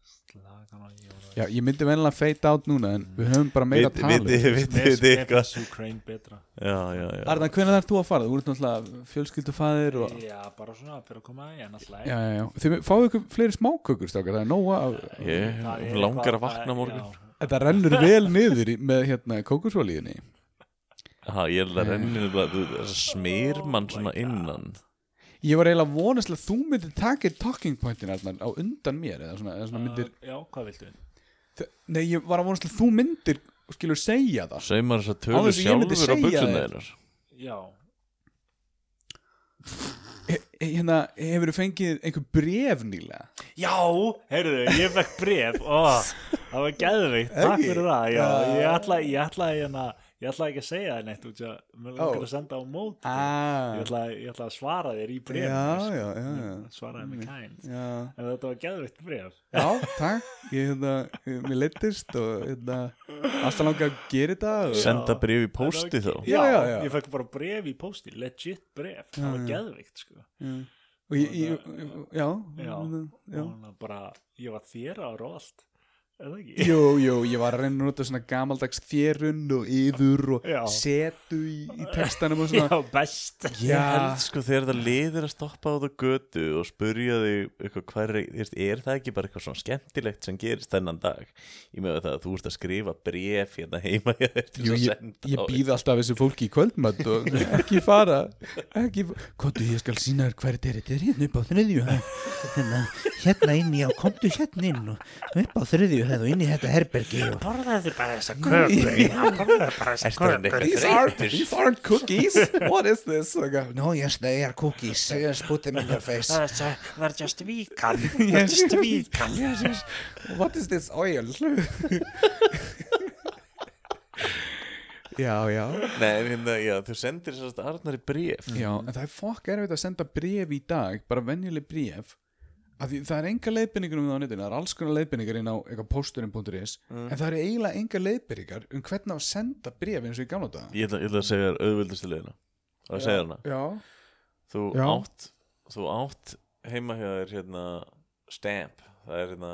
Speaker 4: Slagan og ég var-
Speaker 3: Mm. Já, ég myndi venlega fade out núna en við höfum bara meira
Speaker 2: vitið
Speaker 3: talið
Speaker 2: vitið vitið
Speaker 4: Mér-
Speaker 2: þið hvað
Speaker 4: mér finnst Ukraine betra
Speaker 2: já já já
Speaker 3: Arna, hvernig þarf þú að fara? Þú ert náttúrulega fjölskyldufaðir og...
Speaker 4: Já, bara svona fyrir að koma í en alltaf
Speaker 3: Já, já, já, þið fáið ykkur fleiri smákökur strákar, það er nóga af...
Speaker 2: ég langar að vakna á morgun
Speaker 3: Þetta rennur vel niður í, með hérna kókusolíunni
Speaker 2: Ha, ég held að renni þess að smýr mann
Speaker 3: Oh
Speaker 2: svona innan
Speaker 3: Ég var eiginlega vonast að þú myndir taka eitt talking pointin Arnar, á undan mér eða svona, eða
Speaker 4: Ah.
Speaker 3: svona myndir,
Speaker 4: Já, hvað viltu?
Speaker 3: uh, Nei, ég var að vonast að þú myndir skilur segja það
Speaker 2: saumar þess að
Speaker 3: Án
Speaker 2: tölu
Speaker 3: þess að ég myndi
Speaker 2: sjálfur á
Speaker 3: segja
Speaker 2: buksuna
Speaker 3: þér.
Speaker 2: þeinar
Speaker 4: Já,
Speaker 3: e, e, Hérna, hefur þú fengið einhver bref nýlega?
Speaker 4: já heyrðu, ég fekk bref ó, Það var geðveikt, takk
Speaker 3: Ekki? Ah.
Speaker 4: fyrir það Já,
Speaker 3: Já.
Speaker 4: ég ætla, ég ætla, hérna, ég ætla ekki að segja það neitt út í að mér langar
Speaker 3: Ó.
Speaker 4: að senda á móti
Speaker 3: Ah,
Speaker 4: ég, ætla, ég ætla að svara þér í sko. bref
Speaker 3: Já, já, já, já.
Speaker 4: Svaraði mig kænt
Speaker 3: já,
Speaker 4: En þetta var geðveikt bref
Speaker 3: já, takk Ég, hérna, ég- mér leittist og hérna, Alltaf langa að gera þetta
Speaker 2: Senda bréf í pósti þá
Speaker 3: Já, já, já.
Speaker 4: Ég fæk bara bref í pósti, legit bref Það var geðveikt, sko
Speaker 3: Mm. og ég, ég, já,
Speaker 4: Já, og
Speaker 3: já.
Speaker 4: hann bara, ég var þér á rólt Eða ekki?
Speaker 3: [LAUGHS] Jú, jú, ég var að reyna að nota svona gamaldags þérun og yður og
Speaker 4: Já.
Speaker 3: setu í, í textanum og
Speaker 4: [LAUGHS] Já,
Speaker 3: svona
Speaker 4: best
Speaker 2: Ég held sko þegar það liðir að stoppa á það götu og spurja þig eitthvað hvað er, þú veist, er það ekki bara eitthvað svona skemmtilegt sem gerist þennan dag ég með það að þú ert að skrifa bref hérna heima hjá þér til að
Speaker 3: Jú, ég,
Speaker 2: senda
Speaker 3: ég
Speaker 2: á þig.
Speaker 3: býð alltaf þessu fólki í kvöldmatt og ekki fara ekki, Kottu, ég skal sína þér hverju þetta er þetta er hérna upp á þriðju hæð.
Speaker 9: hérna, hérna inn í á komdu hérna inn og upp á þriðju hefðu inn í þetta herbergi og
Speaker 5: Borðaðu bara þessa köku. Já, borðaðu bara þessa
Speaker 2: Ertu hann
Speaker 5: köku.
Speaker 2: eitthvað
Speaker 3: These aren't, these aren't cookies What is this? Like,
Speaker 9: no yes they are cookies yes put them in your
Speaker 3: [LAUGHS]
Speaker 9: face
Speaker 5: Það er- það er just víkan. Það er just víkan.
Speaker 3: What is this oil? [LAUGHS] já, já
Speaker 2: Nei, en hérna, já, þú sendir þess að Arnar í bref
Speaker 3: Já,
Speaker 4: Mhm.
Speaker 3: en það er fokk erfitt að senda bref í dag bara venjuleg bref af því það er enga leiðbyrningar um það á netinu það er alls konar leiðbyrningar inn á eitthvað pósturinn.is
Speaker 4: Mhm.
Speaker 3: en það eru eiginlega enga leiðbyrningar um hvernig á að senda bref eins og í gamla daga
Speaker 2: Ég ætla, ég ætla að segja þér auðvöldustu leiðina og að segja hana
Speaker 3: Já,
Speaker 2: þú
Speaker 3: Já.
Speaker 2: átt, þú átt heima hjá þér hérna stamp það er hérna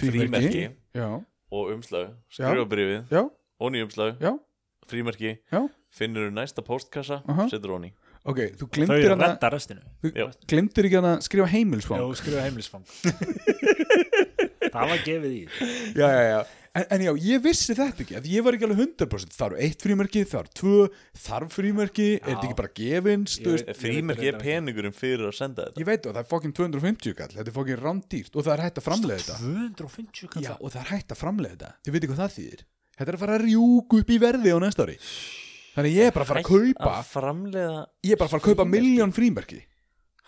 Speaker 2: frímerki
Speaker 3: Já,
Speaker 2: og umslag skrifa brefið
Speaker 3: já,
Speaker 2: og nýjumslag
Speaker 3: já,
Speaker 2: frímerki
Speaker 3: já
Speaker 2: finnur þú næsta postkassa
Speaker 3: Aha.
Speaker 2: setur honi
Speaker 3: Ok,
Speaker 4: Þau
Speaker 3: þú
Speaker 4: eru
Speaker 3: glemtir
Speaker 4: að
Speaker 3: hana
Speaker 4: redda restinu
Speaker 3: þú
Speaker 2: já.
Speaker 3: glemtir ekki hana að skrifa
Speaker 4: Já,
Speaker 3: heimilsfang
Speaker 4: og skrifa [LAUGHS] heimilisfang Það var gefið í
Speaker 3: Já, já, já En, en já, ég vissi þetta ekki, að ég var ekki alveg 100% Það eru eitt frímerki, það eru tvö Þarf frímerki, er þetta ekki bara gefinst þú veist?
Speaker 4: Ég veit
Speaker 2: frímerki er
Speaker 4: reyndar ekki.
Speaker 2: peningurinn fyrir að senda þetta
Speaker 3: Ég veit það, það er fokkin 250 kall, þetta er fokkin rándýrt og það er hægt að framlega þetta.
Speaker 4: 250
Speaker 3: Já,
Speaker 4: kallar
Speaker 3: og það er hægt að framlega þetta. Þið veitir hvað það þýðir. Þetta er að fara að rjúku upp í verði á næsta ári. Þannig að ég er bara að fara að kaupa,
Speaker 2: að framleiða
Speaker 3: ég er bara að fara að kaupa miljón frímerki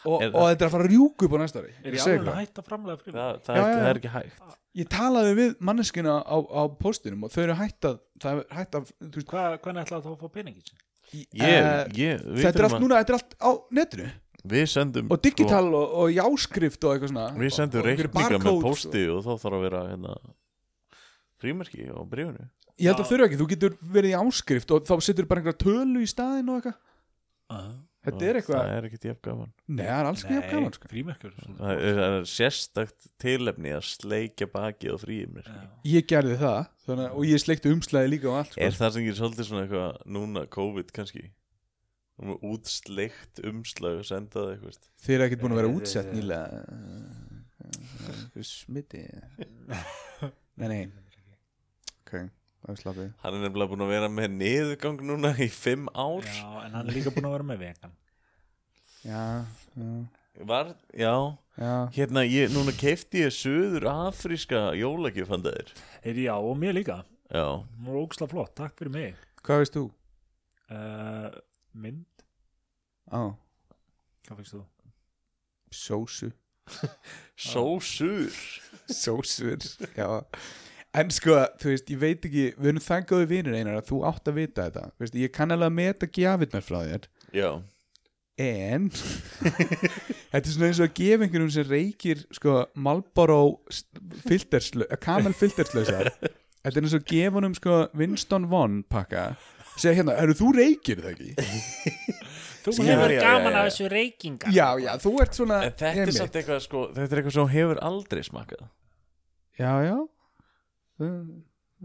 Speaker 3: og,
Speaker 2: Er
Speaker 3: og
Speaker 2: það-
Speaker 3: þetta er að fara að rjúku upp á næsta ári.
Speaker 4: Er
Speaker 3: Ég
Speaker 4: ég
Speaker 3: segi
Speaker 4: alveg
Speaker 3: það.
Speaker 4: hægt að framlega frí
Speaker 2: það, það, er,
Speaker 3: Já, já,
Speaker 2: það
Speaker 3: já.
Speaker 2: er ekki hægt
Speaker 3: Ég talaði við manneskina á, á postinum og þau eru hægt að, það er hægt að, þú veist,
Speaker 4: Hvað, Hvernig ætlaði það að fá peningin sin?
Speaker 2: ég,
Speaker 3: eh,
Speaker 2: ég, við,
Speaker 3: þetta er
Speaker 2: þurfum
Speaker 3: allt
Speaker 2: að-
Speaker 3: núna, þetta er allt á netinu
Speaker 2: við sendum
Speaker 3: og digital og, og jáskrift og eitthvað svona.
Speaker 2: sko, við sendum
Speaker 3: og einhverjir
Speaker 2: reikninga með
Speaker 3: barcodes og-
Speaker 2: posti og þá þarf að vera hérna, frímerki á brefinu
Speaker 3: Ég held að þurfa ekki, þú getur verið í áskrift og þá setur bara einhverja tölu í staðin og eitthvað Þetta er eitthvað
Speaker 2: það er ekkert jafn gaman
Speaker 3: Nei, það er alls ekki jafn gaman sko.
Speaker 4: frímerkjur
Speaker 2: það er, það er sérstakt tilefni að sleikja baki á frímerki
Speaker 3: Ég gerði það þannig, að- og ég sleikti umslæði líka og allt sko.
Speaker 2: er það sem gerir svolítið svona eitthvað núna COVID kannski um útsleikt umslag og senda það eitthvað
Speaker 3: Þeir eru ekkert búin að vera útsett nýlega Þú smiti [LAUGHS] Nei, nei Ok, það er slappið
Speaker 2: hann er nefnilega búin að vera með niðurgang núna í fimm ár
Speaker 4: Já, en hann er líka búin að vera með vegan
Speaker 3: Já, já,
Speaker 2: var, já,
Speaker 3: já
Speaker 2: hérna ég, núna keifti ég suður afríska jólagjöfandaðir
Speaker 4: Heyrðu, Já, og mér líka
Speaker 2: já,
Speaker 4: Hún var ógslag flott, takk fyrir mig
Speaker 3: Hvað veist þú?
Speaker 4: uh, Mynd,
Speaker 3: Á,
Speaker 4: hvað finnst þú?
Speaker 3: sósu
Speaker 2: svo sur
Speaker 3: Sósur, já En sko, þú veist, ég veit ekki Við erum þangaði vinur einar að þú átt að vita þetta Þú veist, Ég kann alveg að meta gjafirnar frá þér
Speaker 2: já,
Speaker 3: en [LAUGHS] þetta er svona eins og að gefa einhverjum sem reykir sko Marlboro filterslösa, kamel filterslösa þetta er eins og að gefa honum sko Winston Von pakka segja hérna, eru þú reykir það ekki?
Speaker 4: Þú
Speaker 2: Já,
Speaker 4: hefur
Speaker 8: Hefur
Speaker 2: já,
Speaker 8: gaman
Speaker 2: já,
Speaker 8: af
Speaker 2: já.
Speaker 8: þessu reykinga.
Speaker 3: já, já, þú ert svona
Speaker 2: en þetta er
Speaker 3: einmitt.
Speaker 2: samt eitthvað sko þetta er eitthvað sem hún hefur aldrei smakkað
Speaker 3: já, já Mm,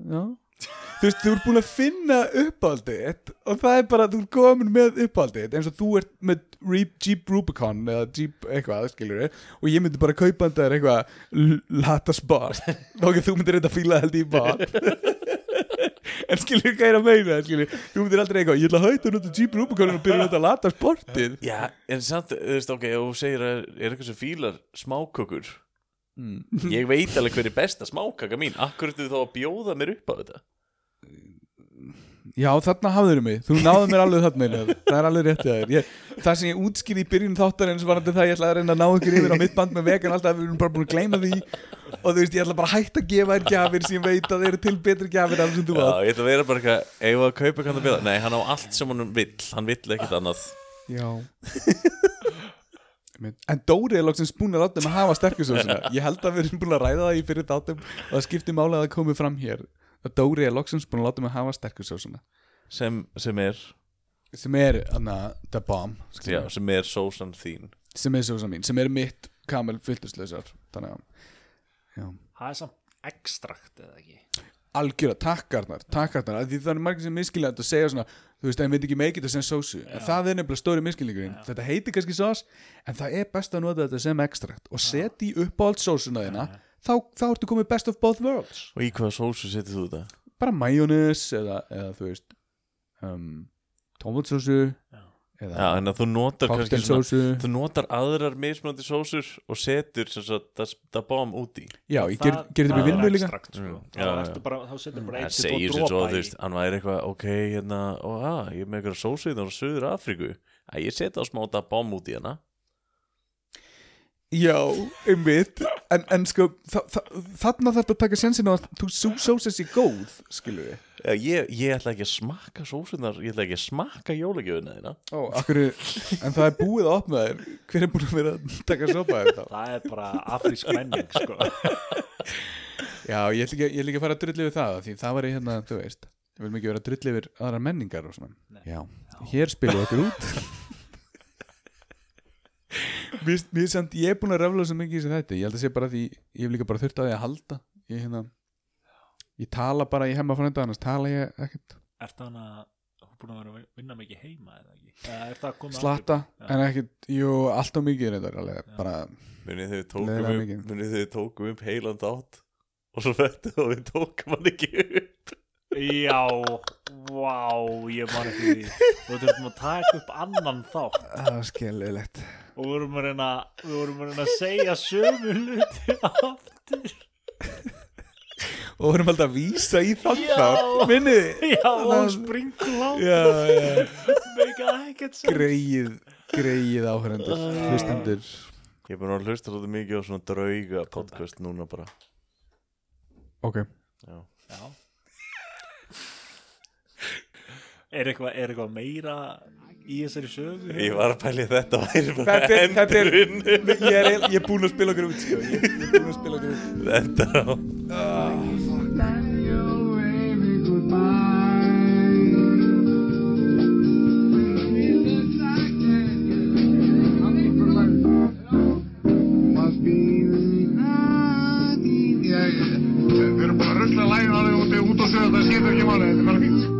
Speaker 3: já þú veist, þú ert búin að finna uppáhaldið þitt og það er bara, þú ert komin með uppáhaldið þitt, eins og þú ert með Re- Jeep Rubicon eða Jeep eitthvað, skilur við og ég myndi bara kaupa þetta eitthvað l- latas [LAUGHS] bar þá ekki þú myndir eitthvað fíla held í bar [LAUGHS] en skilur við hvað ég er að meina skilur, þú myndir aldrei eitthvað, ég ætla að hætta að nota Jeep Rubicon og byrja að nota latas bortið
Speaker 2: já, en samt, þú veist, ok, ef þú segir að er eitthvað sem fílar smákökur ég veit alveg hver er besta smákaka mín akkur ertu þá að bjóða mér upp á þetta
Speaker 3: Já, þarna hafður mig, þú náður mér alveg þarna einu. það er alveg réttið að þér ég, Það sem ég útskýrði í byrjun þáttar eins var þetta það ég ætla að reyna að ná ykkur yfir á mitt band með vegan alltaf, við erum bara búin að gleyma því og þú veist, ég ætla bara að hætta að gefa þér gjafir sem ég veit að þeir eru til betri gjafir af sem þú átt
Speaker 2: já, ég ætla að vera bara eitthvað, ef að kaupa hvað það bjóða nei, hann á allt sem hann vill, hann vill ekkit annað
Speaker 3: Já En Dóri er loksins búin að láta mig að hafa sterkjusósuna Ég held að við erum búin að ræða það í fyrir dátum og það skipti mála að það komi fram hér að Dóri er loksins búin að láta mig hafa sterkursósuna
Speaker 2: sem, sem er
Speaker 3: sem er, þannig að, the bomb skilur
Speaker 2: já,
Speaker 3: við.
Speaker 2: sem er sósan þín
Speaker 3: sem er sósa mín, sem er mitt kamel fylltuslausar, þannig að já,
Speaker 4: Það er samt ekstrakt eða ekki
Speaker 3: algjöra takkarnar takkarnar, af því það er margir sem miskilja þetta og segja svona, þú veist, en við ekki make it sem sósu, en það er nefnilega stóri miskiljingurinn þetta heitir kannski sós, en það er best að nota þetta sem ekstrakt og setja í uppáhald sósuna þína, þá, þá ertu komið best of both worlds,
Speaker 2: og í hvaða sósu setur þú þetta?
Speaker 3: bara majónis eða, eða þú veist um, tómatsósu
Speaker 2: Já, þannig að þú notar kannski svona,
Speaker 3: cocktailsósu
Speaker 2: þú notar aðrar mismunandi sósur og setur sem sagt það, það bám út í
Speaker 3: já, ég ger,
Speaker 4: Það-
Speaker 3: gerði
Speaker 4: það
Speaker 3: mig
Speaker 4: er
Speaker 3: vinnu líka
Speaker 4: ekstrakt, sko.
Speaker 2: Mm,
Speaker 4: Þá
Speaker 2: já, já.
Speaker 4: ertu bara- Þá setur bara
Speaker 2: Það
Speaker 4: eitt
Speaker 2: segir
Speaker 4: og
Speaker 2: sem svo,
Speaker 4: dropa
Speaker 2: þú
Speaker 4: í
Speaker 2: veist, hann væri eitthvað, ok, hérna, og að, ég er með eitthvað sósu hérna á Suður Afríku, að ég setja á smá þetta bám út í hana.
Speaker 3: Já, einmitt En, en sko, þa þa þarna þarf að taka sensin á að þú sú sósið sér góð Skilur við
Speaker 2: Já, Ég, ég ætla ekki að smakka sósunar, ég ætla ekki að smakka jólagjöfuna þína.
Speaker 3: Ó, akkur, En það er búið að opna þér Hver er búin að vera að taka sopa þér þá?
Speaker 4: Það er bara afrísk menning
Speaker 2: [LAUGHS]
Speaker 4: sko.
Speaker 3: Já, ég ætla ekki, að- ég ætla ekki að fara að drulli yfir það Því það var í hérna, þú veist Við viljum ekki vera að drulli yfir aðra menningar og svona Já, hér spilum við okkur út [LAUGHS] Mér, mér samt, ég er búin að rafla svo mikið í þessu þetta Ég held að sé bara því, ég hef líka bara þurft að því að halda Ég hérna Ég tala bara, ég hemma frænda annars tala ég ekkert
Speaker 4: Ertu hann að hún búin að vera að vinna mikið heima eða ekki Eða er það að koma
Speaker 3: slatta
Speaker 4: Já.
Speaker 3: en ekkert, jú, allt og mikið reyndar alveg, bara,
Speaker 2: Munið þau tókum,
Speaker 3: Leila
Speaker 2: upp,
Speaker 3: mikið.
Speaker 2: munið þau tókum upp heilan dát og svo fættu og við tókum hann ekki upp.
Speaker 4: Já, vá, ég man ekki því Og þurfum að taka upp annan þátt
Speaker 3: það var skellilegt
Speaker 4: Og við vorum að reyna, við vorum að, reyna að segja sömu hluti aftur
Speaker 3: og vorum alltaf að vísa í þann
Speaker 4: Já.
Speaker 3: þátt, minnið þið?
Speaker 4: Já, og
Speaker 3: Það-
Speaker 4: springu látt
Speaker 3: já, já,
Speaker 4: Meika ekkert sem
Speaker 3: greið greið áhörendur, hlustendur
Speaker 2: Ég er búin að hlusta svolítið mikið á svona drauga podcast núna bara.
Speaker 3: ok,
Speaker 4: Já Er eitthvað er eitthvað meira í þessari sögu?
Speaker 2: Ég var að pæli þetta væri bara
Speaker 3: Þetta er- þetta er-
Speaker 2: endurinn.
Speaker 3: ég er, eiginlega- ég er búin að spila okkur út sko. ég, ég er búin að spila okkur út
Speaker 2: Þetta er á...
Speaker 1: Then you'll wave me goodbye. Feeling like it. I'm for life. Must be the night. Við erum bara að rusla lægin alveg út út og segja það skiptir ekki máli, þetta er bara fínt.